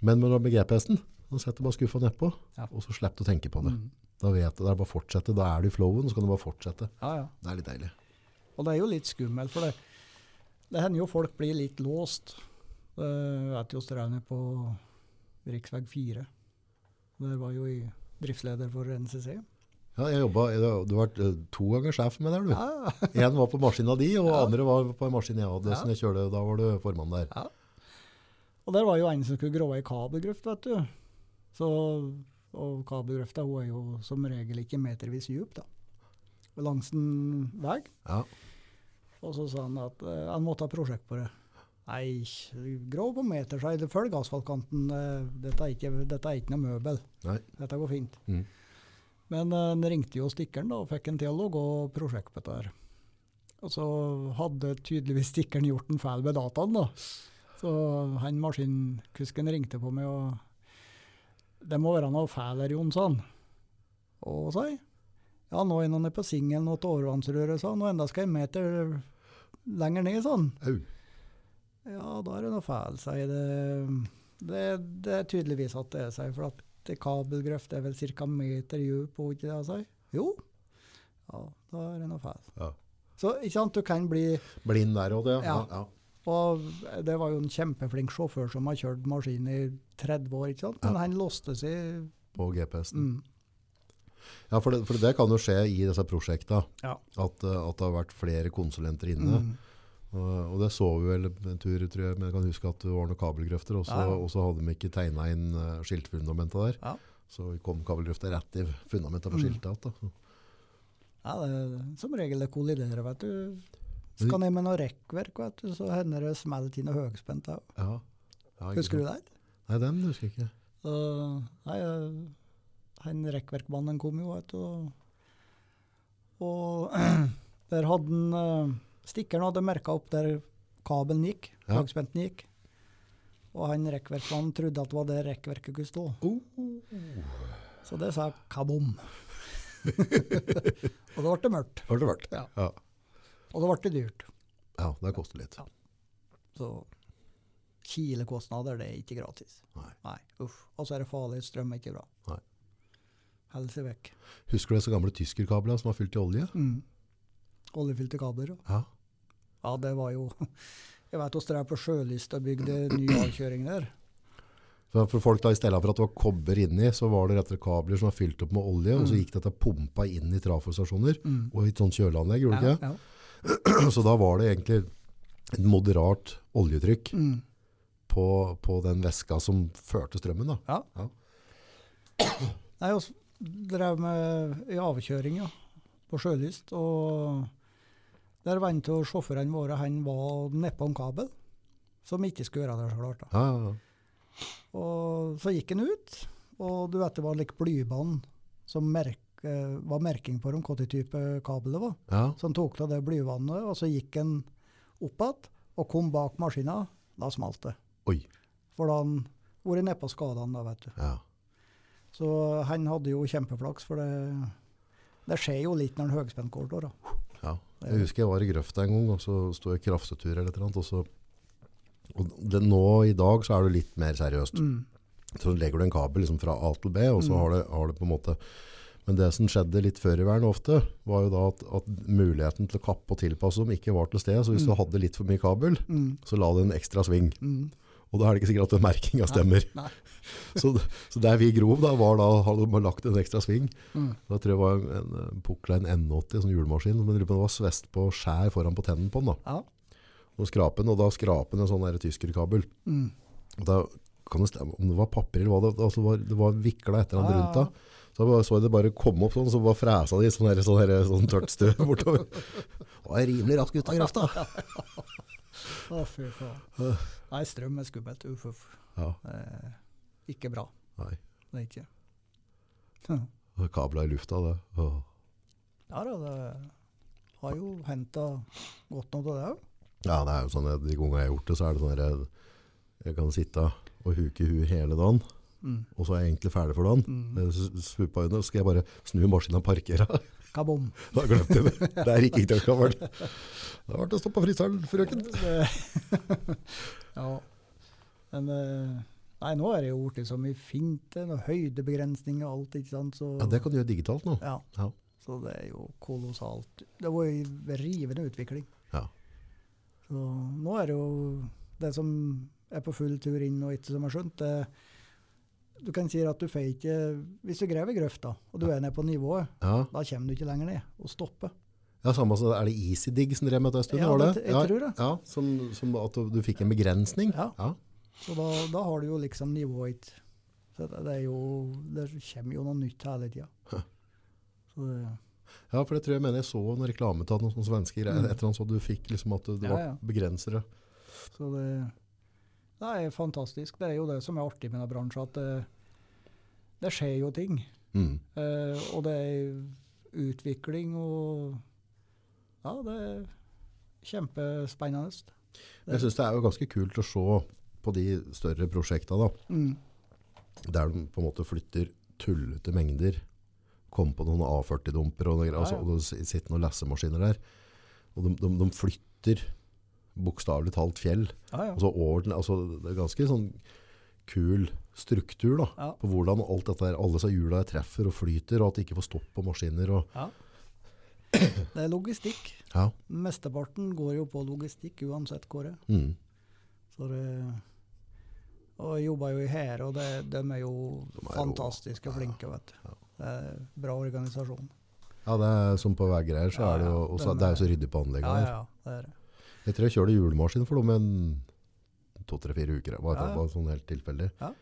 S1: Men med, med GPS-en, så setter jeg bare skuffa nedpå,
S2: Ja.
S1: og så slipper du å tenke på Sånn det.
S2: Mm.
S1: Da vet du, det er bare å fortsette, da er du i flowen, så kan du bare fortsette.
S2: Ja, ja.
S1: Det er litt deilig.
S2: Og det er jo litt skummelt, for det, det hender jo folk blir litt låst. Det vet jo Straune på riksveg 4. Der var jo i driftsleder for NCC.
S1: Ja, jeg jobbet, du har vært eh, to ganger sjef med der, du.
S2: Ja,
S1: En var på maskina di, og
S2: Ja.
S1: andre var på en maskin jeg hadde,
S2: Ja.
S1: som sånn jeg kjørte, da var du formann der.
S2: og der var jo en som skulle grove ei kabelgrøft, vet du. Så, og kabelgrøfta hun er jo som regel ikke metervis djup, da. Og Langs en vei.
S1: Ja,
S2: Og så sa han at eh, han måtte ha prosjekt på det. Nei, grov på meter, sa jeg. Følg asfaltkanten. eh, Dette er ikke, dette er ikke noe møbel.
S1: Nei.
S2: Dette går fint.
S1: Mm.
S2: Men eh, han ringte jo stikkeren da, og fikk en til å gå prosjekt på dette. her. Og så hadde tydeligvis stikkeren gjort en feil med dataen. da. Så han maskinkusken ringte på meg og 'Det må være noe feil her, Jon', sa han. Og sa jeg. Ja, nå er han nede på singelen og til overvannsrøret, sa han. Og enda skal jeg en meter lenger ned, sa han.
S1: au.
S2: Ja, da er det noe feil, sier det. Det, det er tydeligvis at det er seg, for at kabelgrøft er vel ca. meter dyp, og ikke det jeg sier? Jo. Ja, da er det noe feil.
S1: Ja.
S2: Så ikke sant, du kan bli
S1: Blind der òg, det. Ja.
S2: Ja.
S1: Ja,
S2: Og det var jo en kjempeflink sjåfør som har kjørt maskin i 30 år, ikke sant? Men
S1: Ja.
S2: han låste seg
S1: på GPS-en.
S2: mm,
S1: Ja, for det, for det kan jo skje i disse prosjektene.
S2: Ja.
S1: At, eh, at det har vært flere konsulenter inne.
S2: mm,
S1: Og, og det så vi vel en tur, tror jeg, men jeg kan huske at det var noen kabelgrøfter, og så,
S2: Ja, ja.
S1: og så hadde de ikke tegna inn eh, skiltfundamentet der.
S2: Ja.
S1: Så vi kom kabelgrøfta rett i fundamentet på
S2: Mm.
S1: skiltet. igjen, Da.
S2: Ja, det er som regel det kolliderer, vet du. Skal ned med noe rekkverk, vet du, så hender det smelt inn noe høyspent. da.
S1: Ja. Ja,
S2: Husker du det?
S1: Nei, den husker jeg ikke.
S2: Så, nei, eh, han rekkverkmannen kom jo, vet du. og- Og der hadde han eh, Stikkeren hadde merka opp der kabelen gikk,
S1: Ja.
S2: høyspenten gikk. Og han rekkverkmannen trodde at det var der rekkverket kunne stå. Så det sa kabom. og da ble det mørkt.
S1: Har det vært?
S2: Ja.
S1: Ja.
S2: Og da ble det dyrt.
S1: ja, det koster litt.
S2: Ja. Så kilekostnader, det er ikke gratis.
S1: Nei.
S2: uff. Og så er det farlig, strøm er ikke bra.
S1: Nei.
S2: Helse vekk.
S1: Husker du disse gamle tyskerkablene som var fylt i olje?
S2: Mm. Oljefylte kabler. ja.
S1: Ja.
S2: Ja, det var jo Jeg vet oss dere på Sjølyst og bygde ny avkjøring der.
S1: For, for folk da, I stedet for at det var kobber inni, så var det rettere kabler som var fylt opp med olje, og så gikk dette pumpa inn i trafostasjoner
S2: Mm.
S1: og i et sånt kjøleanlegg, gjorde det
S2: Ja,
S1: ikke?
S2: ja.
S1: Så da var det egentlig et moderat oljetrykk
S2: Mm.
S1: på, på den veska som førte strømmen. Da.
S2: Ja.
S1: Ja.
S2: Nei, oss drev med i avkjøring, ja, på Sjølyst, og der var en av sjåførene våre, han var nedpå en kabel, som ikke skulle gjøre det så klart da.
S1: Ja, ja,
S2: Og så gikk han ut, og du vet det var like blybanen som merk, eh, var merking på dem, hvilken type kabel det var.
S1: ja.
S2: Så han tok av det blyvannet, og så gikk han opp igjen og kom bak maskina. Da smalt det.
S1: Oi.
S2: For da han vært nedpå skadene, da, vet du.
S1: Ja.
S2: Så han hadde jo kjempeflaks, for det, det skjer jo litt når en høyspent går da.
S1: Ja. Jeg husker jeg var i grøfta en gang, og så sto jeg i kraftetur eller et eller annet. Og så, og det, nå i dag så er det litt mer seriøst.
S2: Mm.
S1: Så legger du en kabel liksom fra A til B, og så har, det, har det på en måte Men det som skjedde litt før i verden ofte, var jo da at, at muligheten til å kappe og tilpasse dem ikke var til stede. Så hvis du hadde litt for mye kabel,
S2: Mm.
S1: så la du en ekstra sving.
S2: Mm.
S1: Og da er det ikke sikkert at den merkinga stemmer.
S2: Nei.
S1: Så, så der vi grov, da, var da hadde man lagt en ekstra sving.
S2: Mm.
S1: Da tror jeg det var en, en Puklein N80, sånn hjulemaskin. Men jeg lurer på om det var svest på skjær foran på tennene på den. da.
S2: Ja.
S1: Og skrapen, og da skrapen en sånn der tyskerkabel.
S2: Mm.
S1: Og da kan det stemme, om det var papir eller hva det, altså det var, det var vikla etter hverandre
S2: Ja,
S1: rundt
S2: ja.
S1: da. Så jeg bare så jeg det bare komme opp sånn, så var fresa de sånn, der, sånn, der, sånn tørt støv bortover. Det var rimelig rask ut av grafta.
S2: Å, fy faen. Nei, strøm er skummelt. Uff, uff.
S1: Ja,
S2: Eh, ikke bra.
S1: nei.
S2: Det er ikke. Hm.
S1: Og Kabla i lufta, det. Åh.
S2: Ja da, det har jo henta godt noe av det òg.
S1: Ja, det er jo sånn, at de gangene jeg har gjort det, så er det sånn der, jeg kan sitte og huke i huet hele dagen,
S2: Mm.
S1: og så er jeg egentlig ferdig for dagen.
S2: Mm.
S1: Jeg s- Svuppa under, og så skal jeg bare snu maskinen og parkere.
S2: Kabom.
S1: Da glemte jeg det. Det er ikke tørkabel. Da ble det stopp på fryseren, frøken.
S2: Det- ja. Men eh, nei, nå er det jo blitt så mye fint. Det er noe høydebegrensning og alt, ikke sant. Så,
S1: Ja, det kan du gjøre digitalt nå.
S2: ja.
S1: Ja.
S2: så det er jo kolossalt. Det var jo rivende utvikling.
S1: Ja.
S2: Så nå er det jo det som er på full tur inn og ikke som er skjønt, det du kan si at du får ikke Hvis du graver grøfta, og du er nede på nivået,
S1: Ja,
S2: Da kommer du ikke lenger ned og stopper.
S1: ja samme som er det EasyDig som drev med det en stund,
S2: Ja,
S1: var det?
S2: det- jeg tror det.
S1: Ja, som, som at du fikk en begrensning.
S2: Ja.
S1: ja.
S2: Så da, da har du jo liksom nivået ditt. Så det, det er jo Det kommer jo noe nytt hele tida. Så det,
S1: Ja, for det tror jeg mener jeg så en reklame til at noen sånne svenske greier.
S2: Mm.
S1: Etter han så du fikk liksom at det
S2: Ja,
S1: var
S2: ja.
S1: begrensere.
S2: så det, det er fantastisk. Det er jo det som er artig med denne bransjen, at det, det skjer jo ting.
S1: Mm.
S2: Eh, og det er utvikling og Ja, det er kjempespennende.
S1: Men Jeg synes det er jo ganske kult å se på de større prosjektene da,
S2: Mm.
S1: der de på en måte flytter tullete mengder, kommer på noen A40-dumper og, noe greier,
S2: Ja, ja.
S1: altså, og det sitter noen lessemaskiner der, og de, de, de flytter bokstavelig talt fjell.
S2: Ja, ja.
S1: Altså, over, den- altså, det er ganske sånn kul struktur da,
S2: Ja.
S1: på hvordan alt dette her, alle disse hjula her treffer og flyter, og at de ikke får stopp på maskiner. Og,
S2: ja. Det er logistikk.
S1: ja.
S2: Mesteparten går jo på logistikk uansett, Kåre.
S1: Mm.
S2: Så det, og jeg jobber jo i hære, og det, de er jo
S1: jo-
S2: fantastiske flinke, vet du. Det er bra organisasjon.
S1: ja, det er som på veggreier, så
S2: Ja,
S1: er det jo,
S2: ja,
S1: og så,
S2: den
S1: det er jo
S2: er-
S1: så ryddig på anlegget
S2: Ja,
S1: der.
S2: ja, ja, det er det.
S1: Jeg tror jeg kjørte julemaskin for dem en to-tre-fire uker. Det var,
S2: Ja, ja.
S1: var sånn helt tilfeldig.
S2: Ja.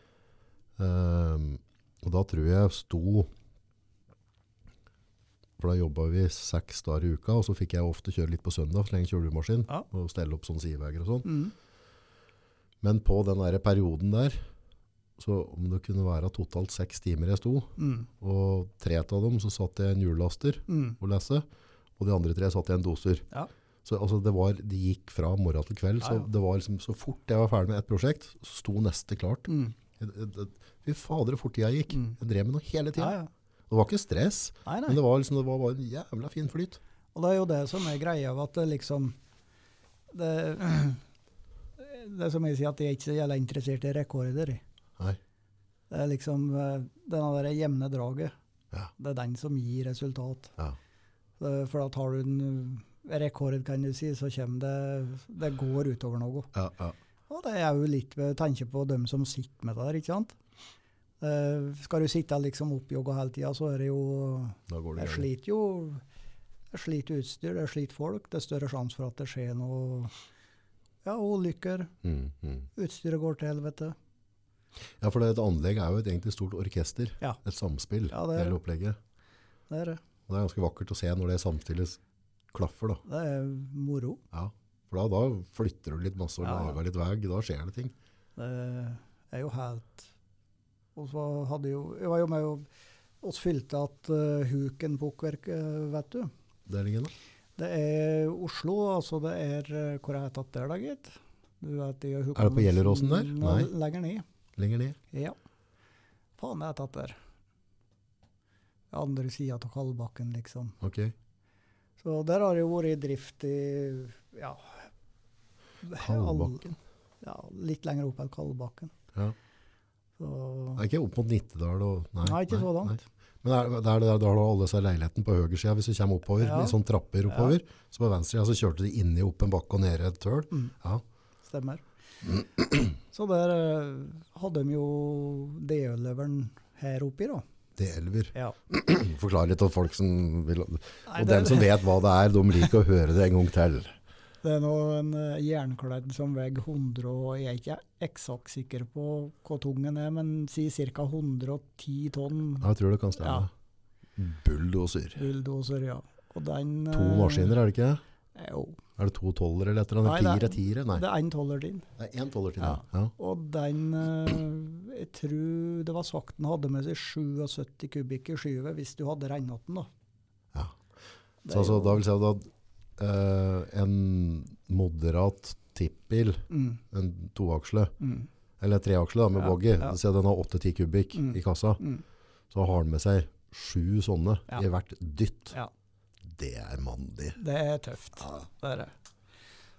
S1: Ehm, og da tror jeg sto For da jobba vi seks dager i uka, og så fikk jeg ofte kjøre litt på søndag, så lenge jeg kjørte julemaskin,
S2: Ja.
S1: og stelle opp sånne sideveier og sånn.
S2: Mm.
S1: Men på den der perioden der, så om det kunne være totalt seks timer jeg sto,
S2: Mm.
S1: og tre av dem så satt jeg i en hjullaster
S2: Mm.
S1: å lese, og de andre tre satt i en doser.
S2: Ja.
S1: Så altså, det, var, det gikk fra morgen til kveld,
S2: Ja,
S1: så
S2: ja.
S1: det var liksom, så fort jeg var ferdig med et prosjekt, så sto neste klart.
S2: Mm.
S1: Jeg- jeg- jeg- Fy fader, hvor fort tida gikk.
S2: Mm.
S1: Jeg drev med noe hele
S2: Ja,
S1: tida.
S2: ja.
S1: Det var ikke stress,
S2: Nei, nei.
S1: men det var, liksom, det var bare en jævla fin flyt.
S2: Og det er jo det som er greia, at det liksom Det, det er som jeg sier, at jeg er ikke så jævla interessert i rekorder.
S1: Nei.
S2: Det er liksom eh, denne der jevne draget.
S1: Ja.
S2: Det er den som gir resultat.
S1: Ja.
S2: Eh, For da tar du en eh, rekord, kan du si, så kommer det Det går utover noe.
S1: Ja, ja.
S2: Og det er jo litt ved å tenke på dem som sitter med det der, ikke sant. Eh, Skal du sitte liksom oppjogga hele tida, så er det jo
S1: Da går det
S2: jeg
S1: gærent.
S2: sliter jo jeg sliter utstyr, jeg sliter folk. Det er større sjanse for at det skjer noe ja, ulykker.
S1: Mm, mm.
S2: Utstyret går til helvete.
S1: Ja, for det, et anlegg er jo et egentlig stort orkester.
S2: Ja.
S1: Et samspill,
S2: Ja, det er
S1: hele
S2: det.
S1: opplegget.
S2: Det er, det.
S1: Og det er ganske vakkert å se når det samstilles klaffer. Da.
S2: det er moro.
S1: Ja. For da, da flytter du litt masse og
S2: Ja, ja.
S1: lager litt vei, da skjer det ting.
S2: Det Eh, er jo helt Og så hadde jo Jeg var jo med og oss fylte at eh, Huken pukkverket, vet du.
S1: Der ligger den da.
S2: Det er Oslo, altså det er eh, Hvor er det der, da, gitt? Du vet, de
S1: Er det på Gjelleråsen der?
S2: Nei.
S1: Nei.
S2: Lenger ned.
S1: Lenger ned.
S2: Ja. Faen, jeg har tatt der. Andre sida av Kalbakken, liksom.
S1: Ok.
S2: Så der har det jo vært i drift i ja.
S1: Kalbakken?
S2: All- Ja, litt lenger opp enn Kalbakken.
S1: Ja.
S2: Så,
S1: Det er ikke opp mot Nittedal? Og, nei,
S2: Nei, ikke så langt.
S1: nei. Men er, det er det der, da har du alle disse leilighetene på høyresida hvis du kommer oppover,
S2: Ja.
S1: litt sånn trapper oppover. Så på venstresida så kjørte de inni opp en bakke og ned et tøl.
S2: Mm.
S1: Ja.
S2: stemmer. Så der eh, hadde de jo DØ-leveren her oppi, da.
S1: Det elver.
S2: Ja.
S1: Forklar litt til folk som vil
S2: Nei,
S1: Og
S2: det,
S1: dem som vet hva det er, de liker å høre det en gang til.
S2: det er nå en eh, jernkledd som veier 100, og jeg er ikke eksakt sikker på hvor tung den er, men si ca. 110 tonn.
S1: Ja, Jeg tror det kan stemme.
S2: Ja.
S1: Bulldoser.
S2: Bulldoser, ja. Og den
S1: To
S2: eh,
S1: maskiner, er det ikke?
S2: Jo.
S1: Er det to tolvere eller et eller annet?
S2: Nei, det
S1: Fire
S2: er-
S1: tiere? Nei,
S2: Det er en tolver din.
S1: det er én tolver til. Ja.
S2: Ja. Og den eh, Jeg tror det var sagt den hadde med seg 77 kubikk i skyvet, hvis du hadde regnet den, da.
S1: Ja.
S2: Det
S1: Så
S2: er
S1: altså,
S2: jo-
S1: da vil jeg si at eh, en moderat tippbil,
S2: mm,
S1: en toaksle,
S2: mm,
S1: eller treaksle da, med
S2: Ja,
S1: boggy,
S2: ja.
S1: så den har 8-10 kubikk
S2: Mm.
S1: i kassa,
S2: mm.
S1: så har den med seg sju sånne
S2: Ja.
S1: i hvert dytt.
S2: Ja.
S1: Det er mandig.
S2: Det er tøft. Det er det.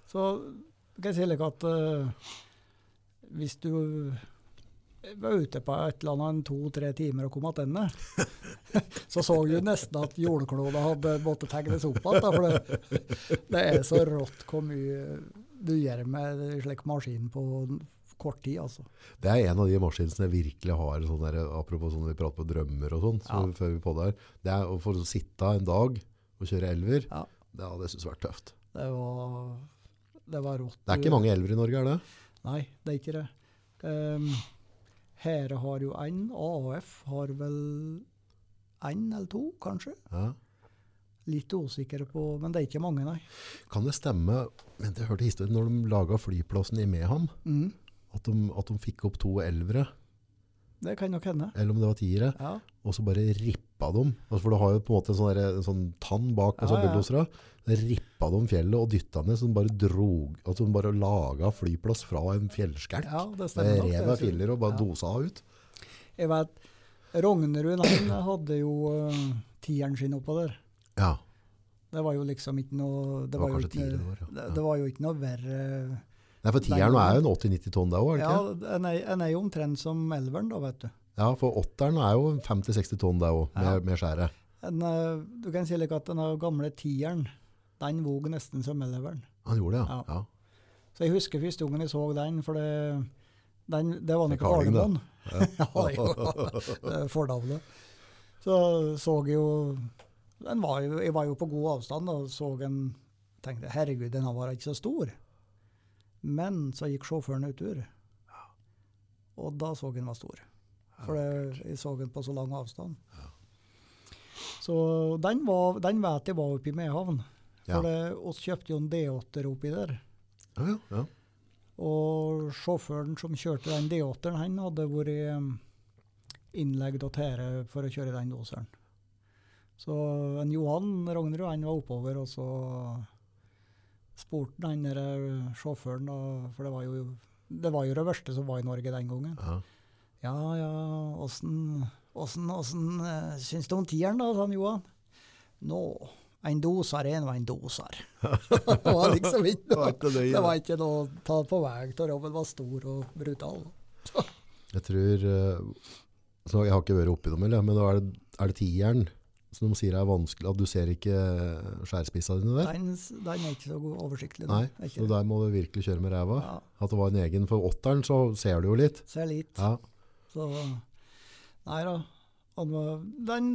S2: Så kan jeg si like at eh, hvis du var ute på et eller annet en to-tre timer og kom tilbake, så så du nesten at jordkloden hadde måttet tegnes opp igjen. da, For det, det er så rått hvor mye du gjør med en slik maskin på kort tid, altså.
S1: Det er en av de maskinene jeg virkelig har, en sånn der, apropos sånn vi prater på drømmer og sånn, så
S2: Ja.
S1: før vi på der, det er å få sitte en dag og kjøre elver,
S2: Ja.
S1: det hadde jeg synes vært tøft.
S2: Det var, det var rått.
S1: Det er ikke mange elver i Norge, er det?
S2: Nei, det er ikke det. Um, Hære har jo én, AAF har vel én eller to, kanskje.
S1: Ja.
S2: Litt usikker på, men det er ikke mange, nei.
S1: Kan det stemme, men jeg hørte historien når de laget flyplassen i Meham,
S2: Mm,
S1: at de, at de fikk opp to elvere,
S2: det kan nok hende.
S1: eller om det var tiere,
S2: Ja,
S1: og så bare rippa dem. Altså, for du har jo på en måte en sånn, der, en sånn tann bak på
S2: Ja,
S1: ja,
S2: ja.
S1: bulldosera. Rippa dem fjellet og dytta ned, så de bare drog, altså de bare laga flyplass fra en fjellskalk.
S2: ja det
S1: Med
S2: stemmer nok.
S1: rev
S2: det,
S1: av filler og bare
S2: Ja.
S1: dosa ut.
S2: Jeg vet, eh, Rognerud han hadde jo uh, tieren sin oppå der.
S1: Ja,
S2: Det var jo liksom ikke noe
S1: Det
S2: Det
S1: var
S2: var, jo,
S1: kanskje
S2: ikke,
S1: tidligere det var, ja.
S2: det,
S1: Ja.
S2: det var jo ikke noe verre
S1: Nei, for tieren er jo en 80-90 tonn der òg, er det
S2: Ja,
S1: ikke?
S2: en er, en er jo omtrent som elveren, da, vet du.
S1: Ja, for åtteren er jo en 50-60 tonn der òg, med,
S2: Ja.
S1: med skjæret.
S2: En, eh, du kan si like at den gamle tieren, den vog nesten som elveren.
S1: Han gjorde det, ja.
S2: Ja.
S1: ja.
S2: Så jeg husker første gangen jeg så den, for det, den, det var
S1: Det er
S2: nok på
S1: Karling, da.
S2: Gardermoen. ja, det er jo fordavlet. Så så jeg jo Den var jo, jeg var jo på god avstand og så en tenkte herregud, den her var ikke så stor. Men så gikk sjåføren ut tur, og da så jeg den var stor. For det, jeg så den på så lang avstand. Så den, var, den vet jeg var oppe i Mehamn.
S1: Ja.
S2: For det, oss kjøpte jo en D8-er oppi der.
S1: Ja, ja, ja.
S2: Og sjåføren som kjørte den D8-en, han hadde vært um, innlegget og tære for å kjøre den doseren. Så en Johan Rognerud, han var oppover, og så spurte han den der eh, sjåføren, da, for det var jo det var jo det verste som var i Norge den gangen.
S1: ja.
S2: Ja, ja, åssen åssen, åssen eh, syns du om tieren, da, sa han Johan. Nå, en doser er nå en doser. det var liksom ikke
S1: Det
S2: noe
S1: var ikke nøye,
S2: det
S1: det.
S2: var ikke noe å ta på vei av. Robben var stor og brutal.
S1: Jeg tror eh, så Jeg har ikke vært oppi dem, eller, men da er det, er det tieren som de sier er vanskelig, at du ser ikke eh, skjærspissa dine der?
S2: Den, s- den er ikke så god oversiktlig. den.
S1: Nei,
S2: Er ikke
S1: så
S2: det.
S1: der må du virkelig kjøre med ræva.
S2: Ja,
S1: At det var en egen for åtteren, så ser du jo litt.
S2: ser litt.
S1: Ja,
S2: Så Nei da. Han var, den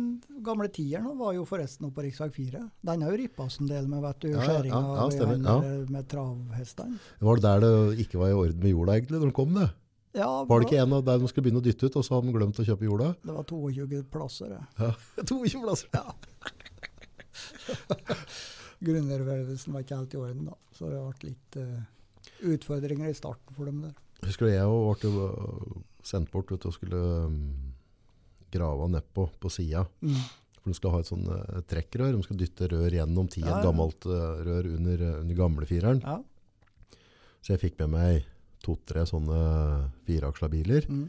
S2: gamle tieren var jo forresten oppe på rv. 4. Den har jo rippa oss en del med vet du,
S1: Ja, ja, ja,
S2: skjæringa
S1: ja,
S2: ved
S1: stemmer,
S2: han
S1: ja.
S2: der med travhestene.
S1: Var det der det ikke var i orden med jorda egentlig når de kom? det?
S2: Ja,
S1: Var det ikke en av der de skulle begynne å dytte ut, og så hadde de glemt å kjøpe jorda?
S2: det var 22 plasser. det.
S1: Ja. To tjuvlasser.
S2: Grunnervervelsen var ikke helt i orden, da. Så det ble litt eh, utfordringer i starten for dem der.
S1: Husker du jeg òg ble jo sendt bort vet du, og skulle um, grave nedpå på sida.
S2: Mm.
S1: For de skal ha et sånn eh, trekkrør. De skal dytte rør gjennom ti,
S2: Ja,
S1: et
S2: ja.
S1: gammelt eh, rør under, eh, under gamlefireren.
S2: Ja.
S1: Så jeg fikk med meg to-tre sånne fireaksla biler.
S2: Mm.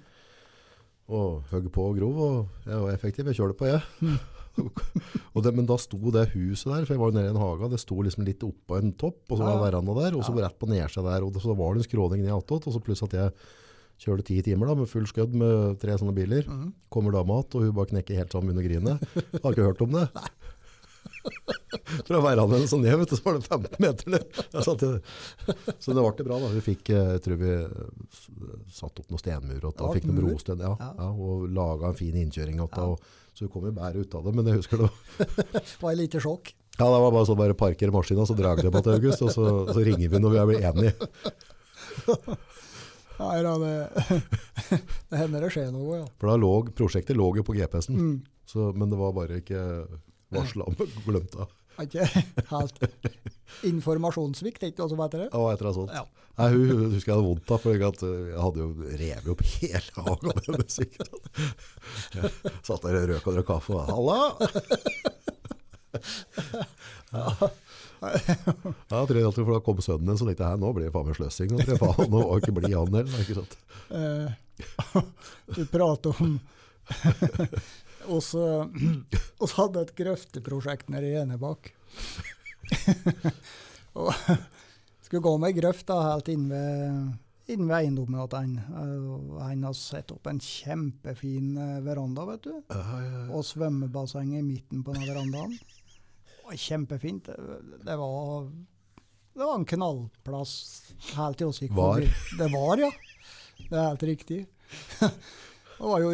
S1: Og høgg på og grov, og jeg var effektiv. Jeg kjørte på, jeg. og det, men da sto det huset der, for jeg var jo nede i en hage, det sto liksom litt oppå en topp, og så var
S2: Ja,
S1: det
S2: ja.
S1: veranda der, og så rett på nedsida der, og det, så var det en skråning ned attåt, og så pluss at jeg kjørte ti timer da, med full skudd med tre sånne biler.
S2: Mm.
S1: Kommer dama att, og hun bare knekker helt sammen under grinet. Jeg har ikke hørt om det. Fra verandaen og sånn ned, vet du, så var det 15 meter ned. Jeg satt i det. Så det ble bra da. Hun fikk, eh, jeg tror vi s- satt opp noen stenmur, og da
S2: Det
S1: fikk
S2: ble
S1: noen
S2: mur.
S1: brosten, ja,
S2: Ja.
S1: ja, og laget en fin innkjøring. Og,
S2: Ja.
S1: og, så hun kom jo bare ut av det, men jeg husker det. var-
S2: Det var et lite sjokk.
S1: Ja, det var bare sånn, bare parker maskinen, og så drar det på til august, og så, så ringer vi når vi er blitt enige.
S2: Nei da, det, eh, det hender det skjer noe, ja.
S1: For da lå, prosjektet lå jo på GPS-en,
S2: Mm.
S1: så, men det var bare ikke varslet om, glemt av.
S2: Er Ikke helt informasjonssvikt, ikke noe som heter det?
S1: Ja, og etter det sånn. sånt.
S2: Ja.
S1: Nei, hun, hun husker jeg hadde vondt av, for jeg hadde- jeg hadde jo revet opp hele hagen med musikk. Jeg satt der og røk og drakk kaffe, og halla! Ja, jeg tror jeg alltid, for da kom sønnen din, så tenkte jeg, «Hæ, nå blir det faen meg sløsing. Nå, tror jeg, faen, nå var det ikke blid han heller, ikke sant?
S2: Eh, du prater om Og så oss hadde et grøfteprosjekt nede i Enebakk. og skulle gå med ei grøft da, helt inn ved, inn ved eiendommen til han. Eh, Han har satt opp en kjempefin eh, veranda, vet du.
S1: Ja, ja, ja.
S2: og svømmebasseng i midten på denne verandaen. Og Kjempefint. Det var, det var en knallplass helt til oss gikk
S1: Var.
S2: forbi. Det var, ja. Det er helt riktig. Det var jo,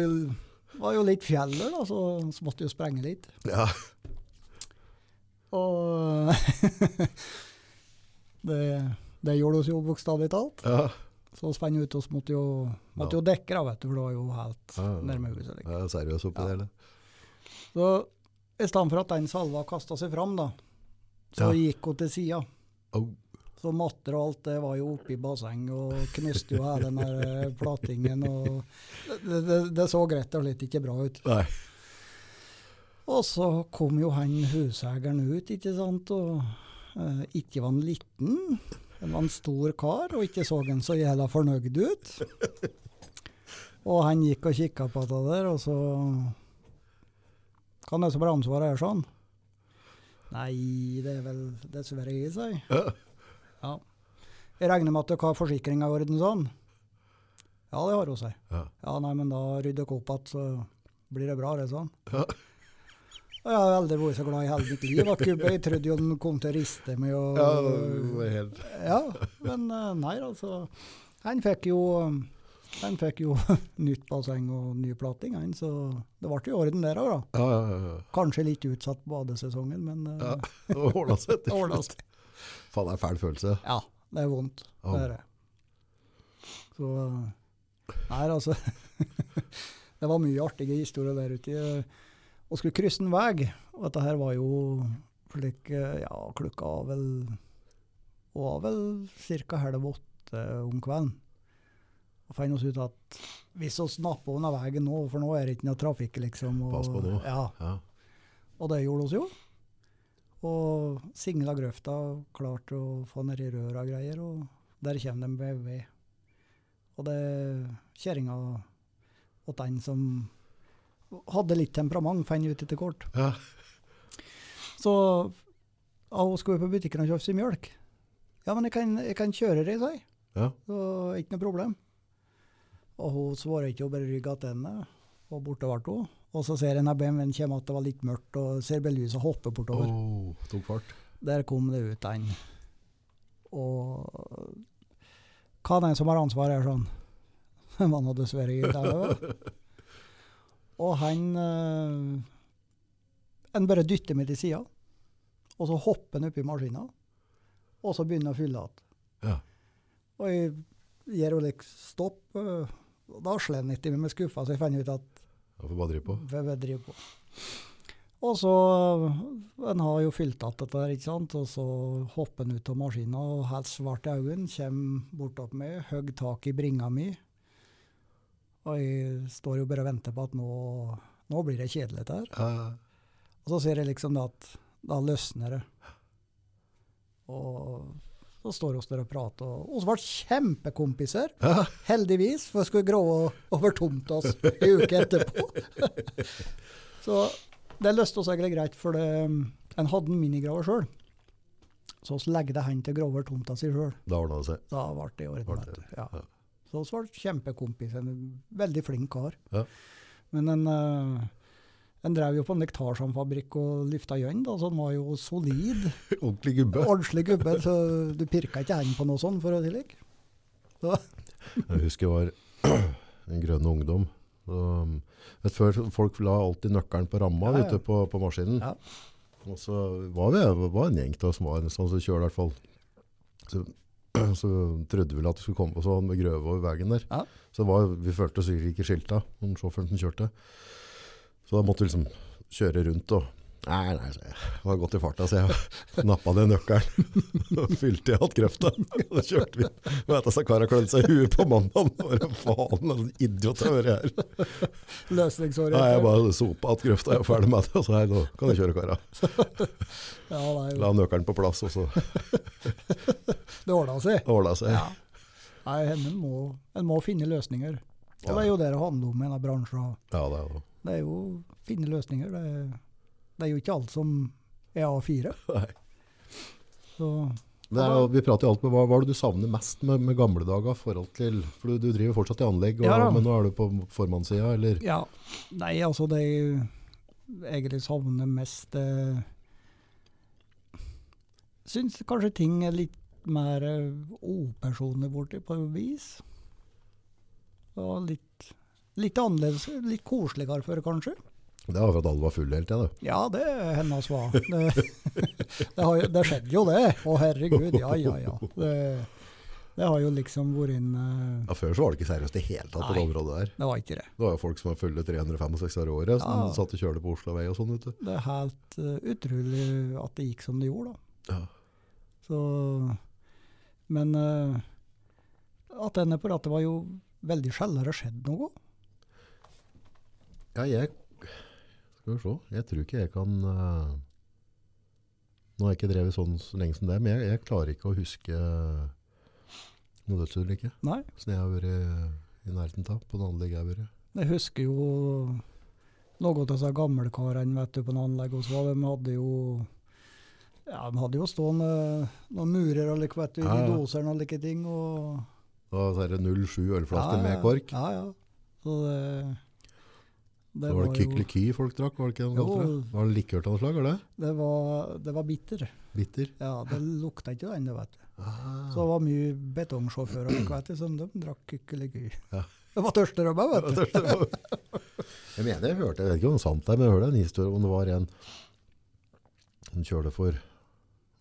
S2: var jo litt fjeller, da, så så måtte jo sprenge litt.
S1: Ja,
S2: Og det, det gjorde oss jo bokstavelig talt.
S1: ja.
S2: Så vi fant ut oss måtte jo, måtte jo dekke, da, vet du, for det var jo helt
S1: Ja, ja.
S2: nærme huset. Liksom.
S1: Jeg er seriøs oppi det hele.
S2: Så i stedet for at den salva kasta seg fram, da, så
S1: Ja.
S2: gikk hun til sida.
S1: Au.
S2: Så matter og alt det var jo oppi bassenget og knuste jo hele den der eh, platingen. Og det, det, det så rett og slett ikke bra ut.
S1: Nei.
S2: Og så kom jo han huseieren ut, ikke sant, og eh, ikke var han liten. Han var en stor kar, og ikke så han så jævla fornøyd ut. Og han gikk og kikka på det der, og så Kan jeg som ble ansvaret her sånn? Nei, det er vel dessverre i seg.
S1: Ja.
S2: Ja. Jeg regner med at dere har forsikringa i orden sånn? Ja, det har hun seg.
S1: Ja.
S2: Ja, nei, men da rydder dere opp igjen, så blir det bra, det er sånn.
S1: Ja.
S2: Og jeg har aldri vært så glad i hele mitt liv. at Kubbe- Jeg trodde jo den kom til å riste meg og
S1: Ja, det var helt...
S2: ja, men eh, nei, altså. Han fikk jo, han fikk jo nytt basseng og ny plating, han, så det ble i orden der òg, da.
S1: ja, ja, ja.
S2: Kanskje litt utsatt badesesongen, men eh,
S1: Ja. Det ordna seg
S2: det
S1: til
S2: ordna
S1: slutt.
S2: seg.
S1: Faen, det er en fæl følelse.
S2: Ja, det er vondt.
S1: Ja.
S2: Det er det. Så eh, Nei, altså. det var mye artige historier der ute. Vi skulle krysse en vei, og dette her var jo slik eh, Ja, klokka var vel var vel ca. halv åtte om kvelden. Og fant oss ut at hvis vi napper unna veien nå, for nå er det ikke noe trafikk, liksom og,
S1: Pass på nå.
S2: Ja,
S1: Ja.
S2: og det gjorde oss jo. Og singla grøfta, klarte å få ned i røra og greier, og der kommer de med ved. Og det kjerringa og den som hadde litt temperament, fant ut etter kort.
S1: Ja.
S2: Så ja, hun skulle på butikken og kjøpe seg mjølk. Ja, men jeg kan, jeg kan kjøre deg, sa jeg.
S1: Ja.
S2: Så ikke noe problem. Og hun svarer ikke, hun bare rygger til henne. Og borte ble hun. Og så ser jeg når BMW-en kommer at det var litt mørkt, og ser belyset hoppe bortover.
S1: Åh, Oh, tok fart.
S2: Der kom det ut en. Og hva er det som har ansvaret her, sånn? Det var nå dessverre i dag òg. Og han eh, En bare dytter meg til sida, og så hopper han oppi maskina, og så begynner han å fylle igjen.
S1: Ja.
S2: Og jeg gir henne litt stopp. øh, og Da slår han ikke med skuffa, så jeg fant ut at
S1: Da får vi bare drive på.
S2: hva jeg driver på. Og så øh, En har jo fylt igjen dette, her, ikke sant? og så hopper han ut av maskina, og helt svart i øynene, kommer bortopp meg, hogger tak i bringa mi. Og jeg står jo bare og venter på at nå, nå blir det kjedelig, dette her.
S1: Ja.
S2: Og så ser jeg liksom det at da løsner det. Og så står vi der og prater. Og vi ble kjempekompiser,
S1: Ja.
S2: heldigvis, for vi skulle grove over tomta oss en uke etterpå. så det løste oss egentlig greit, for det, um, en hadde en minigraver sjøl. Så vi legde han til å grove over tomta si sjøl.
S1: Da ordna det seg.
S2: Da ble det i orden.
S1: Ble det,
S2: vet du. Ja.
S1: ja.
S2: Så vi var kjempekompis. En veldig flink kar.
S1: Ja.
S2: Men en, eh, en drev jo på en nektarsamfabrikk og lyfta gjønn, da, så han var jo solid.
S1: Ordentlig gubbe.
S2: Ordentlig gubbe, så du pirka ikke hendene på noe sånt, for å si det slik. Så-
S1: Jeg husker jeg var en grønn ungdom. Så, um, vet, du, før folk la alltid nøkkelen på ramma
S2: Ja, ja.
S1: ute på, på maskinen.
S2: Ja.
S1: Og så var vi var en gjeng av oss som var sånn som kjører i hvert fall. Så, så trodde vi vel at vi skulle komme oss med grøve over veien der.
S2: Ja.
S1: Så var, vi følte oss sikkert ikke skilta om sjåføren som kjørte. Så da måtte vi liksom kjøre rundt og Nei, nei, sa jeg. Det var godt i farta, så jeg nappa ned nøkkelen og fylte i alt grøfta. Og så kjørte vi. Og etter seg kara klødde seg i huet på mandagen. Bare faen, en idiot jeg er her.
S2: Løsningsorientert.
S1: Nei, jeg bare sopa at grøfta, jeg er ferdig med det. Og så her, nå kan jeg kjøre kara.
S2: ja, nei,
S1: La nøkkelen på plass, og så
S2: det ordna seg.
S1: ordna det seg.
S2: Nei, en må, en må finne løsninger. Og det er jo det det handler om i denne bransjen.
S1: Ja, det er jo
S2: Det er jo å finne løsninger. Det, er- det er jo ikke alt som er A4.
S1: Nei.
S2: Så
S1: Det er, jo- vi prater jo alt med hva, hva er det du savner mest med, med gamle dager? i forhold til, for du, du driver fortsatt i anlegg, og,
S2: Ja da.
S1: men nå er du på formannssida, eller?
S2: Ja. Nei, altså det jeg egentlig savner mest eh, Syns kanskje ting er litt mer eh, opersonlig borti på et vis. Og litt, litt annerledes, litt koseligere før, kanskje.
S1: Det var for at alle var fulle hele tida, du.
S2: Ja, det er hennes svar. Det, det, har, jo- det skjedde jo, det. Å, herregud. Ja, ja, ja. Det, det har jo liksom vært en eh,
S1: Ja, før så var det ikke seriøst i det hele tatt på det
S2: Nei.
S1: området der.
S2: Det var ikke det.
S1: Det var jo folk som var fulle 365 år i året, som
S2: Ja.
S1: satt og kjørte på Oslovei og sånn, vet du.
S2: Det er helt eh, utrolig at det gikk som det gjorde, da.
S1: Ja.
S2: Så, men eh, at denne på rattet var jo veldig sjeldnere skjedd noe.
S1: Ja, jeg Skal vi se. Jeg tror ikke jeg kan eh, Nå har jeg ikke drevet sånn så lenge som det, men jeg, jeg klarer ikke å huske eh, noen dødsulykke
S2: Nei,
S1: som jeg har vært i nærheten av på det anlegget jeg har vært.
S2: jeg husker jo noe av disse gamle karene vet du, på en anlegg hos oss. De hadde jo Ja, de hadde jo stående noen murer og like, vet du,
S1: Ja, ja.
S2: doser og like ting. Og,
S1: Da er det 07 ølflasker
S2: Ja, ja,
S1: med kork.
S2: Ja, ja. Så det, det,
S1: Da var det
S2: jo-
S1: kykleki folk drakk, var det ikke
S2: Jo.
S1: noe annet? Var det likør av noe slag, var det?
S2: Det var, det var bitter.
S1: Bitter?
S2: Ja, det lukta ikke den, det vet du.
S1: Ah,
S2: Så det var mye betongsjåfører like, vet du, som de drakk kykkeliky.
S1: Ja.
S2: Det var tørsterømme, vet du.
S1: jeg mener jeg hørte, jeg vet ikke om det er sant det, men jeg hørte en historie om det var en som kjørte for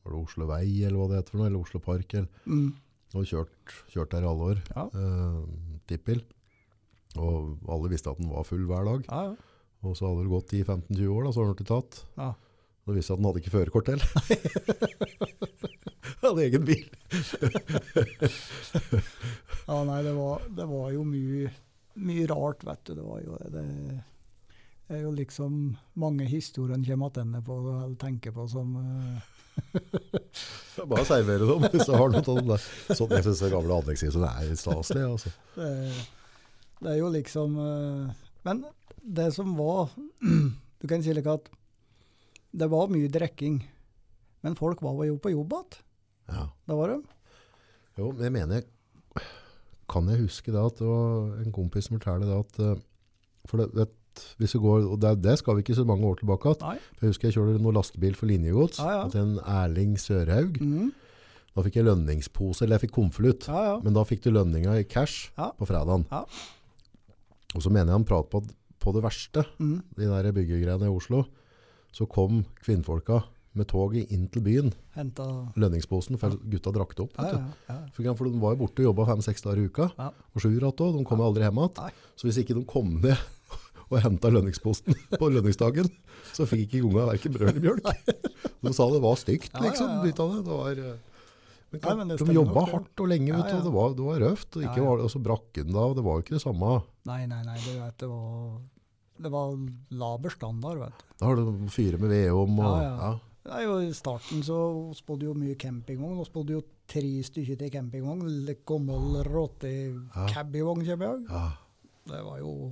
S1: var det Oslo Vei, eller hva det heter for noe, eller Oslo Park, eller,
S2: Mm.
S1: og kjørt, kjørt der i alle år,
S2: Ja.
S1: eh, tippbil. Og alle visste at den var full hver dag.
S2: Ja, ja.
S1: Og så hadde det gått 10-15-20 år, da, så hadde den blitt tatt.
S2: Ja.
S1: Og det viste seg at den hadde ikke førerkort til. hadde egen bil.
S2: ja, nei, det var, det var jo mye, mye rart, vet du. Det var jo det er jo liksom mange historier en kommer tilbake på eller tenker på som eh,
S1: Det er Bare å servere dem, hvis du har noe sånt. der. Sånn, jeg synes det gamle anleggshuset er litt staselig. Altså.
S2: Det, er- det er jo liksom eh, Men det som var Du kan si like at det var mye drikking. Men folk var jo på jobb igjen.
S1: Ja.
S2: Det var de.
S1: Jo, men jeg mener, kan jeg huske det at det var en kompis som fortalte det at, eh, for det, vet, hvis vi går, og det, det skal vi ikke så mange år tilbake at,
S2: Nei.
S1: for jeg husker jeg kjørte noen lastebil for linjegods,
S2: Ja, ja.
S1: til en Erling Sørhaug.
S2: Mhm.
S1: Da fikk jeg lønningspose, eller jeg fikk konflutt,
S2: Ja, ja.
S1: men da fikk du lønninga i cash
S2: Ja.
S1: på fredagen.
S2: Ja.
S1: Og så mener jeg han pratet på, på det verste,
S2: Mhm.
S1: de der byggegreiene i Oslo, så kom kvinnfolka med toget inn til byen,
S2: Henta
S1: lønningsposen, for gutta drakk det opp.
S2: ja,
S1: vet du.
S2: ja, ja.
S1: For for de var jo borte og jobba fem-seks dager i uka.
S2: Ja.
S1: Og sju ratt òg. De kom jo aldri hjem
S2: Nei.
S1: igjen. Så hvis ikke de kom ned og henta lønningsposten på lønningsdagen, så fikk ikke unga verken brød eller mjølk. De sa det var stygt,
S2: Ja, ja,
S1: liksom.
S2: ja.
S1: litt av det. Det var, eh, men
S2: Nei, men det
S1: de
S2: stemmer
S1: jobba
S2: nok, det.
S1: hardt og lenge,
S2: Ja,
S1: vet du,
S2: ja.
S1: og det var, det var røft. Og,
S2: Ja,
S1: ikke
S2: ja.
S1: Var, det- og så brakk den da, og det var jo ikke det samme.
S2: Nei, nei, nei. Det, vet, du, det var det var laber standard, vet du.
S1: Da har du fyre med vedom og
S2: Ja, ja.
S1: ja.
S2: Det er jo I starten så vi bodde jo mye campingvogn. Vi bodde jo tre stykker til campingvogn. litt Gammel
S1: Ja.
S2: rotte-cabbyvogn, kommer jeg ihåg.
S1: Ja.
S2: Det var jo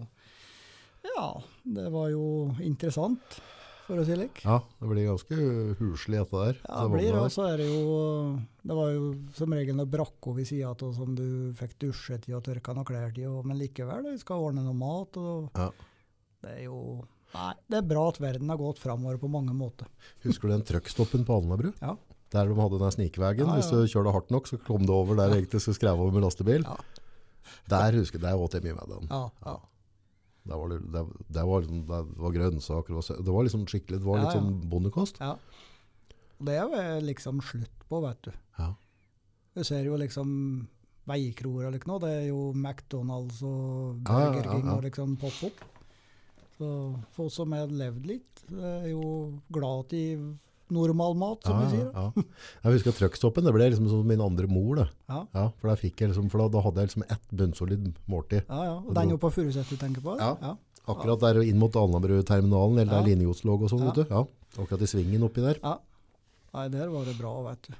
S2: Ja, det var jo interessant, for å si det slik.
S1: ja, det blir ganske huslig dette der.
S2: Ja, det
S1: det
S2: altså. blir
S1: vogna
S2: det.
S1: der.
S2: Og så er det jo Det var jo som regel noe brakko ved sida av som du fikk dusjet i og tørka noen klær til, og- men likevel, du skal ordne noe mat, og
S1: Ja.
S2: det er jo Nei, det er bra at verden har gått framover på mange måter.
S1: Husker du den trøkkstoppen på Alnabru?
S2: Ja.
S1: Der de hadde den snikvegen.
S2: Ja, ja.
S1: Hvis du kjørte hardt nok, så kom det over der egentlig skulle skrev over med lastebil.
S2: Ja.
S1: Der husker jeg, der åt jeg mye med den.
S2: Ja, ja.
S1: Der var, det- der, der var, liksom- der var grønnsaker, det var, sø- det var liksom skikkelig, det var
S2: Ja,
S1: litt
S2: ja.
S1: sånn bondekost.
S2: ja. Og det er jo liksom slutt på, vet du.
S1: Ja.
S2: Du ser jo liksom veikroer eller ikke noe. Det er jo McDonald's og
S1: Ja, ja,
S2: Burger
S1: ja,
S2: King
S1: ja.
S2: og liksom pop-opp. Så folk som har levd litt, er jo glad i normal mat, som
S1: ja,
S2: vi sier.
S1: ja. Jeg husker at trøkkstoppen, det ble liksom som min andre mor. Da.
S2: Ja,
S1: Ja, for, der fikk jeg liksom, for da, da hadde jeg liksom ett bunnsolid måltid.
S2: ja. ja. Og den jo på Furuset du tenker på?
S1: Ja.
S2: ja.
S1: Akkurat der inn mot Alnabru-terminalen, eller der
S2: Ja.
S1: linjegods lå og sånn,
S2: Ja.
S1: vet du. Ja, akkurat i svingen oppi der.
S2: Ja. Nei, der var det bra, vet du.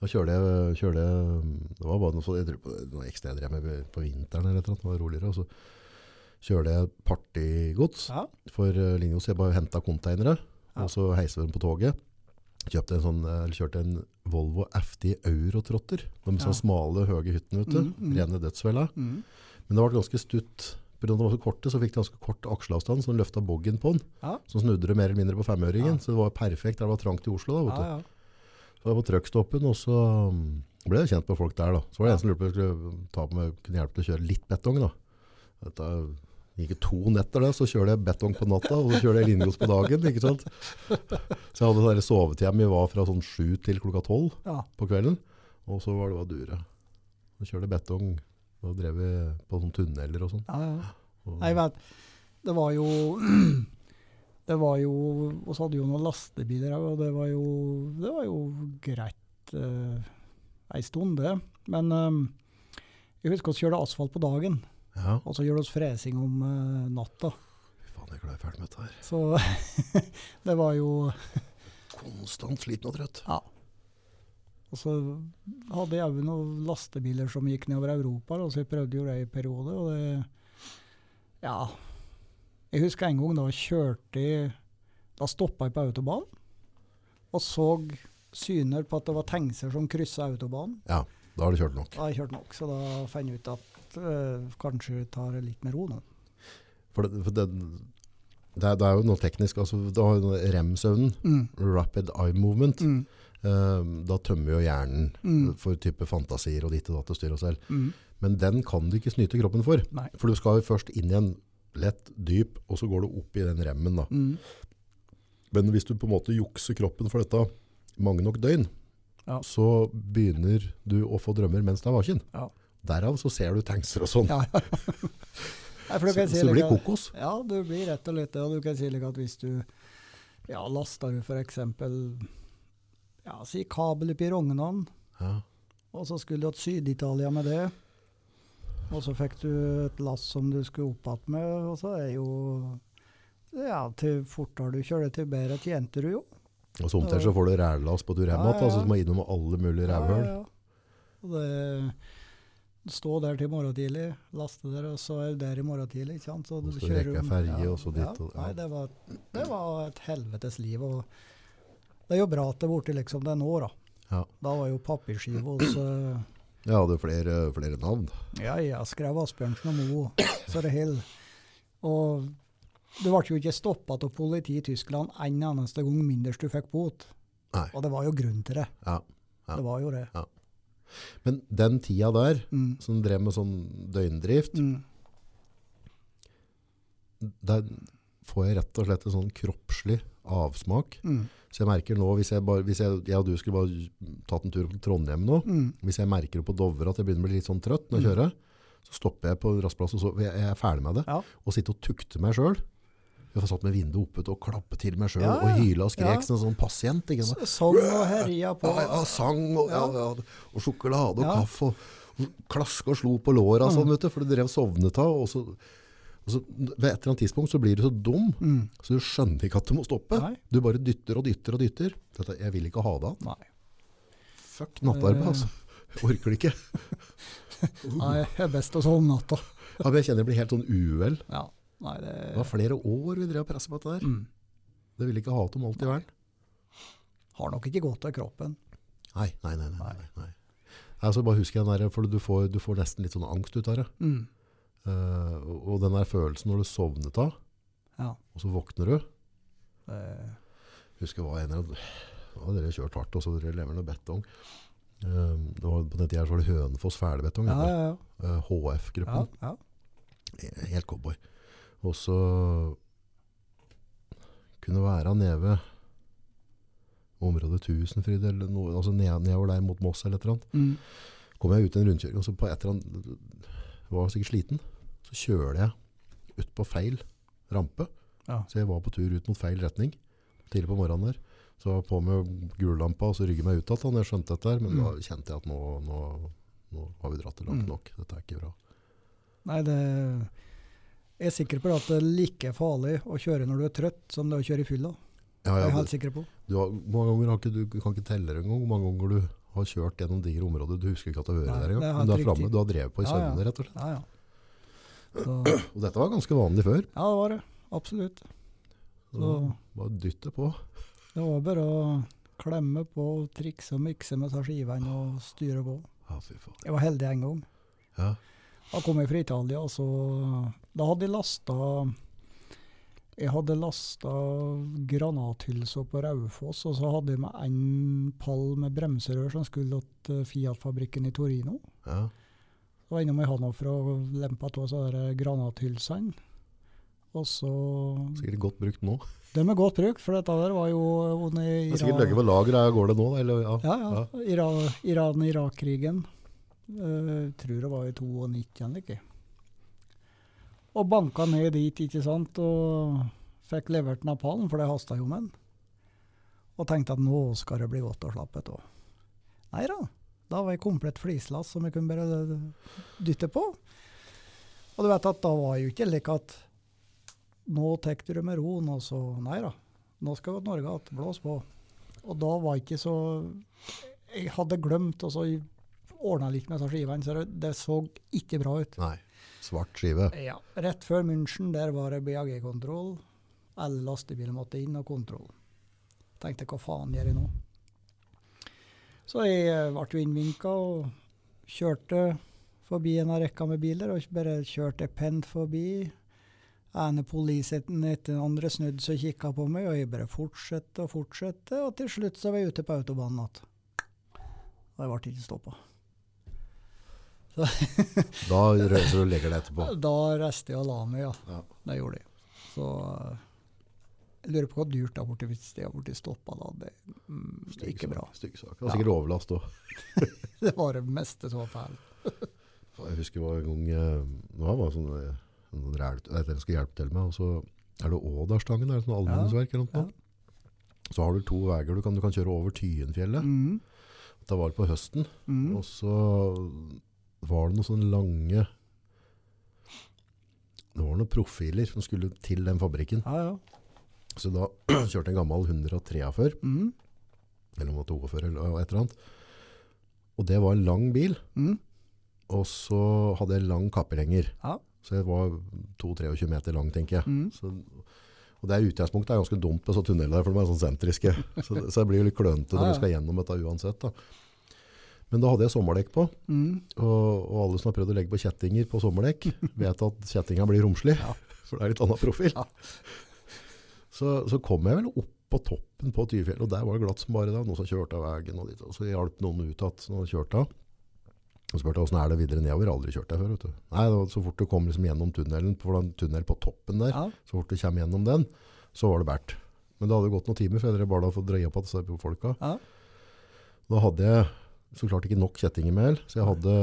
S1: Da kjørte jeg, kjørte jeg mm, Det var bare noe, så- jeg tror på- noe ekstra jeg drev med på vinteren, eller et eller annet, det var roligere. Og så kjørte jeg partigods
S2: Ja,
S1: for eh, Lingos. Jeg bare henta konteinere,
S2: Ja.
S1: og så heiste vi dem på toget. Kjøpte en sånn, eh, eller kjørte en Volvo FD Eurotrotter. De
S2: Ja.
S1: sånne smale, høye hyttene, ute.
S2: Mhm, mhm.
S1: Rene dødsfella.
S2: mm.
S1: Men det ble ganske stutt. På grunn av at de var så korte, så fikk de ganske kort akselavstand, så de løfta boggen på den.
S2: Ja.
S1: Så snudde det mer eller mindre på femøringen.
S2: Ja.
S1: Så det var perfekt. Der det var trangt i Oslo, da, vet
S2: ja,
S1: du.
S2: ja.
S1: Så jeg var på trøkkstoppen, og så um, ble jeg kjent med folk der. da. Så var det en som lurte på om jeg skulle mm, ta på meg, kunne hjelpe til å kjøre litt betong. da. Dette gikk jo to netter, det, så kjører jeg betong på natta, og så kjører jeg linjegods på dagen. ikke sant? Så jeg hadde sånn sovetime vi var fra sånn sju til klokka tolv
S2: ja.
S1: på kvelden. Og så var det bare dure. Så kjørte jeg betong. Da drev vi på sånne tunneler og sånn.
S2: ja, ja.
S1: Og-
S2: Nei, vet Det var jo Det var jo Og så hadde jo noen lastebiler her, og det var jo, det var jo greit uh, ei stund, det. Men eh, jeg husker vi kjørte asfalt på dagen,
S1: Ja,
S2: og så gjør vi fresing om eh, natta.
S1: fy faen, jeg er glad jeg er ferdig med dette her.
S2: Så det var jo
S1: Konstant sliten og trøtt.
S2: Ja. Og så hadde jeg jo noen lastebiler som gikk nedover Europa, da, så jeg prøvde jo det i periode, og det Ja. Jeg husker en gang da kjørte jeg Da stoppa jeg på autobahn, og og så syner på at det var tankser som kryssa autobanen.
S1: Ja, da har du kjørt nok.
S2: Da har jeg kjørt nok, så da fant jeg ut at øh, kanskje tar det litt med ro nå.
S1: For det, for det, det, er, det er jo noe teknisk. Altså, du har jo denne REM-søvnen,
S2: Mm.
S1: rapid eye movement.
S2: Mm.
S1: Eh, da tømmer jo hjernen
S2: Mm.
S1: for type fantasier og ditt og datt og styr og selv.
S2: Mm.
S1: Men den kan du ikke snyte kroppen for.
S2: Nei.
S1: For du skal jo først inn i en lett dyp, og så går du opp i den remmen. Da.
S2: Mm.
S1: Men hvis du på en måte jukser kroppen for dette mange nok døgn,
S2: Ja.
S1: så begynner du å få drømmer mens du er vaken.
S2: Ja.
S1: Derav så ser du tankser og sånn.
S2: Ja, ja. Nei, for
S1: så,
S2: du kan si
S1: så det blir
S2: like-
S1: kokos.
S2: Ja, du blir rett og slett det. Og du kan si like at hvis du ja, laster du f.eks. Ja, si kabel opp i Rognan,
S1: Ja.
S2: og så skulle du til Syd-Italia med det. Og så fikk du et lass som du skulle opp igjen med, og så er jo Ja, til fortere du kjører, til bedre tjente du jo.
S1: Og så omtrent så får du rælas på tur hjem igjen,
S2: Ja, ja,
S1: altså,
S2: ja.
S1: som er innom alle mulige rævhøl.
S2: Ja, ja. Og det, stå der til morgen tidlig, laste der, og så er du der i morgen tidlig. ikke sant?
S1: Og
S2: du
S1: så
S2: kjører
S1: rekker jeg
S2: om-
S1: ferge, og så dit, og- ja.
S2: Nei, det var, det var et helvetes liv. og Det er jo bra at det er borte liksom det er nå, da.
S1: Ja.
S2: Da var jo papirskiva hos eh,
S1: Jeg hadde flere, flere navn.
S2: Ja, ja, skrev Asbjørnsen og Moe, så det hell. Og du ble jo ikke stoppa av politiet i Tyskland en eneste gang mindre du fikk bot.
S1: Nei.
S2: Og det var jo grunn til det.
S1: Ja. Ja.
S2: Det var jo det.
S1: Men den tida der,
S2: Mm.
S1: som drev med sånn døgndrift,
S2: Mm.
S1: der får jeg rett og slett en sånn kroppslig avsmak.
S2: Mm.
S1: Så jeg merker nå, hvis jeg, bare, hvis jeg, jeg og du skulle bare tatt en tur på Trondheim nå,
S2: Mm.
S1: hvis jeg merker på Dovre at jeg begynner å bli litt sånn trøtt når jeg kjører, så stopper jeg på en rassplass og så, jeg, jeg er ferdig med det.
S2: Ja.
S1: Og sitte og tukte meg selv. Jeg får satt med vinduet oppe og klappe til meg selv
S2: Ja, ja.
S1: og hyle og
S2: Ja.
S1: skrek som en sånn pasient. Ikke sant?
S2: S- Sang og herja på.
S1: Ja, ja, sang og, ja. Ja, og sjokolade og
S2: Ja. Mm.
S1: kaffe og, og klask og slo på låra sånn, vet du, for du drev sovnet av. Og så, og så, ved et eller annet tidspunkt så blir du så dum, så du skjønner ikke at du må stoppe.
S2: Mm. Nei.
S1: Du bare dytter og dytter og dytter. Dette, jeg vil ikke ha det.
S2: Nei.
S1: Fuck nattarbeid, altså. Jeg orker det ikke.
S2: Nei, det er best å sove om natta.
S1: Ja, men jeg kjenner det blir helt sånn uvel.
S2: Ja. Nei, det
S1: Det var flere år vi drev og presset på dette der.
S2: mm.
S1: Det ville ikke ha om alt i verden.
S2: har nok ikke godt av kroppen.
S1: Nei, nei, nei. nei, nei, nei. Nei, så bare husker jeg den der, for du får, du får nesten litt sånn angst ut av det.
S2: Mm.
S1: Eh, og- og den der følelsen når du sovnet av,
S2: Ja.
S1: og så våkner du.
S2: Eh,
S1: Husker jeg var en av ja, dere kjørt hardt, og så dere lever noe betong. Eh, det var, på den tiden her så var det Hønefoss ferdigbetong.
S2: ja,
S1: vet
S2: ja, ja.
S1: du. Eh,
S2: ja,
S1: HF-gruppen.
S2: ja.
S1: Helt cowboy. Og så kunne være nede ved området Tusenfryd, eller noe, altså ned, nedover der mot Moss eller et eller annet.
S2: Mm.
S1: kom jeg ut i en rundkjøring, og så på et eller annet, var jeg sikkert sliten, så kjører jeg ut på feil rampe.
S2: Ja.
S1: Så jeg var på tur ut mot feil retning, tidlig på morgenen der. Så jeg var på med gullampa, og så rygget jeg meg ut alt, og jeg skjønte dette her, men da kjente jeg at nå, nå, nå har vi dratt det langt
S2: Mm.
S1: nok, dette er ikke bra.
S2: Nei, det jeg er sikker på at det er like farlig å kjøre når du er trøtt, som det er å kjøre i fylla.
S1: Ja,
S2: Det er jeg
S1: ja,
S2: helt
S1: du,
S2: sikker på.
S1: du har, mange ganger har ikke, du kan ikke telle det engang, hvor mange ganger du har kjørt gjennom digre områder, du husker ikke at du hører der
S2: Nei, det
S1: engang,
S2: er helt
S1: men du er
S2: riktig.
S1: fremme, du har drevet på i
S2: Ja, ja.
S1: søvnene, rett og slett.
S2: Ja, ja. Så, ja,
S1: Og dette var ganske vanlig før,
S2: det var det. Absolutt. Så
S1: så bare dytte på.
S2: det var bare å klemme på, trikse og mikse med seg skivene og styre på.
S1: Ja, fy faen.
S2: Jeg var heldig en gang.
S1: Ja,
S2: Da kom jeg fra Italia, og så Da hadde jeg lasta Jeg hadde lasta granathylser på Raufoss, og så hadde jeg med en pall med bremserør som skulle til Fiat-fabrikken i Torino.
S1: ja.
S2: Så var jeg innom i Hannover og lempa av så der granathylsene. Og så
S1: Sikkert godt brukt nå.
S2: De er godt brukt, for dette der var jo under
S1: Det er sikkert løgge på lageret, går det nå? Da, eller, ja.
S2: Ja, ja. Ira- Iran-Irak-krigen. Eh, tror det var i 92 eller ikke. Og banka ned dit, ikke sant, og fikk levert den av pallen, for det hasta jo med den. Og tenkte at nå skal det bli godt å slappe et òg. Nei da. Da var jeg komplett flislass som jeg kunne bare dytte på. Og du vet at da var jeg jo ikke slik at nå tar du det med ro, nå så Nei da. Nå skal vi til Norge igjen. Blås på. Og da var jeg ikke så Jeg hadde glemt, og så ordna litt med disse skivene, så det, det så ikke bra ut.
S1: Nei. Svart skive.
S2: Ja. Rett før München, der var det BAG-kontroll. Alle lastebiler måtte inn, og kontroll. Tenkte hva faen gjør jeg nå? Så jeg eh, ble jo innvinka og kjørte forbi en av rekka med biler, og bare kjørte pent forbi. ene politieten etter den andre snudde seg og kikka på meg, og jeg bare fortsatte og fortsatte, og til slutt så var jeg ute på autobanen igjen. Og jeg ble ikke stoppa.
S1: Da røser du og legger deg etterpå.
S2: Da reiste jeg og la meg, ja.
S1: Ja.
S2: Det gjorde jeg. Så eh, jeg lurer på hva dyrt det hadde blitt hvis jeg hadde blitt stoppa da. Det mm, ikke bra.
S1: Stygg sak. Og sikkert overlast òg.
S2: Det var det meste som var feil.
S1: Jeg husker det var en gang eh, Nå var det sånn eh, noen ræl- nei, dere skal hjelpe til med, og så er det Ådalstangen, er det sånn allmenningsverk eller noe?
S2: Ja.
S1: sånt. Så har du to veier du kan, du kan kjøre over Tyenfjellet.
S2: Mm,
S1: Da var det på høsten,
S2: mm.
S1: og så var det noen sånne lange Det var noen profiler som skulle til den fabrikken.
S2: Ja, ja.
S1: Så da kjørte en gammel 143 før,
S2: Mm,
S1: eller om det var 42 eller et eller annet. Og det var en lang bil,
S2: mm.
S1: og så hadde jeg lang kappelenger.
S2: Ja.
S1: Så jeg var 2-23 meter lang, tenker jeg.
S2: Mm.
S1: Så, og det utgangspunktet er ganske dumt på så tunneler der, for de er sånn sentriske. Så, det- så jeg blir jo litt klønete
S2: Ja,
S1: når
S2: ja.
S1: vi skal gjennom dette uansett. Da. Men da hadde jeg sommerdekk på,
S2: Mm.
S1: og, og alle som har prøvd å legge på kjettinger på sommerdekk, vet at kjettinga blir romslig,
S2: Ja.
S1: for det er litt annen profil.
S2: Ja.
S1: Så, så kom jeg vel opp på toppen på Tyfjell, og der var det glatt som bare da, noen som kjørte av veien, og, dit, og så hjalp noen ut at noen kjørte av. Og spurte hvordan er det videre nedover, aldri kjørt der før. Vet du. Nei, det var så fort du kom liksom gjennom tunnelen, for det var en tunnel på toppen der,
S2: Ja.
S1: så fort du kommer gjennom den, så var det bært. Men det hadde gått noen timer før jeg bare hadde fått dreie på at det på folka.
S2: Ja.
S1: Da hadde jeg så klart ikke nok kjettinger med el, så jeg hadde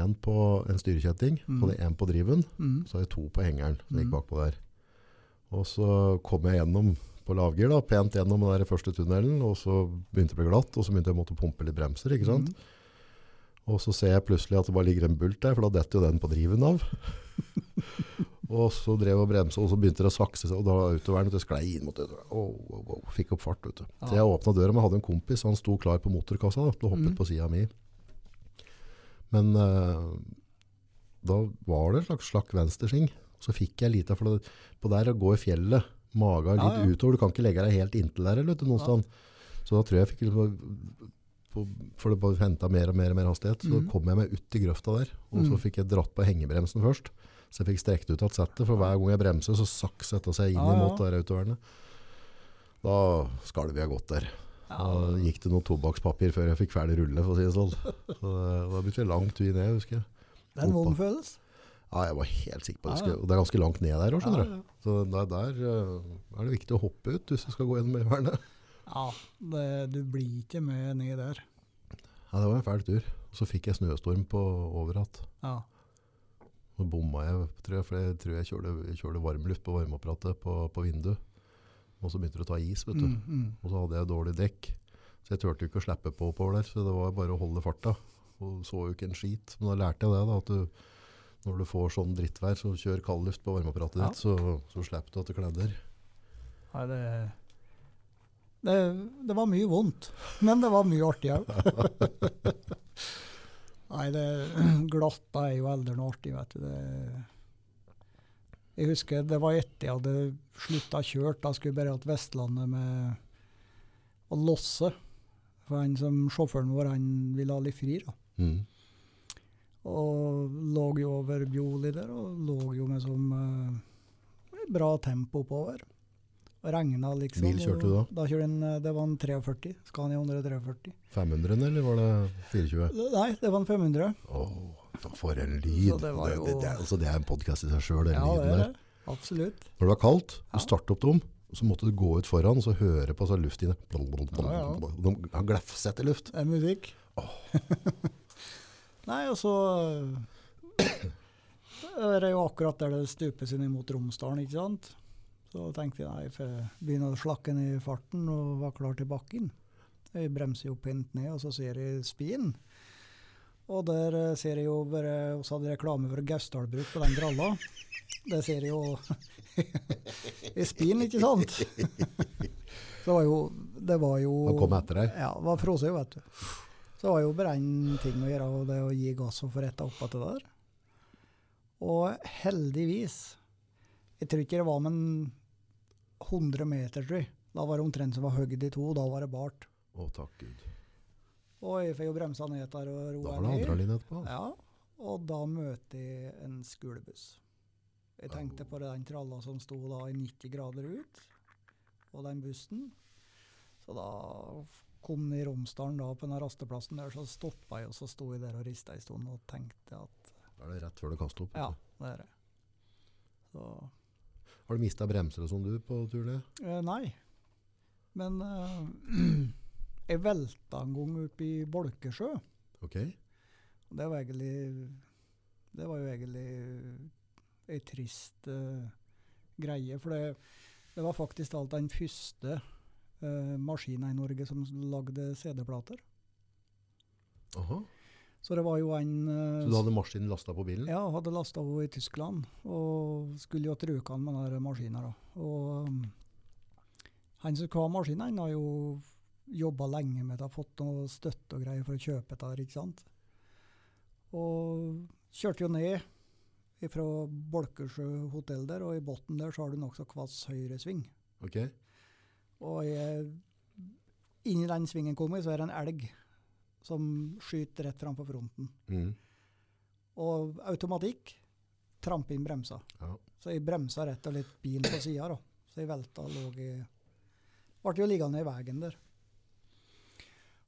S1: en på en styrekjetting,
S2: Mm.
S1: hadde en på driven,
S2: Mm.
S1: så hadde jeg to på hengeren som gikk
S2: Mm.
S1: bakpå der. Og så kom jeg gjennom på lavgir da, pent gjennom den der første tunnelen, og så begynte det å bli glatt, og så begynte jeg å måtte pumpe litt bremser, ikke sant?
S2: Mm.
S1: Og så ser jeg plutselig at det bare ligger en bult der, for da detter jo den på driven av. og så drev jeg og bremsa, og så begynte det å sakse seg, og da autovernet vet du, sklei inn mot det. Oh, oh, oh, fikk opp fart, vet du. Så jeg åpna døra, men jeg hadde en kompis, han sto klar på motorkassa, da, og hoppet
S2: Mhm.
S1: på sida mi. Men eh, da var det en slags slakk venstresving. Så fikk jeg lite, for det, på der går fjellet, maga litt
S2: Ja, ja.
S1: utover, du kan ikke legge deg helt inntil der, eller vet du, noen
S2: Ja.
S1: stand. Så da tror jeg jeg fikk liksom på, for det bare henta mer og mer og mer hastighet. Så
S2: Mhm.
S1: kom jeg meg ut i grøfta der, og så
S2: Mhm.
S1: fikk jeg dratt på hengebremsen først. Så jeg fikk strekt ut at settet, for hver gang jeg bremser, så sakk setta seg inn
S2: Ja, ja.
S1: imot der autovernet. Da skalv jeg godt der.
S2: Ja.
S1: Da gikk det noe tobakkspapir før jeg fikk ferdig rulle, for å si det sånn. Så det- da begynte jeg langt tur ned, husker jeg.
S2: Det er en vond følelse.
S1: Ja, jeg var helt sikker på det.
S2: Ja, ja.
S1: Husker jeg. Og det er ganske langt ned der òg, skjønner du.
S2: Ja,
S1: Så der, der eh, er det viktig å hoppe ut hvis du skal gå gjennom Øyvernet.
S2: ja. det, du blir ikke med ned der.
S1: Ja, det var en fæl tur. Og så fikk jeg snøstorm på overhatt.
S2: Ja.
S1: Nå bomma jeg, tror jeg, for jeg tror jeg kjørte, jeg kjørte varmluft på varmeapparatet på, på vinduet. Og så begynte det å ta is, vet du.
S2: Mm, mm.
S1: Og så hadde jeg dårlig dekk. Så jeg turte jo ikke å slippe på oppover der, så det var bare å holde farta. Og så jo ikke en skit. Men da lærte jeg det, da, at du, når du får sånn drittvær, så kjør kald luft på varmeapparatet
S2: Ja.
S1: ditt, så, så slipper du at det kledder.
S2: Nei, det, det, det var mye vondt, men det var mye artig òg. Nei, det glatta er jo aldri noe artig, vet du. Det, jeg husker det var etter jeg hadde slutta å kjøre. Da skulle jeg bare til Vestlandet med å losse. For han som sjåføren vår, han ville ha litt fri, da.
S1: Mm.
S2: Og lå jo over Bjoli der, og lå jo med som eh, bra tempo oppover. Og regna liksom.
S1: Bil kjørte du
S2: og Da kjørte en, eh, Det var en 43. Scania 143.
S1: 500-en, eller var det 420?
S2: Nei, det var en 500.
S1: Åh, for en lyd!
S2: Så det
S1: Det,
S2: var
S1: det,
S2: jo-
S1: det, er- altså, det er en podkast i seg sjøl, den lyden
S2: det
S1: der.
S2: er det. Absolutt.
S1: Når det var kaldt,
S2: Ja.
S1: du startet opp dem, og så måtte du gå ut foran og så høre på så luft inne.
S2: Ja, ja.
S1: De har glefsete luft.
S2: Det er musikk. Nei, og så eh, er det jo akkurat der det stupes inn mot Romsdalen, ikke sant? Så tenkte jeg nei, for jeg begynner å slakke ned i farten og var klar til bakken. Jeg bremser jo pent ned, og så ser jeg spien. Og der eh, ser jeg jo bare Vi hadde reklame for Gausdalbruk på den gralla. Det ser jeg jo i spien, ikke sant? Så det var jo Det var jo
S1: Han kom etter deg.
S2: ja, det var frosig, jo, vet du. Så det var jo bare én ting å gjøre, og det å gi gass og få retta opp etter det der. Og heldigvis Jeg tror ikke det var men 100 meter, tror jeg. Da var det omtrent som var hogd i to, da var det bart.
S1: Å, takk Gud.
S2: Og jeg får jo bremsa ned der og
S1: Da
S2: roa
S1: var det andre linje etterpå.
S2: Ja, og da møter jeg en skolebuss. Jeg tenkte på den tralla som sto da i 90 grader ut, og den bussen. Så da kom den i Romsdalen da på den her rasteplassen der, så stoppa jeg, og så sto jeg der og rista en stund og tenkte at
S1: Da er det rett før du kaster opp.
S2: ja,
S1: vet
S2: det er det. Så
S1: du. Har du mista bremser og sånn du på turen? ned?
S2: eh, nei. Men eh, jeg velta en gang opp i Bolkesjø.
S1: Ok.
S2: Og Det var egentlig Det var jo egentlig ei trist eh, greie. For det, det var faktisk alt den første uh, maskina i Norge som lagde CD-plater.
S1: Aha.
S2: Så det var jo en eh,
S1: Så du hadde maskinen lasta på bilen?
S2: Ja, hadde lasta henne i Tyskland og skulle jo til Rjukan med den maskina. da. Og um, han som kva maskina, han har jo jobba lenge med det, har fått noe støtte og greier for å kjøpe det, her, ikke sant. Og kjørte jo ned fra Bolkesjø hotell der, og i bunnen der så har du nokså kvass høyresving.
S1: Ok.
S2: Og jeg, inni den svingen kommer, så er det en elg som skyter rett framfor fronten.
S1: Mm.
S2: Og automatikk trampe inn bremsa.
S1: Ja.
S2: Så jeg bremsa rett og slett bilen på sida, da. Så jeg velta og lå i Ble jo liggende i veien der.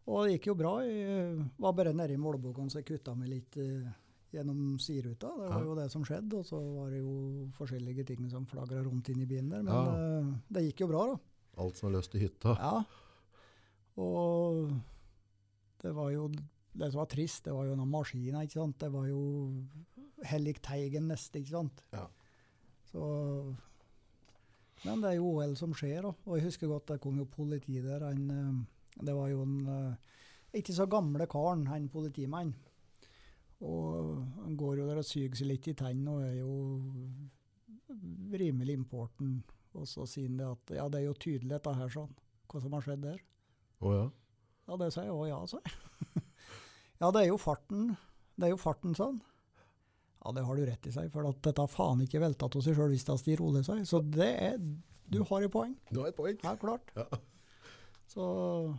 S2: Og det gikk jo bra. Jeg eh, var bare nede i måleboken, så jeg kutta meg litt eh, gjennom sideruta. Det
S1: Ja.
S2: var jo det som skjedde. Og så var det jo forskjellige ting som flagra rundt inni bilen der. Men
S1: Ja.
S2: eh, det gikk jo bra, da.
S1: Alt som er løst i hytta.
S2: Ja. Og det var jo det som var trist, det var jo noen maskiner, ikke sant. Det var jo Hellig Teigen neste, ikke sant.
S1: Ja.
S2: Så Men det er jo OL som skjer, da. Og jeg husker godt det kom jo politi der. Han, eh, det var jo en eh, ikke så gamle karen, han politimannen. Og han går jo der og syger seg litt i tennene og er jo rimelig importen. Og så sier han det at ja, det er jo tydelig dette her, sånn. Hva som har skjedd der.
S1: Å ja.
S2: Ja, det sa jeg òg ja, sa jeg. ja, det er jo farten. Det er jo farten, sa han. Ja, det har du rett i, seg, for at dette har faen ikke velta av seg sjøl hvis det stiger rolig, sa jeg. Så det er Du har et poeng.
S1: Du har et poeng.
S2: Ja, klart.
S1: Ja.
S2: Så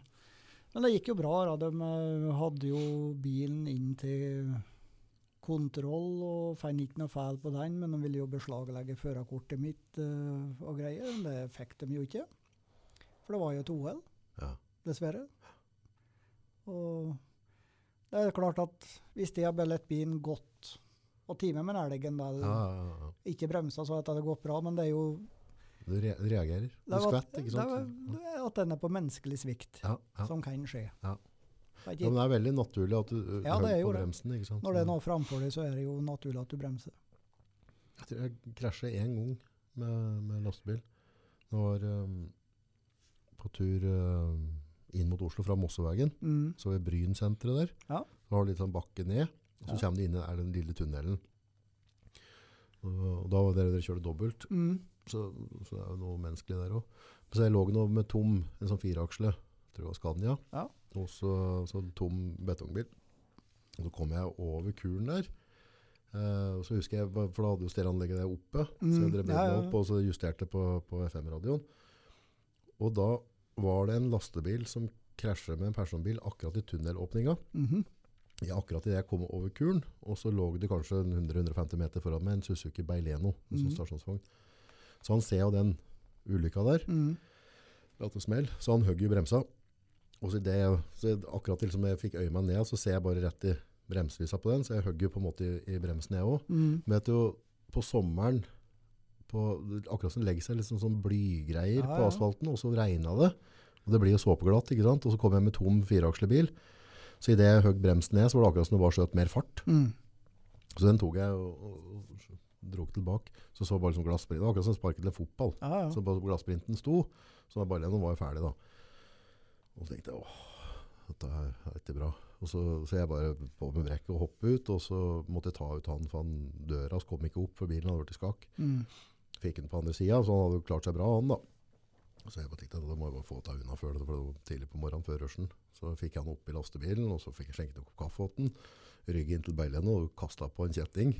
S2: Men det gikk jo bra. Da. De eh, hadde jo bilen inn til kontroll og fant ikke noe feil på den, men de ville jo beslaglegge førerkortet mitt eh, og greier. Men det fikk de jo ikke. For det var jo et OL
S1: Ja.
S2: dessverre. Og det er klart at hvis de har bellet bilen godt og timet med elgen, da,
S1: Ja, ja, ja.
S2: ikke bremsa så at det hadde gått bra, men det er jo
S1: Du re reagerer. Du
S2: det er jo at-
S1: skvetter, ikke sant?
S2: Det er, jo at den er på menneskelig svikt,
S1: Ja, ja.
S2: som kan skje.
S1: Ja. Ja,
S2: Det er
S1: men
S2: ikke,
S1: det er veldig naturlig at du ø,
S2: Ja, det er
S1: hører
S2: jo
S1: på
S2: det.
S1: bremsen. Ikke sant?
S2: når det er noe framfor deg, så er det jo naturlig at du bremser.
S1: Jeg tror jeg krasja én gang med, med lastebil. Det var ø, på tur ø, inn mot Oslo fra Mosseveien.
S2: Mm.
S1: Så ved Brynsenteret der.
S2: Ja.
S1: Så har du litt sånn bakke ned. Og så
S2: Ja.
S1: kommer du inn i den lille tunnelen. Og, og da var dere dere kjørte dobbelt.
S2: Mm.
S1: Så, så det er jo noe menneskelig der òg. Så jeg lå nå med tom, en sånn fireaksle, tror jeg var Scania,
S2: Ja.
S1: og så, så en tom betongbil. Og så kom jeg over kuren der. Eh, og så husker jeg, For da hadde jo stereoanlegget der oppe, så jeg
S2: Mm,
S1: drev
S2: ja, ja,
S1: bilen
S2: ja.
S1: opp og så justerte på, på FM-radioen. Og da var det en lastebil som krasjer med en personbil akkurat i tunnelåpninga.
S2: Mhm.
S1: Ja, akkurat idet jeg kom over kuren, og så lå det kanskje en 100-150 meter foran meg, en Suzuki Beileno, en sånn
S2: Mhm.
S1: stasjonsvogn. Så han ser jo den ulykka der,
S2: mm.
S1: at det smell, så han høgg jo bremsa. Og så, i det, jeg- så jeg- akkurat til som jeg fikk øye meg ned, så ser jeg bare rett i bremselysa på den, så jeg høgg jo på en måte i, i bremsen jeg også.
S2: Mm.
S1: Men vet du, på sommeren, på, akkurat som det legger seg, liksom sånn blygreier
S2: Ja,
S1: på
S2: ja.
S1: asfalten, og så regnet det, og det blir jo såpeglatt, ikke sant? Og så kom jeg med tom fireakslebil, så i det jeg høgg bremsen ned, så var det akkurat som det bare skjøt mer fart.
S2: Mm.
S1: Så den tok jeg og, og, og dro tilbake. Så så bare liksom glassprint. Det var akkurat som sparket til en fotball.
S2: Ja, ja.
S1: Så bare glassprinten sto, så var bare den var jo ferdig da. Og så tenkte jeg, åh, dette her er ikke bra. Og så, så jeg bare på med brekket og hoppet ut, og så måtte jeg ta ut han, for han døra så kom ikke opp, for bilen hadde vært i skak.
S2: Mm.
S1: Fikk han på andre siden, så han hadde jo klart seg bra, han da. Så jeg bare tenkte, da må jeg bare få ta unna før det, for det var tidlig på morgenen før rushen. Så fikk jeg han opp i lastebilen, og så fikk jeg skjenket opp kaffe åt den, rygget inn til beilene og kastet på en kjetting,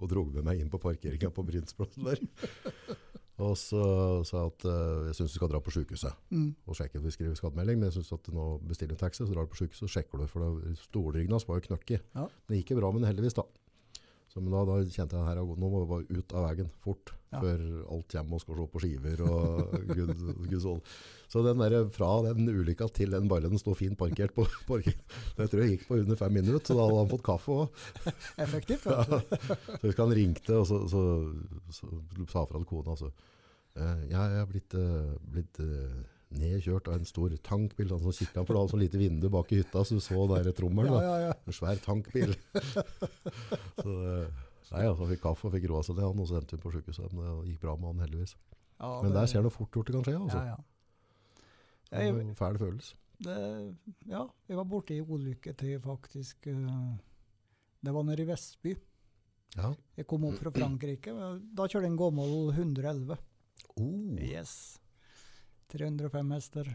S1: og drog med meg inn på parkeringen på Brynsplassen der. Og så sa jeg at eh, jeg syns du skal dra på sykehuset
S2: Mm.
S1: og sjekke. Vi skriver skademelding, men jeg syns at nå bestiller du en taxi, så drar du på sykehuset og sjekker du. For det- stolryggen hans var jo knøkk i.
S2: Ja.
S1: Det gikk jo bra, men heldigvis, da. Så, men da, da kjente jeg her, nå må vi bare ut av veien fort,
S2: Ja.
S1: før alt kommer og skal se på skiver og gud, gud sånn. Så den der, fra den ulykka til den ballen sto fint parkert på parking, det tror jeg gikk på under fem minutter, så da hadde han fått kaffe også.
S2: Effektivt. vet du.
S1: Så husker han ringte og så, så, så, sa fra til kona altså, «Eh, Jeg er blitt, eh, blitt eh, nedkjørt av en stor tankbil. Han som kikket for det var sånn lite vindu bak i hytta, så du så der trommelen.
S2: Ja,
S1: da.
S2: ja, ja.
S1: En svær tankbil. så, eh, nei, altså, han fikk kaffe og fikk roa seg til han, og så endte vi på sykehuset. Men det gikk bra med han heldigvis.
S2: ja
S1: Men der ser du hvor fort gjort det kan skje. Altså.
S2: Ja, ja.
S1: Det er
S2: Jeg,
S1: en Fæl følelse.
S2: det, ja, jeg var borte i ulykke til faktisk eh, Det var nede i Vestby.
S1: Ja.
S2: Jeg kom opp fra Frankrike. men Da kjørte jeg en gammel 111.
S1: Oh.
S2: Yes. 305 hester.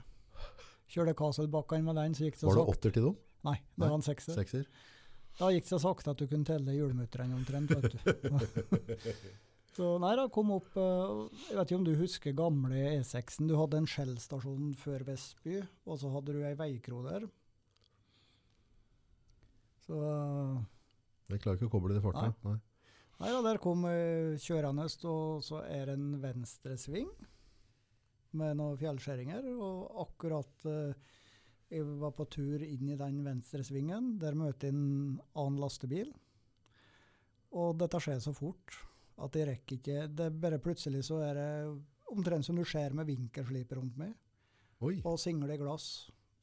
S2: Kjørte Kaselbakkene med den, så gikk det så
S1: Var det
S2: sakte.
S1: åtter til dem?
S2: Nei, det
S1: Nei,
S2: var en sekser.
S1: Sekser?
S2: Da gikk det så sakte at du kunne telle hjulmutterne omtrent. vet du. så nei da, kom opp eh, Jeg vet ikke om du husker gamle E6-en. Du hadde en Shell-stasjon før Vestby, og så hadde du ei veikro der. Så eh,
S1: Jeg klarer ikke å koble det i farta. Nei.
S2: Nei da, der kom eh, kjørende, og så er det en venstresving med noen fjellskjæringer. Og akkurat eh, jeg var på tur inn i den venstresvingen, der møter jeg en annen lastebil. Og dette skjer så fort at jeg rekker ikke Det er bare plutselig så er det omtrent som du ser med vinkelslip rundt meg,
S1: Oi,
S2: og single glass.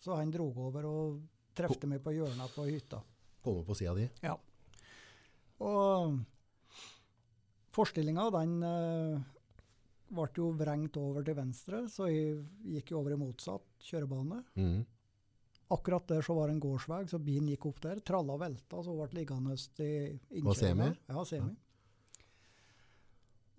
S2: Så han drog over og trefte meg på hjørnet på hytta.
S1: kommer på sida di.
S2: Ja. Og forstillinga, den eh, ble jo vrengt over til venstre, så jeg gikk jo over i motsatt kjørebane.
S1: Mhm.
S2: Akkurat der så var det en gårdsvei, så bilen gikk opp der. Tralla velta, så ble liggende i innkjøringa.
S1: Var semi?
S2: Ja, semi.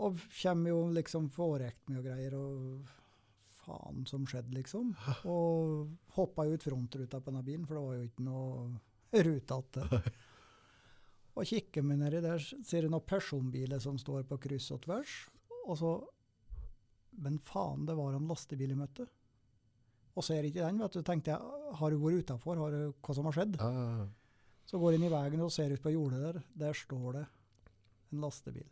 S2: Og kommer jo liksom forekt med og greier, og faen som skjedde, liksom. Og hoppa ut frontruta på denne bilen, for det var jo ikke noe rute igjen. Og kikker meg nedi der, ser jeg noen personbiler som står på kryss og tvers. Og så Men faen, det var en lastebil jeg møtte. Og ser ikke den, vet du. tenkte jeg, har du vært utafor? Hva som har skjedd?
S1: Ja.
S2: Så går jeg inn i veien og ser ut på jordet der. Der står det en lastebil.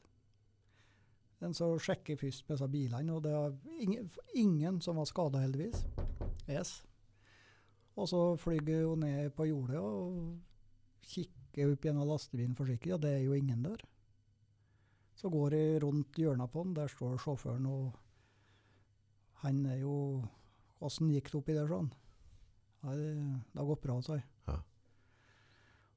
S2: Den så sjekker jeg først med disse bilene, og det var ingen, ingen som var skada, heldigvis. Yes. Og så flyr jeg jo ned på jordet og kikker opp gjennom lastebilen forsiktig, og det er jo ingen der. Så går jeg rundt hjørnet på den, der står sjåføren, og han er jo Åssen gikk det oppi der, sånn? Nei, det, det har gått bra, sa jeg.
S1: Ja.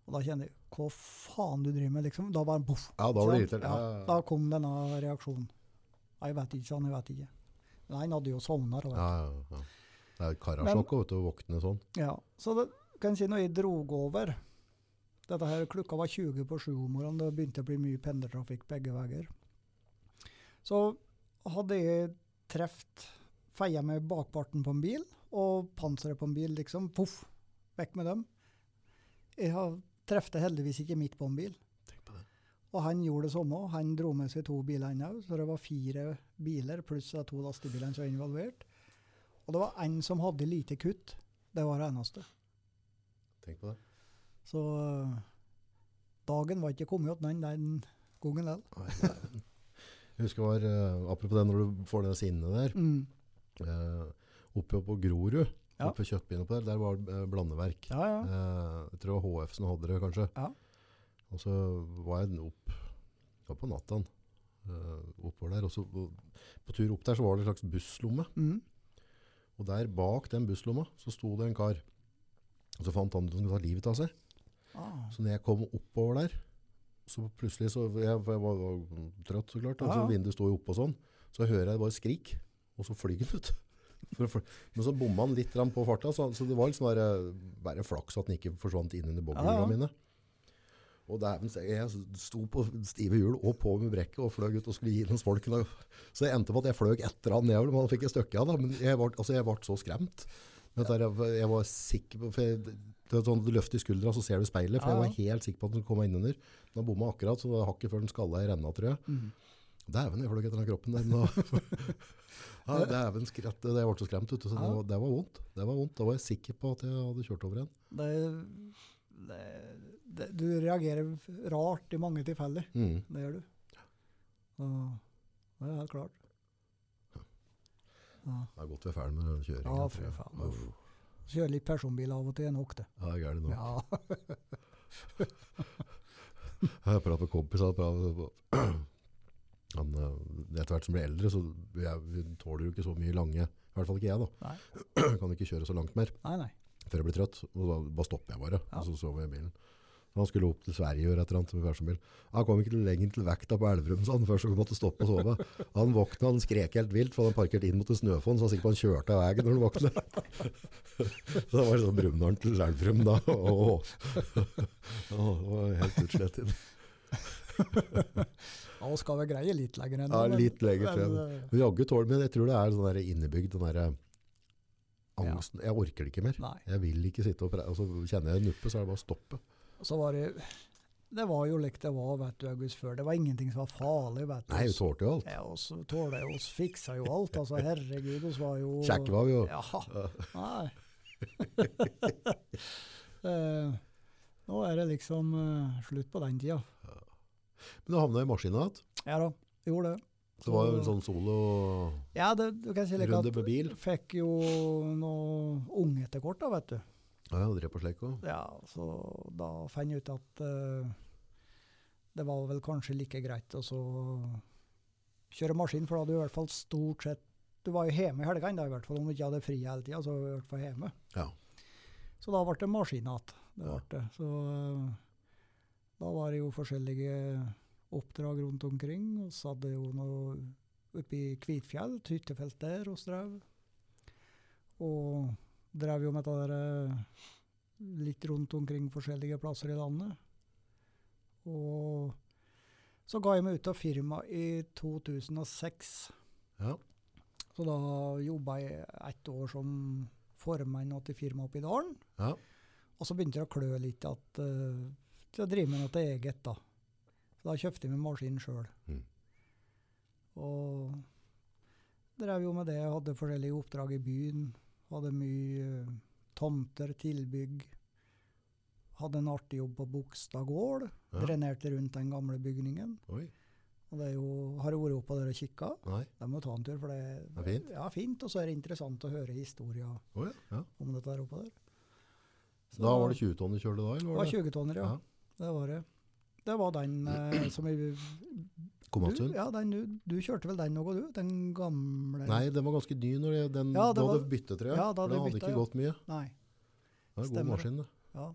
S2: Og da kjenner jeg Hva faen du driver med, liksom? Da var han poff.
S1: Ja, da var det
S2: Sånn.
S1: irritert. Ja, ja, ja.
S2: Da kom denne reaksjonen. Nei, Jeg vet ikke, sånn, jeg vet ikke. Men han hadde jo sovna. da, vet
S1: Ja, ja, ja. Det er jo et karasjokk å vet du, å våkne sånn.
S2: du. Ja. Så det, kan jeg si når jeg drog over Dette her klokka var 20 på sju om morgenen. Det begynte å bli mye pendlertrafikk begge veier. Så hadde jeg truffet feia med bakparten på en bil og panseret på en bil, liksom. Poff! Vekk med dem. Jeg har- trefte heldigvis ikke midt på en bil.
S1: Tenk på det.
S2: Og han gjorde det samme. Han dro med seg to biler ennå, så det var fire biler pluss de to lastebilene som var involvert. Og det var en som hadde lite kutt. Det var det eneste.
S1: Tenk på det.
S2: Så øh, dagen var ikke kommet igjen den gangen likevel.
S1: Jeg husker var, eh, apropos det, når du får det sinnet der,
S2: Mm.
S1: eh, oppe på Grorud,
S2: Ja.
S1: oppe ved Kjøttbyen oppe der, der var det eh, blandeverk.
S2: Ja, ja.
S1: Eh, jeg tror det var HF som hadde det, kanskje.
S2: Ja.
S1: Og så var jeg opp, opp på natten, eh, oppover der, og så og på tur opp der så var det en slags busslomme,
S2: Mm.
S1: og der bak den busslomma så sto det en kar, og så fant han ut at han skulle ta livet av seg.
S2: Ah.
S1: Så når jeg kom oppover der, så plutselig, så jeg, for jeg var, var trøtt så klart, og så
S2: Ja, ja.
S1: vinduet sto jo oppe og sånn, så hører jeg bare skrik, og så flyger han ut. For å fly- Men så bomma han litt grann på farta, så, så det var litt sånn der, eh, bare flaks at han ikke forsvant inn under boblene
S2: Ja, ja.
S1: mine. Og dæven, så jeg sto på stive hjul og på med brekket og fløy ut og skulle gi den folken. og- Så jeg endte på at jeg fløy etter han nedover, men han fikk et stykke av da. Men jeg ble, altså, jeg ble så skremt. Men dette her, jeg var sikker på, for jeg, det er sånn, du løfter skuldra, så ser du speilet, for jeg
S2: Ja,
S1: var
S2: ja. Mm.
S1: helt sikker på at den kom meg innunder. Den har bomma akkurat, så det var hakket før den skalla i renna, tror jeg. Dæven, jeg fløy etter den kroppen der. Nå. ja, dæven skratt. Jeg ble så skremt, vet du, så det,
S2: Ja.
S1: var, det var vondt. Det var vondt. Da var jeg sikker på at jeg hadde kjørt over en.
S2: Det, det, det, du reagerer rart i mange tilfeller.
S1: Mm.
S2: Det gjør du. Og det er helt klart. Ja.
S1: Det er godt vi er ferdig med den kjøringen.
S2: Ja, fy faen, uff.
S1: Uff.
S2: Kjøre litt personbil av og til er nok, det.
S1: Ja, det er gærent nå.
S2: Ja.
S1: Jeg prater med kompiser. jeg prater med- Han, eh, etter hvert som blir eldre, så jeg, vi tåler jo ikke så mye lange, i hvert fall ikke jeg da.
S2: Nei,
S1: Kan ikke kjøre så langt mer
S2: nei. nei.
S1: før jeg blir trøtt. Og da bare stopper jeg bare,
S2: Ja.
S1: og så sover jeg i bilen. Så han skulle opp til Sverige og gjøre et eller annet med personbil. Han kom ikke lenger til vekta på Elverum, så han først måtte stoppe og sove. Han våkna, han skrek helt vilt, for han parkerte inn mot en snøfonn, så han sikkert på han kjørte av veien når han våkna. Så det var sånn Brumunddal til Elverum da. Åh. Åh, det var helt utslettet.
S2: Ja, og skal vi greie litt lenger enn
S1: Ja,
S2: men-
S1: litt lenger
S2: men,
S1: frem.
S2: eh,
S1: Men jaggu tåler men jeg tror det er sånn der innebygd, den der angsten. Jeg orker det ikke mer.
S2: Nei.
S1: Jeg vil ikke sitte og pre... Altså, kjenner jeg nuppet, så er det bare å stoppe.
S2: Så var det Det var jo likt det var vet du, august før. Det var ingenting som var farlig. vet du.
S1: Nei, vi tålte jo alt.
S2: Ja, og så tåler jeg oss fiksa jo alt. altså Herregud, oss var jo
S1: Kjekke var vi jo.
S2: Ja. Nei. Eh, Nå er det liksom eh, slutt på den tida.
S1: Men du havna i maskina igjen.
S2: Ja da, gjorde det.
S1: Det var jo en sånn solo
S2: Ja, det, du kan si like
S1: Runde
S2: at
S1: med bil.
S2: Fikk jo noe unge til kort, da, vet du.
S1: Ja, jeg drev på slik òg.
S2: Ja, så da fant jeg ut at eh, det var vel kanskje like greit å så kjøre maskin, for da hadde du i hvert fall stort sett Du var jo hjemme i helgene, da, i hvert fall om du ikke hadde fri hele tida. Så var du i hvert fall hjemme.
S1: Ja.
S2: Så da ble det maskin igjen. Det
S1: Ja.
S2: ble det. Så eh, da var det jo forskjellige oppdrag rundt omkring. Og så hadde jeg jo noe oppe i Kvitfjell, et hyttefelt der, og drev. Og drev jo med det der eh, litt rundt omkring forskjellige plasser i landet. Og så ga jeg meg ut av firmaet i 2006.
S1: ja.
S2: Så da jobba jeg ett år som formann åt et firma oppe i dalen.
S1: ja.
S2: Og så begynte det å klø litt at, eh, til å drive med noe til eget. Da Så da kjøpte jeg meg maskin sjøl.
S1: Mm.
S2: Og drev jo med det. Hadde forskjellige oppdrag i byen. Hadde mye eh, tomter, tilbygg. Hadde en artig jobb på Bogstad gård.
S1: ja.
S2: Drenerte rundt den gamle bygningen.
S1: Oi.
S2: Og det er jo, har jeg vært oppe der og kikka.
S1: Nei.
S2: Der må du ta en tur, for det,
S1: Det er fint.
S2: Ja, fint. Og så er det interessant å høre historier
S1: Oi, ja.
S2: om dette der oppe der. Så-
S1: Da var det 20 tonn du kjørte da?
S2: det
S1: eller
S2: var
S1: var det?
S2: 20-tonner, ja.
S1: Ja.
S2: Det var det. Det var den eh, som vi du,
S1: Komatsund?
S2: ja, den, du, du kjørte vel den noe, du? Den gamle
S1: Nei, den var ganske ny når jeg, den,
S2: Ja, det
S1: da
S2: var-
S1: hadde byttet, tror jeg.
S2: Ja, da hadde
S1: For den hadde
S2: byttet,
S1: ikke
S2: ja.
S1: gått mye.
S2: Nei,
S1: Det var en god
S2: Stemmer det.
S1: maskin. det.
S2: Ja.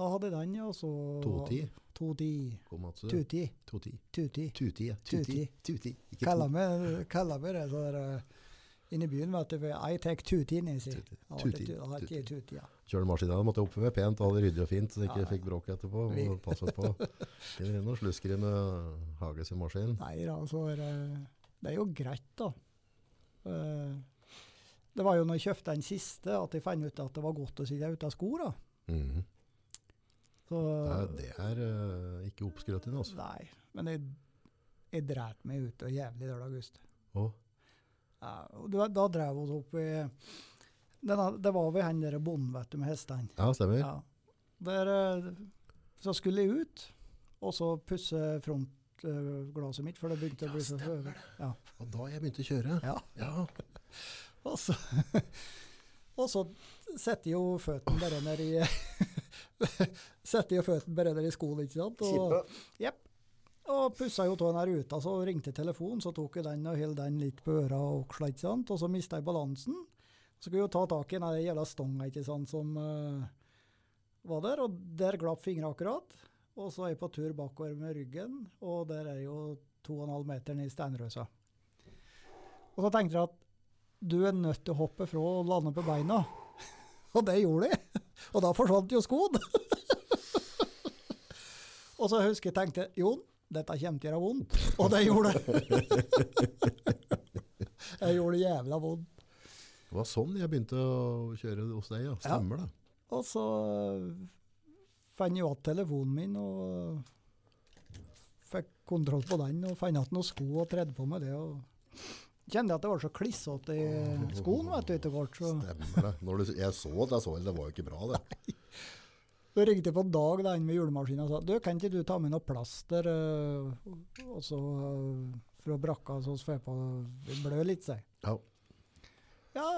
S2: Da hadde jeg den, ja. og Så
S1: 210.
S2: 210.
S1: Komatsund.
S2: 210.
S1: 210.
S2: 210.
S1: 210. ja. 210. 210. Ikke
S2: Kaller meg kaller meg det så der eh, inne i byen, vet du. for I take 210, jeg sier.
S1: 210.
S2: Ja,
S1: 210,
S2: det- ja, det er 210, ja.
S1: Kjørte maskina, da måtte jeg oppføre meg pent og ha det ryddig og fint, så jeg ikke
S2: Ja, ja.
S1: fikk bråk etterpå.
S2: Vi-
S1: Og passet på. Finner inn noen slusker i med Hage sin maskin.
S2: Nei da, så er det, det er jo greit, da. Eh, Det var jo når jeg kjøpte den siste, at jeg fant ut at det var godt å sitte ute av sko, da.
S1: Mhm.
S2: Så,
S1: Det er, det er eh, ikke oppskrøtende, altså.
S2: Nei, men jeg, jeg dreit meg ut og jævlig der, August.
S1: Å,
S2: Ja, og da, da drev vi opp i denne, Det var ved han der bonden, vet du, med hestene.
S1: Ja, stemmer.
S2: Ja. Der, eh, så skulle jeg ut, og så pusse frontglasset mitt, for det begynte å bli så høyt. Ja.
S1: Og da jeg begynte å kjøre.
S2: Ja.
S1: Ja.
S2: Og så, og så setter jo føtten bare ned i Setter jo føtten bare ned i skoen, ikke sant? Og, Jepp. Og pussa jo av den her ruta, så ringte telefonen, så tok jeg den og holdt den litt på øra og oksla, ikke sant? Og så mista jeg balansen. Så skulle jeg jo ta tak i den her jævla stonga, ikke sant, som eh, var der, og der glapp fingra akkurat. Og så er jeg på tur bakover med ryggen, og der er jo 2,5 meter ned i steinrøsa. Og så tenkte jeg at du er nødt til å hoppe fra og lande på beina. Og det gjorde jeg. Og da forsvant jo skoen. og så husker jeg tenkte Jon, dette kommer til å gjøre vondt. Og det gjorde det. jeg gjorde det jævla vondt.
S1: Det var sånn jeg begynte å kjøre hos deg, ja. Stemmer det.
S2: Og eh, så fant jeg igjen telefonen min og eh, fikk kontroll på den og fant igjen noen sko og tredde på med det. og Kjente at det var så klissete i skoen vet du, etter hvert. Så
S1: Stemmer det. Når du, jeg så det, jeg så det, det var jo ikke bra det.
S2: så ringte jeg på Dag da han med julemaskinen og sa du, kan ikke du ta med noe plaster eh, og så eh, fra brakka så får jeg på det blør litt, sier jeg.
S1: Ja,
S2: Ja,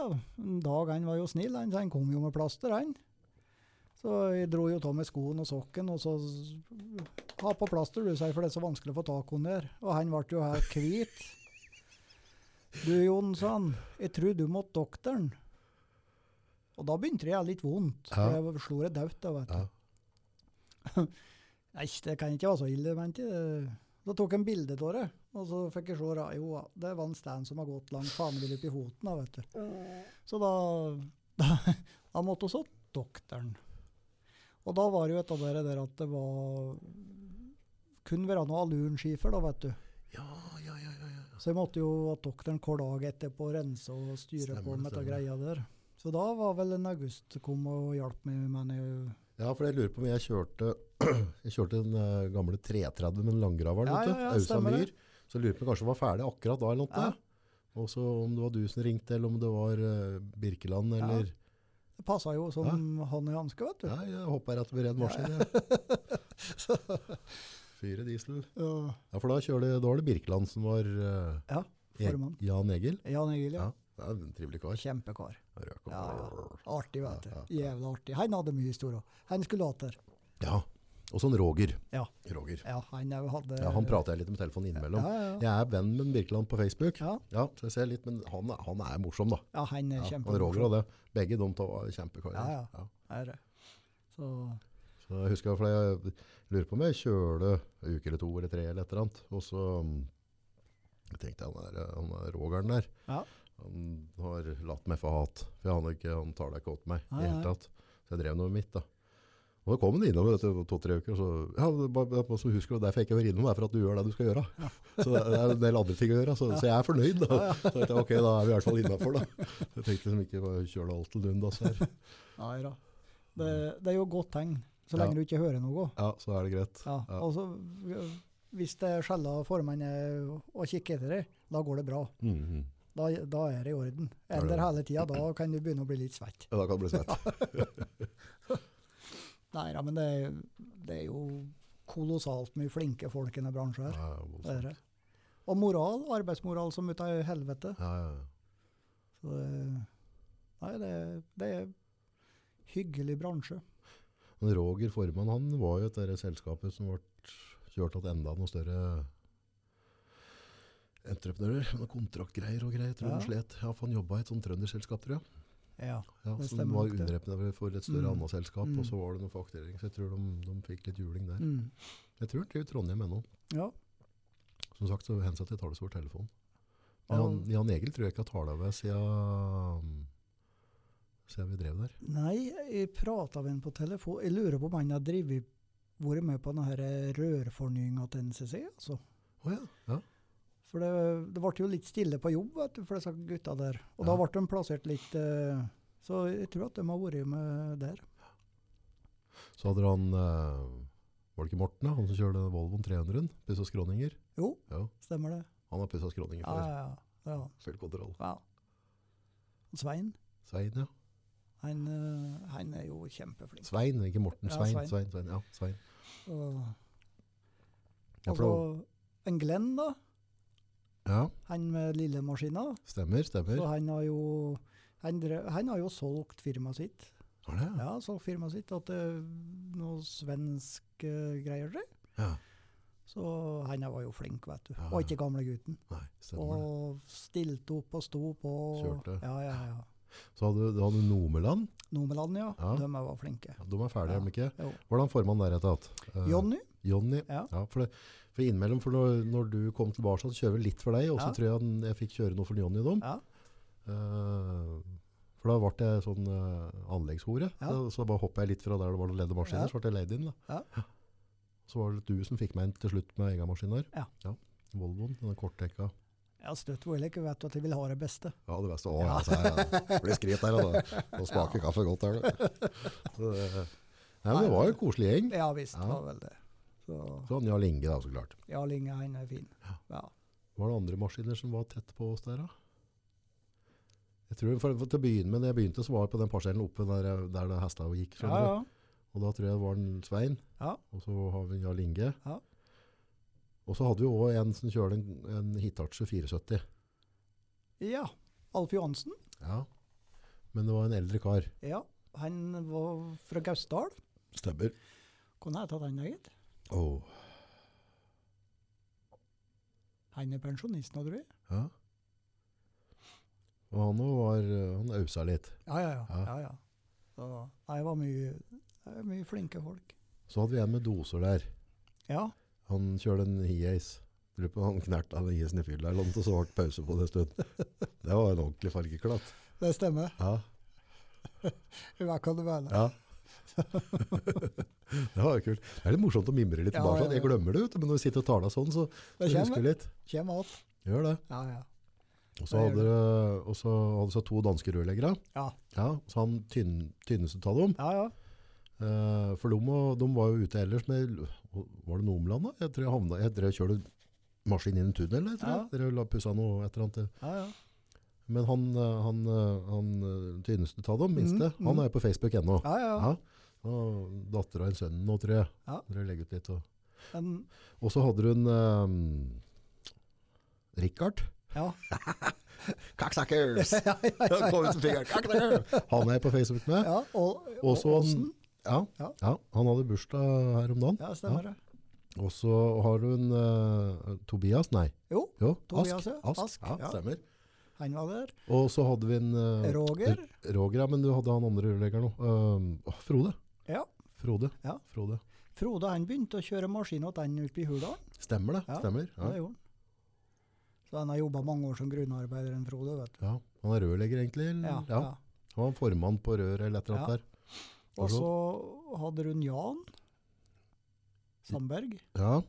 S2: Dag han var jo snill, han, så han kom jo med plaster, han. Så jeg dro jo av meg skoen og sokken, og så s- Ha på plaster, du, sier, for det er så vanskelig å få tak under. Og han ble jo helt hvit. Du, Jon, sa han, jeg tror du måtte doktoren. Og da begynte det å gjøre litt vondt.
S1: Ja.
S2: For jeg slo det daut, da, vet du.
S1: ja.
S2: Nei, det kan ikke være så ille, men ikke. Da tok jeg en bilde av det, og så fikk jeg se da, jo, det var en stand som har gått langt fanevill opp i foten. Da, vet du. Så da, da, da måtte vi til doktoren. Og da var det jo et av det der at det var kun være noe alunskifer, da, vet du.
S1: Ja, ja, ja, ja, ja.
S2: Så jeg måtte jo at doktoren hver dag etterpå rense og styre
S1: Stemmer
S2: på
S1: det,
S2: med det
S1: stemmer.
S2: greia der. Så da var vel en august kom og hjalp meg med den.
S1: Ja, for jeg lurer på om jeg kjørte, jeg kjørte den eh, gamle 330 med den langgraveren,
S2: Ja,
S1: vet du,
S2: ja, ja,
S1: Ausa
S2: stemmer det.
S1: Myhr. Så jeg lurer på om jeg kanskje var ferdig akkurat da eller noe.
S2: Ja.
S1: Og så om det var du som ringte, eller om det var eh, Birkeland, eller...
S2: Det passa jo som hånd i hanske, vet du.
S1: Ja, jeg hoppa rett ved ren maskin. Ja. Fyre diesel.
S2: Ja.
S1: Ja, for da kjører det, da var det Birkeland som var eh,
S2: Ja,
S1: E-
S2: formann.
S1: Jan Egil.
S2: Jan Egil, ja.
S1: Ja, det er en trivelig kar.
S2: Kjempekar.
S1: Røk og-
S2: Ja, ja. Artig, vet du.
S1: Ja, ja,
S2: Jævla artig. Han hadde mye historier. Han skulle ha til.
S1: ja. Og sånn Roger.
S2: Ja.
S1: Roger.
S2: ja, han jo hadde
S1: Ja, han prater jeg litt med telefonen innimellom.
S2: Ja, ja, ja.
S1: Jeg er venn med Birkeland på Facebook.
S2: Ja.
S1: så jeg ser litt, men han, er- han er morsom, da.
S2: Ja, han er
S1: Ja, og
S2: kjempe...
S1: Roger og det. Begge de to var kjempekarer.
S2: Ja, ja. Er det. Så,
S1: Så jeg husker for jeg lurer på om jeg kjører det en uke eller to eller tre eller et eller annet. Og så mm, jeg tenkte jeg, han, der, han der Rogeren der,
S2: ja.
S1: han har latt meg få hat. For han, har ikke, han tar det ikke åt meg i
S2: Nei,
S1: hele
S2: nei.
S1: tatt. Så jeg drev noe mitt da. Og da kom han innom etter to-tre uker, og så, ja, det bare- bare så husker du, derfor jeg ikke var innom, det er for at du gjør det du skal gjøre. Så det er en del andre ting å gjøre, så, så jeg er fornøyd da. Så tenkte jeg, ok, da er vi i hvert fall innenfor da. Så jeg tenkte liksom ikke bare kjøre det alt til Lund, altså her.
S2: Nei da. Det, det er jo et godt tegn, så
S1: Ja.
S2: lenge du ikke hører noe.
S1: Ja, så er det greit.
S2: Ja.
S1: Ja.
S2: Og så, hvis det skjella formann er og kikker etter deg, da går det bra.
S1: Mhm.
S2: Da, da er det i orden.
S1: er det.
S2: Eller hele tida, da kan du begynne å bli litt svett.
S1: Ja, da kan det bli svett.
S2: Nei da, men det, er- det er jo kolossalt mye flinke folk i denne bransjen her.
S1: Ja, voldsomt.
S2: Det er det. Og moral, arbeidsmoral som ut av helvete.
S1: Ja, ja, ja.
S2: Så det, nei, det, det er hyggelig bransje.
S1: Men Roger Formann han var jo et der selskapet som ble kjørt til enda noen større entreprenører. Noen kontraktgreier og greier. Tror
S2: Ja.
S1: ja. slet. Ja, for han jobba i et sånt trønderselskap, tror jeg.
S2: Ja.
S1: Ja,
S2: Det
S1: som
S2: stemmer
S1: var
S2: nok det.
S1: underentreprenør for et større
S2: Mm.
S1: annet selskap.
S2: Mm.
S1: Og så var det noen fakturering, så jeg tror de, de fikk litt juling der.
S2: Mm.
S1: Jeg tror han driver Trondheim ennå.
S2: ja.
S1: Som sagt så hensatte jeg tar det så over telefon. Men
S2: Og-
S1: Jan, Jan Egil tror jeg ikke har tala med siden, siden vi drev der.
S2: Nei, jeg prata med han på telefon. Jeg lurer på om han har drevet, vært med på denne rørfornyinga til NCC. altså.
S1: Å ja. ja.
S2: For det, det ble jo litt stille på jobb vet du, for disse gutta der. Og da
S1: Ja.
S2: ble de plassert litt eh, Så jeg tror at de har vært med der.
S1: Så hadde han eh, Var det ikke Morten, da? han som kjørte Volvoen 300-en? Pussa skråninger?
S2: Jo,
S1: Ja,
S2: stemmer det.
S1: han har pussa skråninger
S2: Ja,
S1: før.
S2: ja, Ah, ja. ja.
S1: Full kontroll.
S2: ja. Svein,
S1: Svein, ja.
S2: han, eh, han er jo kjempeflink.
S1: Svein, ikke Morten.
S2: Ja,
S1: Svein, Svein,
S2: Svein.
S1: Svein. Ja, Svein.
S2: Og
S1: Ja,
S2: Og
S1: for
S2: så
S1: det-
S2: en Glenn, da.
S1: ja
S2: Han med lille maskina.
S1: stemmer,
S2: Så
S1: stemmer.
S2: han har jo, han drev, han har jo solgt firmaet sitt.
S1: Har det, ja.
S2: Ja, solgt firmaet sitt til noe svensk eh, greier. det.
S1: ja.
S2: Så han var jo flink, vet du.
S1: Ja,
S2: Og
S1: ja.
S2: ikke gamle gutten.
S1: Nei, stemmer det.
S2: Og stilte opp og sto på.
S1: Kjørte.
S2: Ja, ja, ja.
S1: Så hadde du hadde Nomeland.
S2: Nomeland, ja.
S1: Ja.
S2: De var flinke.
S1: Ja, de er ferdige, er de ikke?
S2: Jo.
S1: Hvordan formann der etter hatt? Eh,
S2: Jonny?
S1: Jonny.
S2: Ja.
S1: Ja, for, det, for innimellom, for når, når du kom tilbake, så kjører vi litt for deg, og så
S2: Ja.
S1: tror jeg han- jeg fikk kjøre noe for Jonny dem.
S2: Ja.
S1: Eh, For da ble jeg sånn eh, anleggshore.
S2: Ja.
S1: Så, så bare hoppet jeg litt fra der det var noen ledde maskiner,
S2: Ja.
S1: så ble jeg leid inn. Da.
S2: Ja.
S1: Så var det du som fikk meg inn til slutt med egen maskin her.
S2: Ja.
S1: Volvoen, den kortdekka.
S2: Jeg har støtt hvor jeg ikke vet at jeg vil ha det beste.
S1: Ja, det beste. Å, ja, så er jeg blir skrit her, og da. Nå smaker kaffe godt her. da. Så det- Nei, eh, men det var jo en koselig gjeng.
S2: Ja visst,
S1: Ja.
S2: det var vel det. Så
S1: Sånn, Jarl Inge da, så klart.
S2: Jarl Inge, han er fin. Ja.
S1: Var det andre maskiner som var tett på oss der da? Jeg tror, for, for til å begynne med, når jeg begynte, så var jeg på den parsellen oppe der, der det hesta gikk.
S2: Ja,
S1: skjønner du.
S2: ja.
S1: Og da tror jeg det var en Svein,
S2: Ja.
S1: og så har vi Jarl Inge.
S2: Ja.
S1: Og så hadde vi også en som kjørte en, en Hitachi 470.
S2: ja. Alf Johansen.
S1: Ja. Men det var en eldre kar.
S2: Ja. Han var fra Gausdal.
S1: Stemmer.
S2: Hvordan het han da, gitt?
S1: Åh,
S2: Han er pensjonist nå, tror jeg.
S1: ja. Og han også var, eh, han ausa litt.
S2: Ja, ja, ja.
S1: Ja.
S2: ja, ja. Så, nei, det var mye, det er mye flinke folk.
S1: Så hadde vi en med doser der.
S2: Ja.
S1: Han kjørte en hiace. Lurer på om han knerte av den hiacen i fyll der, og så ble det pause på det en stund. Det var en ordentlig fargeklatt.
S2: Det stemmer.
S1: Ja,
S2: Hva kan du mene?
S1: ja. Det var kult. Det er litt morsomt å mimre litt
S2: Ja,
S1: tilbake.
S2: ja, ja.
S1: Jeg glemmer det, vet du, men når vi sitter og tar det sånn, så så
S2: Det
S1: husker
S2: kommer,
S1: vi litt.
S2: kommer alt.
S1: Gjør det.
S2: Ja, ja.
S1: Og så
S2: Det gjør
S1: hadde det- og så hadde vi to danske rørleggere.
S2: Ja,
S1: Ja, så han tynn, tynneste av dem.
S2: ja. ja.
S1: Eh, for de, må- de var jo ute ellers med Var det Nomland, da? Jeg tror jeg havna Jeg drev kjørte maskin inn i en tunnel, jeg tror jeg.
S2: Ja.
S1: Drev og pussa noe et eller annet.
S2: ja, ja.
S1: Men han, eh, han, eh, han eh, tynneste av dem, minste,
S2: Mm, mm.
S1: han er jo på Facebook ennå.
S2: ja, ja.
S1: Ja. Og datter av en sønn nå, tror jeg.
S2: Ja.
S1: Dere legger ut litt. Og,
S2: Men,
S1: og så hadde hun eh, Richard.
S2: ja.
S1: Cocksuckers!
S2: ja, ja,
S1: Han kom ut med fingeren. Cocksucker! Han er jeg på Facebook med.
S2: ja. Og, og,
S1: Og så han,
S2: Åsen.
S1: ja, ja.
S2: Ja.
S1: han hadde bursdag her om dagen.
S2: Ja, stemmer det.
S1: Og så har hun eh, Tobias, nei.
S2: Jo,
S1: Jo,
S2: Tobias,
S1: Ask.
S2: ja.
S1: Ask.
S2: Ask,
S1: Ja,
S2: ja.
S1: stemmer.
S2: han var der.
S1: Og så hadde vi en eh,
S2: Roger.
S1: Roger, ja, men du hadde han andre rørleggeren òg. Uh, Frode.
S2: Ja.
S1: Frode.
S2: Ja.
S1: Frode.
S2: Frode han begynte å kjøre maskin åt han oppe i Hurdal.
S1: Stemmer det?
S2: Ja.
S1: Stemmer.
S2: Ja. Det
S1: Ja.
S2: gjorde han. Så han har jobba mange år som grunnarbeider, en Frode. vet du.
S1: ja. Han er rørlegger, egentlig? eller?
S2: Ja,
S1: ja.
S2: ja.
S1: Han var formann på rør eller et eller
S2: Ja.
S1: annet
S2: Og så hadde hun Jan Sandberg.
S1: der. Ja.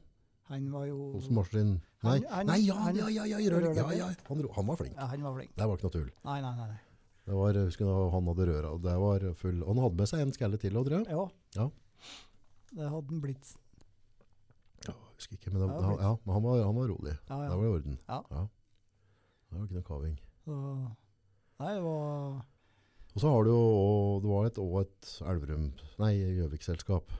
S2: Han var jo
S1: Hos Martin Nei,
S2: Han- han-
S1: nei ja,
S2: han-
S1: ja, ja, ja, i rørlegger.
S2: rørlegger.
S1: ja, ja. Han, ro- han var flink.
S2: ja, Han var flink.
S1: Det var ikke noe tull.
S2: Nei, nei, nei. nei.
S1: Det var, jeg husker da han hadde røra, og det var full. Og han hadde med seg en skalle til, og tror jeg.
S2: Ja.
S1: Ja.
S2: Det hadde han blitt.
S1: Ja, jeg husker ikke, men, det,
S2: Ja,
S1: han- ja, men han, var, han var rolig.
S2: Ja,
S1: Det
S2: ja.
S1: var i orden.
S2: Ja.
S1: Det var ikke noe kaving.
S2: Så, nei, det var
S1: Og så har du jo, og det var et, og et Elverum, nei, Gjøvik-selskap.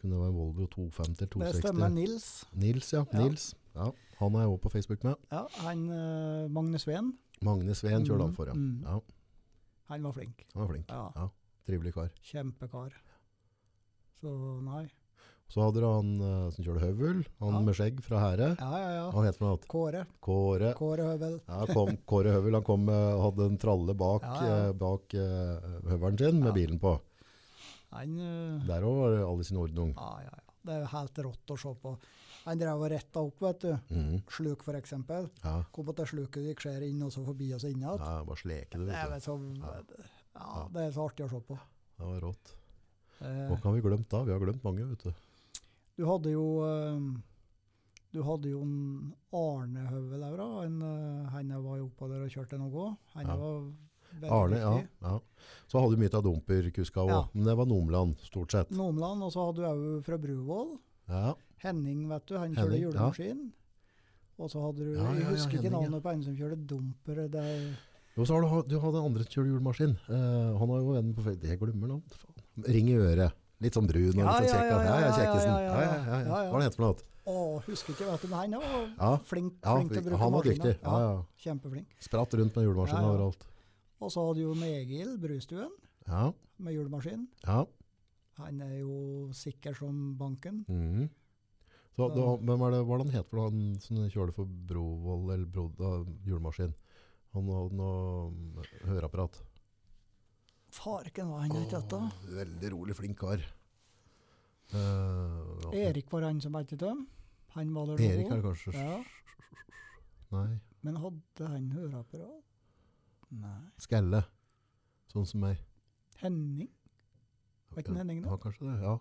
S1: Kunne det være en Volvo 250
S2: Det stemmer,
S1: 260.
S2: Nils.
S1: Nils, ja.
S2: Ja.
S1: Nils. Ja, han er jeg også på Facebook med.
S2: Ja, han, eh, Magne Sveen,
S1: Magne Sveen kjørte han for, ja.
S2: Mm, mm.
S1: ja.
S2: han var flink.
S1: Han var flink.
S2: Ja,
S1: Trivelig kar.
S2: Kjempekar. Så nei.
S1: Så hadde du han eh, som kjørte høvel, han
S2: Ja.
S1: med skjegg fra Hære.
S2: Ja, ja, ja.
S1: Han het for noe annet.
S2: Kåre.
S1: Kåre.
S2: Kåre Høvel.
S1: Ja, kom, Kåre Høvel, han kom, eh, hadde en tralle bak,
S2: Ja, ja.
S1: eh, bak eh, høvelen sin med
S2: Ja.
S1: bilen på.
S2: Han eh,
S1: Der også var det alle sin ordnung.
S2: Ja, ja, ja. Det er jo helt rått å se på. Han drev og retta opp, vet du.
S1: Mhm.
S2: Sluk, for eksempel.
S1: Ja,
S2: Kom på til sluket, gikk skjær inn, og så forbi og så inn igjen.
S1: ja, bare sleke det,
S2: Det
S1: vet
S2: er
S1: du.
S2: vel så, ja, det er så artig å se på.
S1: Det var rått. Hva
S2: Eh,
S1: kan vi glemt da? Vi har glemt mange, vet du.
S2: du hadde jo eh, Du hadde jo en Arne Høvel der òg. Han eh, var jo oppå der og kjørte noe òg. Han
S1: Ja.
S2: var veldig
S1: Arne, ja.
S2: dyktig.
S1: ja. Så hadde vi mye av dumperkuska også,
S2: Ja.
S1: men det var Nomland, stort sett.
S2: Nomland, og så hadde du òg fra Bruvoll.
S1: Ja,
S2: Henning, vet du, han
S1: Henning,
S2: kjørte
S1: ja.
S2: julemaskin. Og så hadde du
S1: Ja, ja, ja,
S2: Jeg husker ikke
S1: Henning, ja.
S2: navnet på en som kjørte dumper. Det er,
S1: Jo, så har du, du hadde en andre som kjørte hjulmaskin. Eh, han har jo venn på Facebook. Det glemmer han. Faen. Ring i øret. Litt sånn brun og
S2: Ja,
S1: litt sånn
S2: ja,
S1: kjekk. Ja, ja, ja, kjekkesen. Ja, ja, ja.
S2: ja, ja.
S1: Hva er det hett for noe?
S2: å, husker ikke, vet du, men han var
S1: Ja.
S2: flink,
S1: Ja,
S2: flink til å bruke
S1: han var
S2: maskiner.
S1: dyktig. Ja, ja.
S2: Kjempeflink.
S1: Spratt rundt med hjulmaskinen
S2: Ja, ja.
S1: overalt.
S2: Og så hadde du jo med Egil Brustuen
S1: Ja,
S2: med julemaskin.
S1: ja.
S2: Han er jo sikker som banken.
S1: Mhm. Så, da, hvem er det, hva er det han het for noe? Han som kjørte for Brovold eller Broda hjulmaskin? Han hadde noe mm, høreapparat.
S2: Farken var han het dette.
S1: Åh, Veldig rolig, flink kar. Eh, ja.
S2: Erik var han som het det. Han var der
S1: Erik er
S2: nå.
S1: det kanskje?
S2: Ja.
S1: Nei.
S2: Men hadde han høreapparat? Nei.
S1: Skalle. Sånn som meg.
S2: Henning? Var ikke den Henning, da?
S1: Ja, kanskje det. Ja.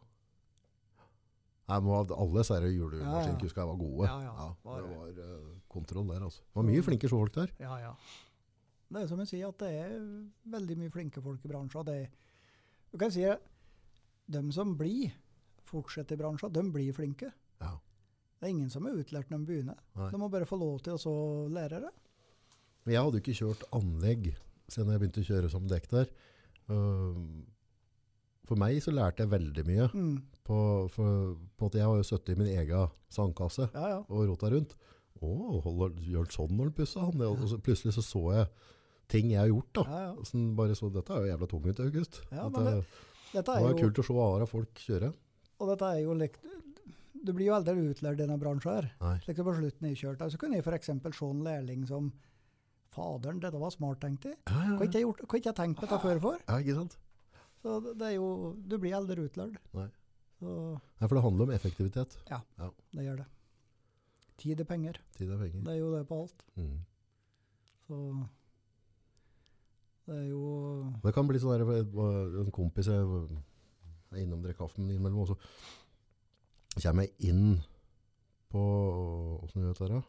S1: Nei, men hva- alle disse
S2: Ja, ja.
S1: hjulmaskinkuska var gode.
S2: Ja, ja, var
S1: det
S2: det.
S1: var eh, kontroll der, altså. Det var mye flinke sjåfolk der.
S2: Ja, ja. Det er som jeg sier, at det er veldig mye flinke folk i bransjen. Det er, du kan si at de som blir fortsetter i bransjen, de blir flinke.
S1: Ja.
S2: Det er ingen som er utlært når de begynner.
S1: Nei.
S2: De må bare få lov til å så lære det.
S1: Men jeg hadde jo ikke kjørt anlegg siden jeg begynte å kjøre som dekter. Ehm, For meg så lærte jeg veldig mye
S2: Mm.
S1: på, for, på at jeg var jo 70 i min egen sandkasse
S2: Ja, ja.
S1: og rota rundt. Å, holder, gjør han sånn når han pusser han? Og så plutselig så, så jeg ting jeg har gjort da.
S2: ja, ja.
S1: Sånn bare så, dette er jo jævla tung ut, August.
S2: Ja, men
S1: dette,
S2: Dette
S1: det
S2: er
S1: var
S2: jo,
S1: kult å se andre folk kjøre.
S2: og dette er jo likt, Du blir jo aldri utlært i denne bransjen her.
S1: Nei.
S2: Slik det på slutten jeg kjørte, så kunne jeg f.eks. se en lærling som Faderen, dette var smart, tenkte jeg.
S1: Ja, ja,
S2: Hva ikke jeg gjort- hva ikke jeg tenkt på dette før for?
S1: ja, ikke sant?
S2: Så det det er jo, Du blir aldri utlært.
S1: Nei.
S2: Så
S1: Nei, for det handler om effektivitet.
S2: det gjør det. Tid er penger.
S1: Tid er penger.
S2: Det er jo det på alt.
S1: Mm.
S2: Så det er jo
S1: Det kan bli sånn der, for jeg var- en kompis jeg var er innom og drikker kaffe med innimellom, og så kommer jeg inn på Åssen gjør jeg dette? her, da?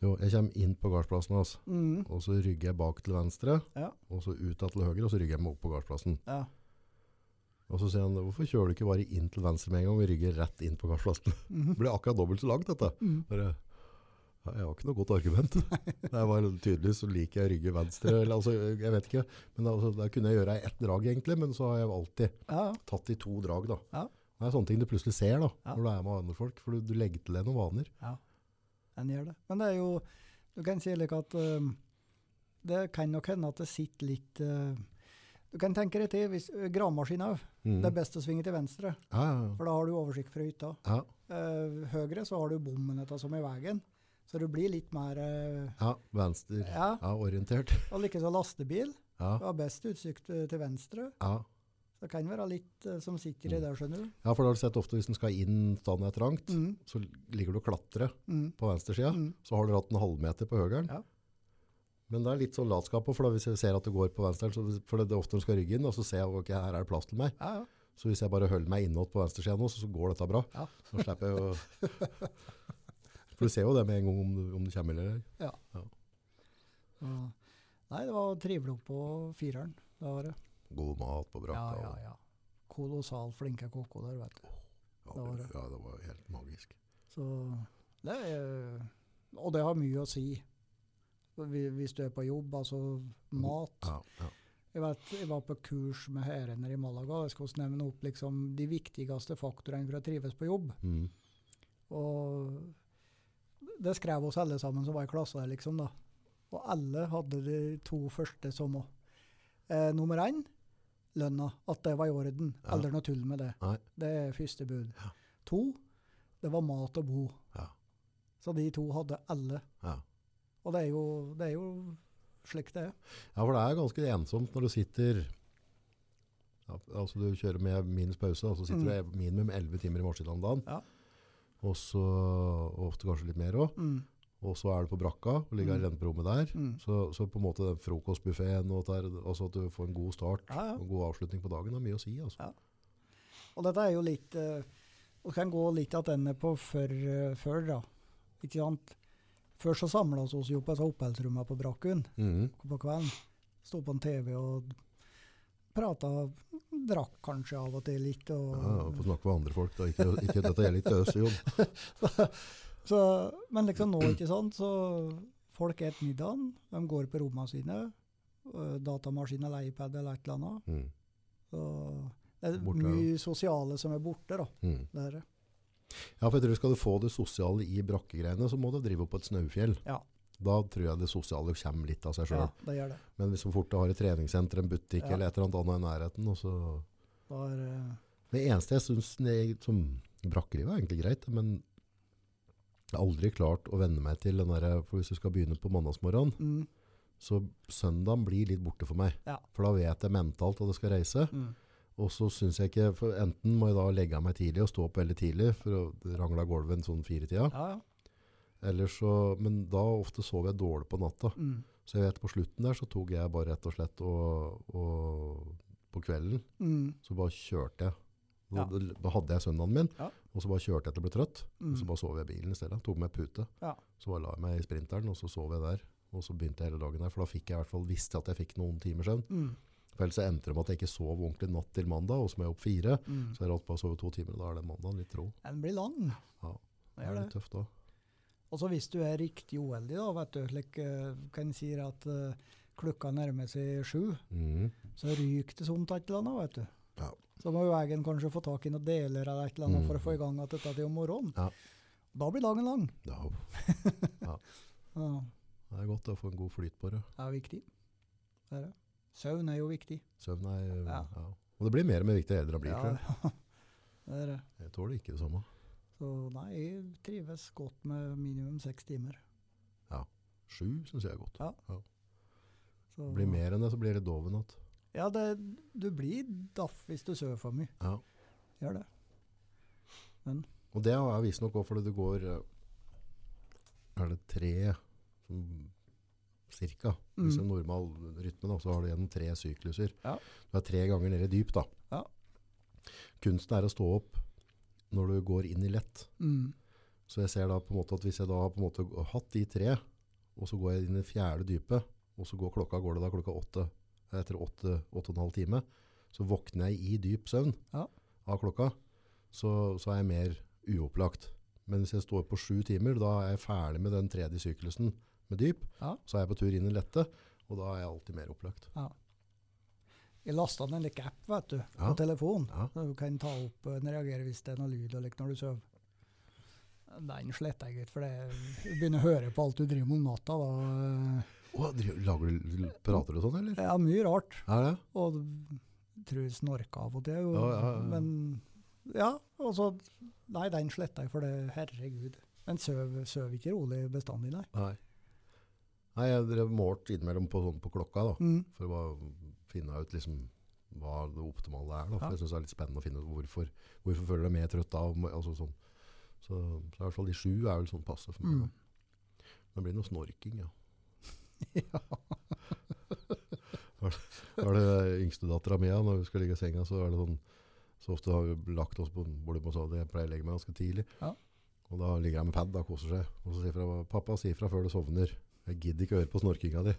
S1: Jo, jeg kommer inn på gardsplassen hans,
S2: mm,
S1: og så rygger jeg bak til venstre,
S2: Ja.
S1: og så ut til høyre, og så rygger jeg meg opp på gardsplassen.
S2: Ja.
S1: Og så sier han hvorfor kjører du ikke bare inn til venstre med en gang og rygger rett inn på gardsplassen? Det
S2: Mhm.
S1: blir akkurat dobbelt så langt, dette.
S2: Mm.
S1: Bare, ja, jeg har ikke noe godt argument. Det var tydelig så liker jeg rygge venstre. Eller, altså, jeg vet ikke, men altså, det kunne jeg gjøre i ett drag egentlig, men så har jeg alltid
S2: Ja, ja.
S1: tatt i to drag da.
S2: Ja.
S1: Det er sånne ting du plutselig ser da,
S2: Ja.
S1: når du er med andre folk, for du, du legger til deg noen vaner.
S2: Ja, en gjør det. Men det er jo Du kan si like at um, det kan nok hende at det sitter litt uh, Du kan tenke deg til hvis uh, gravemaskina òg.
S1: Mm.
S2: Det er best å svinge til venstre,
S1: Ja, ja, ja.
S2: for da har du oversikt fra hytta.
S1: ja.
S2: Uh, høyre så har du bommen etter som i veien, så du blir litt mer uh,
S1: ja venstre. Ja.
S2: Ja,
S1: orientert.
S2: og likeså lastebil.
S1: Ja,
S2: Du har best utsikt uh, til venstre.
S1: ja.
S2: Så det kan være litt uh, som sitter i der, skjønner du.
S1: Ja, for da har du sett ofte hvis den skal inn stedet er trangt,
S2: Mm,
S1: så ligger du og klatrer
S2: mm,
S1: på venstre sida,
S2: Mm.
S1: så har du hatt en halvmeter på høyeren.
S2: Ja.
S1: Men det er litt sånn latskap, også, for da hvis jeg ser at det går på venstre, så- for det er ofte de skal rygge inn, og så ser jeg ok, her er det plass til meg.
S2: ja, ja.
S1: Så hvis jeg bare holder meg innåt på venstre sida nå, så, så går dette bra.
S2: Ja.
S1: Så slipper jeg å... For du ser jo det med en gang om du, om du kommer eller ei.
S2: Så, nei, det var trivelig på fireren. Det var det.
S1: God mat på brakka.
S2: Ja, ja, ja. Kolossalt flinke kokker der, vet du.
S1: og-
S2: det var det.
S1: ja, det var helt magisk.
S2: Så det er, og det har mye å si Hvi- hvis du er på jobb. Altså mat.
S1: Ja, ja.
S2: Jeg, vet, jeg var på kurs med herrener i Malaga. Jeg skal også nevne opp liksom, de viktigste faktorene for å trives på jobb.
S1: Mm.
S2: Og det skrev oss alle sammen som var i klassen der, liksom. da. Og alle hadde de to første som òg. Eh, nummer én lønna. At det var i orden.
S1: Ja.
S2: Aldri noe tull med det.
S1: Nei.
S2: Det er første bud. To, det var mat og bo.
S1: Ja,
S2: Så de to hadde alle.
S1: ja.
S2: Og det er jo, det er jo slik det er.
S1: Ja, for det er ganske ensomt når du sitter ja, Altså du kjører med minus pause, og så sitter du minimum 11 timer i maskinen om dagen.
S2: Mm. Ja.
S1: Og så og ofte kanskje litt mer òg.
S2: Mm.
S1: Og så er du på brakka og ligger
S2: Mm.
S1: alene på rommet der.
S2: Mm.
S1: Så, så på en måte den frokostbuffeen og der, altså at du får en god start
S2: Ja, ja.
S1: og en god avslutning på dagen, har mye å si. altså.
S2: Ja. Og dette er jo litt eh, Vi kan gå litt tilbake på før, eh, før, da. Ikke sant? Før så samla vi oss jo på disse oppholdsrommene på Brakkun
S1: Mhm.
S2: på kvelden. Sto på en TV og prata. Drakk kanskje av og til litt. Og,
S1: Ja, og Få snakke med andre folk. da. Ikke, ikke dette gjelder ikke oss, Jon.
S2: Så, men liksom nå, ikke sant, så folk et middagen, de går på rommene sine, øh, datamaskin eller iPad eller et eller annet.
S1: Mm.
S2: Så det er
S1: Borte,
S2: mye sosiale som er borte, da.
S1: Mm.
S2: Det er det.
S1: Ja, for jeg tror Skal du få det sosiale i brakkegreiene, så må du drive opp på et snaufjell.
S2: Ja,
S1: Da tror jeg det sosiale kommer litt av seg sjøl.
S2: ja, det gjør det.
S1: Men hvis så fort du har et treningssenter, en butikk
S2: Ja.
S1: eller et eller annet annet i nærheten, og så...
S2: Da er, øh,
S1: Det eneste jeg synes det- som brakkelivet er egentlig greit, men jeg har aldri klart å vende meg til den der, for hvis du skal begynne på mandagsmorgen,
S2: mm,
S1: så søndagen blir litt borte for meg.
S2: Ja.
S1: For da vet jeg mentalt at jeg skal reise,
S2: mm,
S1: og så synes jeg ikke, for enten må jeg da legge meg tidlig og stå opp veldig tidlig for å rangle av gulvet en sånn fire tida,
S2: ja, ja.
S1: Eller så, men da ofte sover jeg dårlig på natta.
S2: Mm,
S1: Så jeg vet på slutten der så tok jeg bare rett og slett og, og på kvelden
S2: mm,
S1: så bare kjørte jeg. Da,
S2: Ja.
S1: da hadde jeg søndagen min,
S2: Ja.
S1: og så bare kjørte jeg til jeg ble trøtt.
S2: mm.
S1: Og så bare sov jeg i bilen i stedet. Tok med pute.
S2: Ja.
S1: Så bare la jeg meg i sprinteren, og så sov jeg der. Og så begynte jeg hele dagen der, for da fikk jeg i hvert fall visst at jeg fikk noen timer søvn.
S2: Mm,
S1: For kveld så endte det med at jeg ikke sov ordentlig natt til mandag, og så må jeg opp fire.
S2: Mm.
S1: Så jeg holdt på å sove to timer, og da er den mandagen litt rå.
S2: Den blir lang.
S1: Ja, det
S2: Det
S1: er
S2: gjør
S1: litt
S2: det.
S1: tøft da.
S2: Og så hvis du er riktig uheldig, da, vet du, slik eh, kan si at eh, klokka nærmer seg sju,
S1: Mhm.
S2: så ryker det sånt et eller annet, vet du.
S1: Ja.
S2: Så må jo egen kanskje få tak i noen deler av et eller annet for å få i gang at dette til om morgenen.
S1: Mm. Ja.
S2: Da blir dagen lang.
S1: Ja, uff.
S2: Ja,
S1: det er godt å få en god flyt på det.
S2: det er viktig. Det er det. Søvn er jo viktig.
S1: Søvn er ja.
S2: Ja.
S1: Og det blir mer og mer viktig eldre blir, tror jeg.
S2: Ja, det er det.
S1: Jeg tåler ikke det samme.
S2: Så nei, jeg trives godt med minimum seks timer.
S1: Sju syns jeg er godt.
S2: Ja. Så,
S1: Blir mer enn det, så blir det doven igjen.
S2: Ja, det, du blir daff hvis du sover for mye.
S1: Ja.
S2: Gjør det.
S1: Og det er visstnok òg fordi det går eh, Er det tre sånn, Cirka. Hvis
S2: Mm.
S1: en normal rytme, da, så har du gjennom tre sykluser.
S2: Ja.
S1: Du er tre ganger nede i dyp, da.
S2: Ja.
S1: Kunsten er å stå opp når du går inn i lett.
S2: Mm.
S1: Så jeg ser da på en måte at hvis jeg da har på en måte g- hatt de tre, og så går jeg inn i det fjerde dypet, og så går klokka, går det da klokka åtte, etter åtte, åtte og en halv time, så våkner jeg i dyp søvn
S2: Ja.
S1: av klokka, så, så er jeg mer uopplagt. Men hvis jeg står på sju timer, da er jeg ferdig med den tredje syklusen med dyp,
S2: Ja.
S1: så er jeg på tur inn i lette, og da er jeg alltid mer opplagt.
S2: Ja. Jeg lasta ned en liten app vet du, på
S1: Ja.
S2: telefon.
S1: Ja.
S2: Så du kan ta opp eh, den reagerer hvis det er noe lyd og likt når du sover. Den sletter jeg ut, for det, du begynner å høre på alt du driver med om natta. Da.
S1: Å, driver- lager du, prater du sånn, eller?
S2: Det er mye rart.
S1: Er det?
S2: Og jeg tror jeg snorker av og til. Og,
S1: Ja, ja, ja.
S2: Men ja, og så Nei, den sletter jeg, for det herregud. Den sover sover ikke rolig bestandig, nei.
S1: Nei. Nei, jeg drev målt innimellom på, sånn på klokka, da.
S2: Mm.
S1: for å bare finne ut liksom, hva det optimale er. Da. For
S2: Ja.
S1: Jeg synes det er litt spennende å finne ut hvorfor, hvorfor føler du deg mer trøtt av. Altså, sånn. Så, så i hvert fall de sju er vel sånn passe for meg.
S2: Mm.
S1: Da. Men det blir noe snorking, ja. Var det, var det yngste dattera mi, ja, når vi skal ligge i senga, så er det sånn så ofte har vi lagt oss på bordet på sånn, jeg pleier å legge meg ganske tidlig.
S2: Ja.
S1: Og da ligger jeg med pad, da koser seg. Og så sier fra, pappa, si fra før du sovner. Jeg gidder ikke å høre på snorkinga di.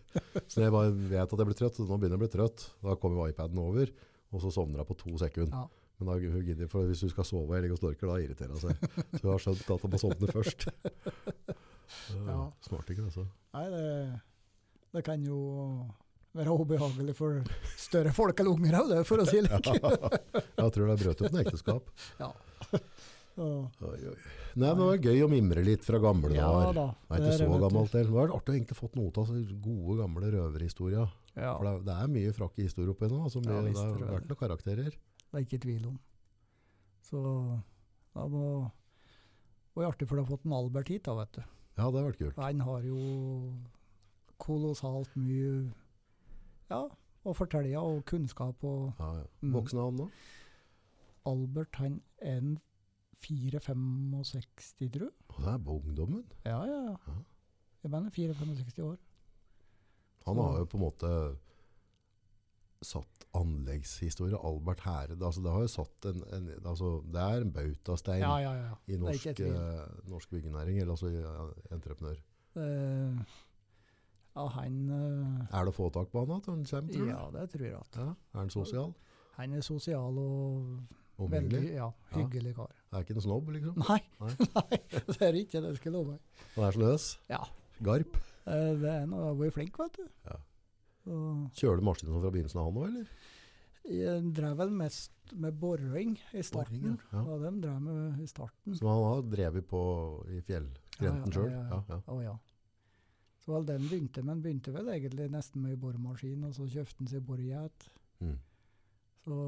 S1: Så når jeg bare vet at jeg blir trøtt, så nå begynner jeg å bli trøtt. Da kommer jo iPaden over, og så sovner jeg på to sekunder.
S2: Ja.
S1: Men da, hun gidder, for hvis hun skal sove og jeg ligger og snorker, da irriterer hun seg. Så hun har skjønt at hun må sovne først. Ja.
S2: Ja.
S1: Snart ikke, altså.
S2: Nei, det, det kan jo være ubehagelig for større folk eller unger òg, for å si det slik.
S1: Jeg tror det er brøt opp noe ekteskap.
S2: Ja. Så,
S1: Oi, oi. Nei, men det var gøy å mimre litt fra gamle dager.
S2: da.
S1: Det er ikke
S2: det,
S1: så
S2: vet du.
S1: gammelt heller. Nå er det artig å egentlig fått noe av så gode, gamle røverhistorier.
S2: Ja,
S1: For det, er- det er mye frakke historier oppi nå. Altså mye,
S2: Ja, visst,
S1: det
S2: det
S1: har
S2: er
S1: vært noen karakterer.
S2: det er ikke tvil om. Så da må Det var artig, for du har fått en Albert hit, da, vet du.
S1: Ja, det har vært kult.
S2: Og han har jo kolossalt mye ja, å fortelle og kunnskap. Og
S1: Ja, ja.
S2: Mm.
S1: Voksen er han nå?
S2: Albert, han er en 4-65, tror jeg.
S1: Å, det er på ungdommen.
S2: Ja, ja, ja.
S1: Ja.
S2: Jeg mener 4-65 år.
S1: Han
S2: Så-
S1: har jo på en måte satt anleggshistorie. Albert Herred. Altså, det, har jo satt en, en, altså, det er en bautastein
S2: Ja, ja, ja.
S1: i
S2: Det er ikke
S1: norsk,
S2: et tvil.
S1: eh, norsk byggenæring, eller altså i, eh, entreprenør.
S2: Eh, ja, han eh,
S1: Er det å få tak på han at han kommer, tror du?
S2: Ja, det tror jeg at.
S1: Ja. Er han sosial?
S2: Han er sosial og veldig
S1: Omhyggelig?
S2: ja, hyggelig kar.
S1: Er ikke en snobb, liksom?
S2: Nei,
S1: Nei.
S2: nei, det er ikke det jeg skal love deg.
S1: Han er så løs.
S2: Ja,
S1: Garp.
S2: eh, det er noe jeg har vært flink, vet du.
S1: Ja.
S2: Så-
S1: Kjører du maskinen sånn fra begynnelsen av han òg, eller?
S2: Jeg drev vel mest med boring i starten.
S1: Boring, ja. Ja.
S2: ja. dem drev med i starten.
S1: Som han har drevet på i fjellskrenten sjøl?
S2: Ja,
S1: Ja,
S2: ja, ja. Å, ja. Så vel, den begynte, men begynte vel egentlig nesten med boremaskin, og så kjøpte han seg borejeit.
S1: Mm.
S2: Så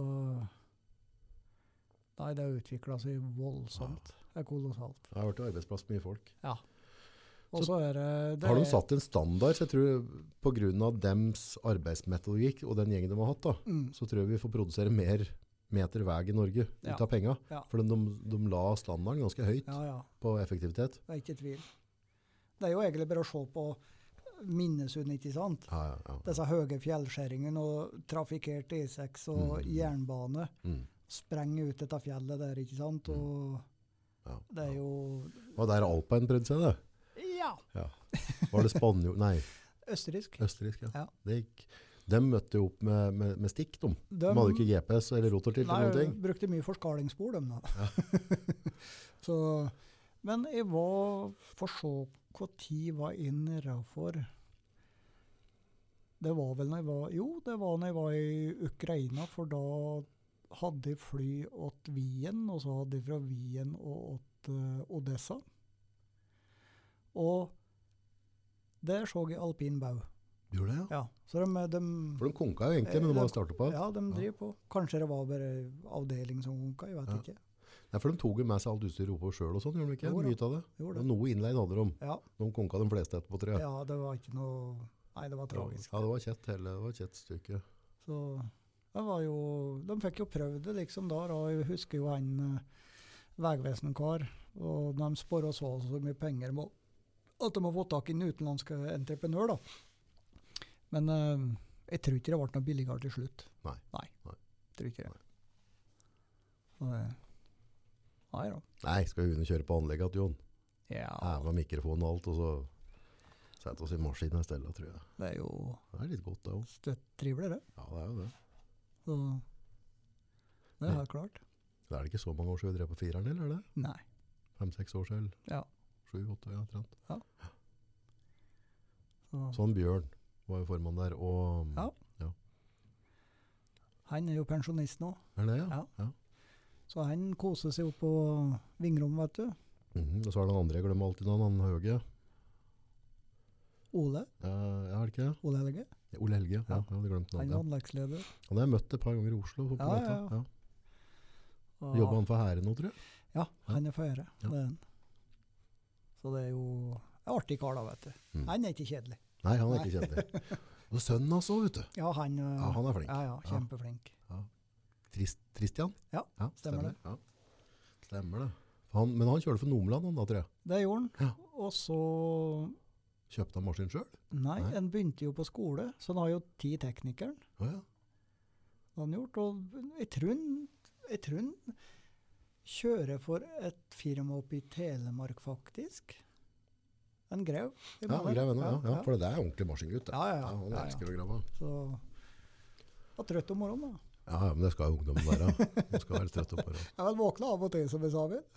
S2: Nei, det har utvikla seg voldsomt.
S1: Ah.
S2: Det er kolossalt.
S1: Jeg har vært i arbeidsplass med mye folk.
S2: Ja. Og så er det, det
S1: Har de
S2: er-
S1: satt en standard? Så jeg tror pga. dems arbeidsmetodikk og den gjengen de har hatt, da,
S2: Mm,
S1: så tror jeg vi får produsere mer meter vei i Norge
S2: Ja.
S1: ut av penga.
S2: Ja.
S1: For de, de la standarden ganske høyt
S2: ja, ja.
S1: på effektivitet.
S2: Det er ikke tvil. Det er jo egentlig bare å se på Minnesund, ikke sant?
S1: Ja, ja, ja.
S2: disse høye fjellskjæringene og trafikkert E6 og
S1: Mm.
S2: jernbane.
S1: Mm.
S2: Sprenge ut dette fjellet der, ikke sant? Og
S1: ja.
S2: det er jo
S1: Og der alpine prøvde seg, det.
S2: Ja!
S1: Var det spanjol Nei,
S2: Østerriksk.
S1: østerriksk. Ja.
S2: Ja.
S1: Det gikk. De møtte jo opp med, med, med stikk, de. De
S2: Dem-
S1: hadde jo ikke GPS eller rotortilt eller noen
S2: Nei,
S1: ting.
S2: brukte mye forskalingsspor, dem da. så, men jeg var for så hva tid var jeg nedafor Det var vel når jeg var Jo, det var når jeg var i Ukraina, for da hadde jeg fly åt Wien, og så hadde jeg fra Wien og åt eh, Odessa. Og der så jeg alpin bau.
S1: Gjorde det, ja.
S2: Ja, så de, de
S1: For de konka jo egentlig, men de
S2: Eh,
S1: hadde startet på.
S2: ja, de
S1: Ja.
S2: driver på. Kanskje det var bare avdeling som konka, jeg vet
S1: Ja.
S2: ikke.
S1: Nei, for de tok jo med seg alt utstyret oppover sjøl og sånn, gjorde de ikke?
S2: Jo da.
S1: Mye av det. Og
S2: Gjorde det.
S1: noe innleid hadde de.
S2: Ja,
S1: De konka de fleste etterpå, tror jeg.
S2: ja, det var ikke noe Nei, det var tragisk.
S1: Ja, det var kjett hele, det var kjett stykke.
S2: Så det var jo De fikk jo prøvd det liksom da, og jeg husker jo en eh, Vegvesen-kar, og de spør oss hva så mye penger de må, at de må få tak i en utenlandsk eh, entreprenør, da. Men eh, jeg tror ikke det ble noe billigere til slutt.
S1: Nei.
S2: Nei.
S1: Nei.
S2: Tror ikke det. Så det- Nei da.
S1: Nei, skal vi begynne å kjøre på anlegget at Jon?
S2: Ja,
S1: Heva mikrofonen og alt, og så sette oss i maskinen i stedet, tror jeg.
S2: det er jo
S1: Det er litt godt, det òg.
S2: støtt trivelig, det.
S1: Ja, det er jo det.
S2: Så det er helt klart.
S1: Da er det ikke så mange år siden vi drev på fireren, eller er det?
S2: Nei.
S1: Fem-seks år siden?
S2: Ja.
S1: Sju-åtte, ja, omtrent.
S2: Så.
S1: Sånn Bjørn var jo formann der, og
S2: Ja. Han er jo pensjonist nå,
S1: Er det, ja?
S2: Ja. så han koser seg oppe på Vingrom, vet du.
S1: Mhm, og så er det han andre jeg glemmer alltid, nå, han høye.
S2: Ole
S1: Eh, ja, er det ikke det?
S2: Ole Helge.
S1: Ole Helge, ja,
S2: Ja.
S1: ja. jeg hadde glemt navnet.
S2: Han er
S1: Ja.
S2: anleggsleder.
S1: Han har jeg møtt et par ganger i Oslo. så På
S2: Ja,
S1: netta,
S2: ja, ja.
S1: ja.
S2: Og-
S1: Jobber han for hæren nå, tror jeg?
S2: Ja, han er fra Øre.
S1: Ja.
S2: Det er han. Så det er jo en artig kar, da, vet du.
S1: Mm.
S2: Han er ikke kjedelig.
S1: Nei, han er ikke kjedelig. Og sønnen hans òg, vet du.
S2: Ja, han, eh,
S1: Ja, han er flink.
S2: Ja, ja,
S1: Ja.
S2: kjempeflink.
S1: Trist, Tristian?
S2: Ja, stemmer det.
S1: Ja. Stemmer det. For Han, men han kjørte for Nomeland, han da, tror jeg.
S2: Det gjorde han.
S1: Ja.
S2: Og så
S1: Kjøpte han maskin sjøl?
S2: Nei,
S1: Nei.
S2: en begynte jo på skole, så han har jo ti teknikeren.
S1: Å ja.
S2: han har gjort. Og jeg tror han, jeg tror han kjører for et firma oppe i Telemark, faktisk. En grev. jeg
S1: Ja,
S2: mener.
S1: grei venner, ja, ja. For det er ordentlig maskingutt. det.
S2: Ja, ja, ja.
S1: Ja, han
S2: Ja, ja.
S1: elsker å grave.
S2: Så var trøtt om morgenen, da.
S1: Ja, ja, men det skal jo ungdommen være. De skal være litt trøtte på det.
S2: Jeg er vel våkna av og til, som jeg sa. Vet.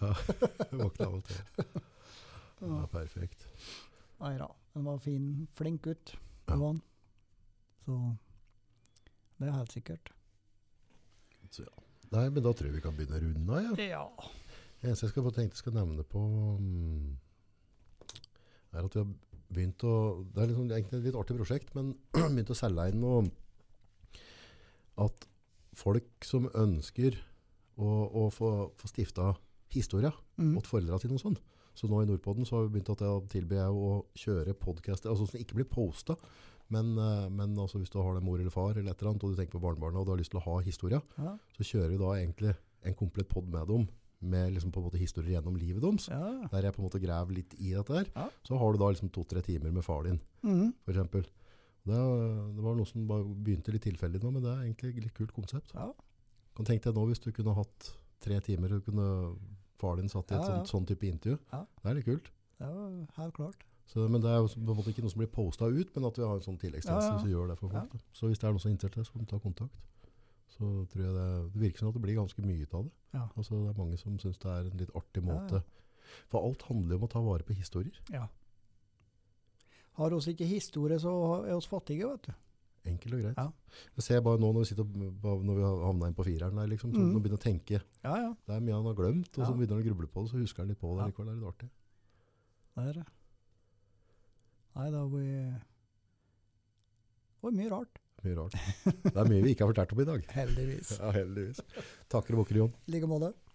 S1: Våkne av og til. Ja, perfekt.
S2: Nei da. Han var fin, flink gutt.
S1: Ja.
S2: Det var han. Så det er helt sikkert.
S1: Så, ja. Nei, men da tror jeg vi kan begynne å runde av, ja.
S2: Ja.
S1: Det eneste jeg skal bare tenkte jeg skal nevne på mm, er at vi har begynt å Det er liksom, egentlig et litt artig prosjekt, men begynt å selge inn noe At folk som ønsker å, å få, få stifta historier
S2: Mm.
S1: åt foreldra sine og sånn. Så nå i Nordpodden så har vi begynt at jeg tilbyr jeg å kjøre podcaster, altså som ikke blir postet, men, eh, men altså hvis du har det mor eller far eller et eller annet, og du tenker på barnebarna og du har lyst til å ha historier,
S2: Ja.
S1: så kjører vi da egentlig en komplett podd med dem, med liksom på en måte historier gjennom livet deres.
S2: ja.
S1: Der jeg på en måte grev litt i dette her.
S2: Ja.
S1: Så har du da liksom to-tre timer med far din,
S2: Mhm.
S1: for eksempel. Det, det var noe som bare begynte litt tilfeldig nå, men det er egentlig et litt kult konsept.
S2: ja.
S1: Kan tenke deg nå hvis du kunne hatt tre timer, du kunne far din satt i et
S2: Ja, ja.
S1: sånt, sånn type intervju.
S2: Ja.
S1: Det er litt kult.
S2: Det var helt klart.
S1: Så, men det er jo på en måte ikke noe som blir postet ut, men at vi har en sånn tilleggstjeneste
S2: Ja, ja.
S1: som gjør det for folk. da. Så hvis det er noen som er interessert, så kan du ta kontakt. Så tror jeg det, det virker som at det blir ganske mye ut av det.
S2: Ja.
S1: Altså, det er mange som syns det er en litt artig
S2: Ja,
S1: måte. For alt handler jo om å ta vare på historier.
S2: Ja. Har oss ikke historie, så er oss fattige, vet du.
S1: Enkelt og greit.
S2: Ja.
S1: Jeg ser bare nå når vi, sitter, og- når vi har havna inn på fireren der, liksom, så
S2: Mhm.
S1: nå begynner jeg å tenke.
S2: Ja, ja.
S1: Det er mye han har glemt, og så
S2: Ja.
S1: begynner han å gruble på det, så husker han litt på det
S2: Ja.
S1: likevel. Det er litt artig.
S2: Det er det. Nei, det har vært Det var mye rart.
S1: Mye rart. Det er mye vi ikke har fortalt om i dag.
S2: Heldigvis.
S1: Ja, heldigvis. Takker og bukker, Jon.
S2: I like måte.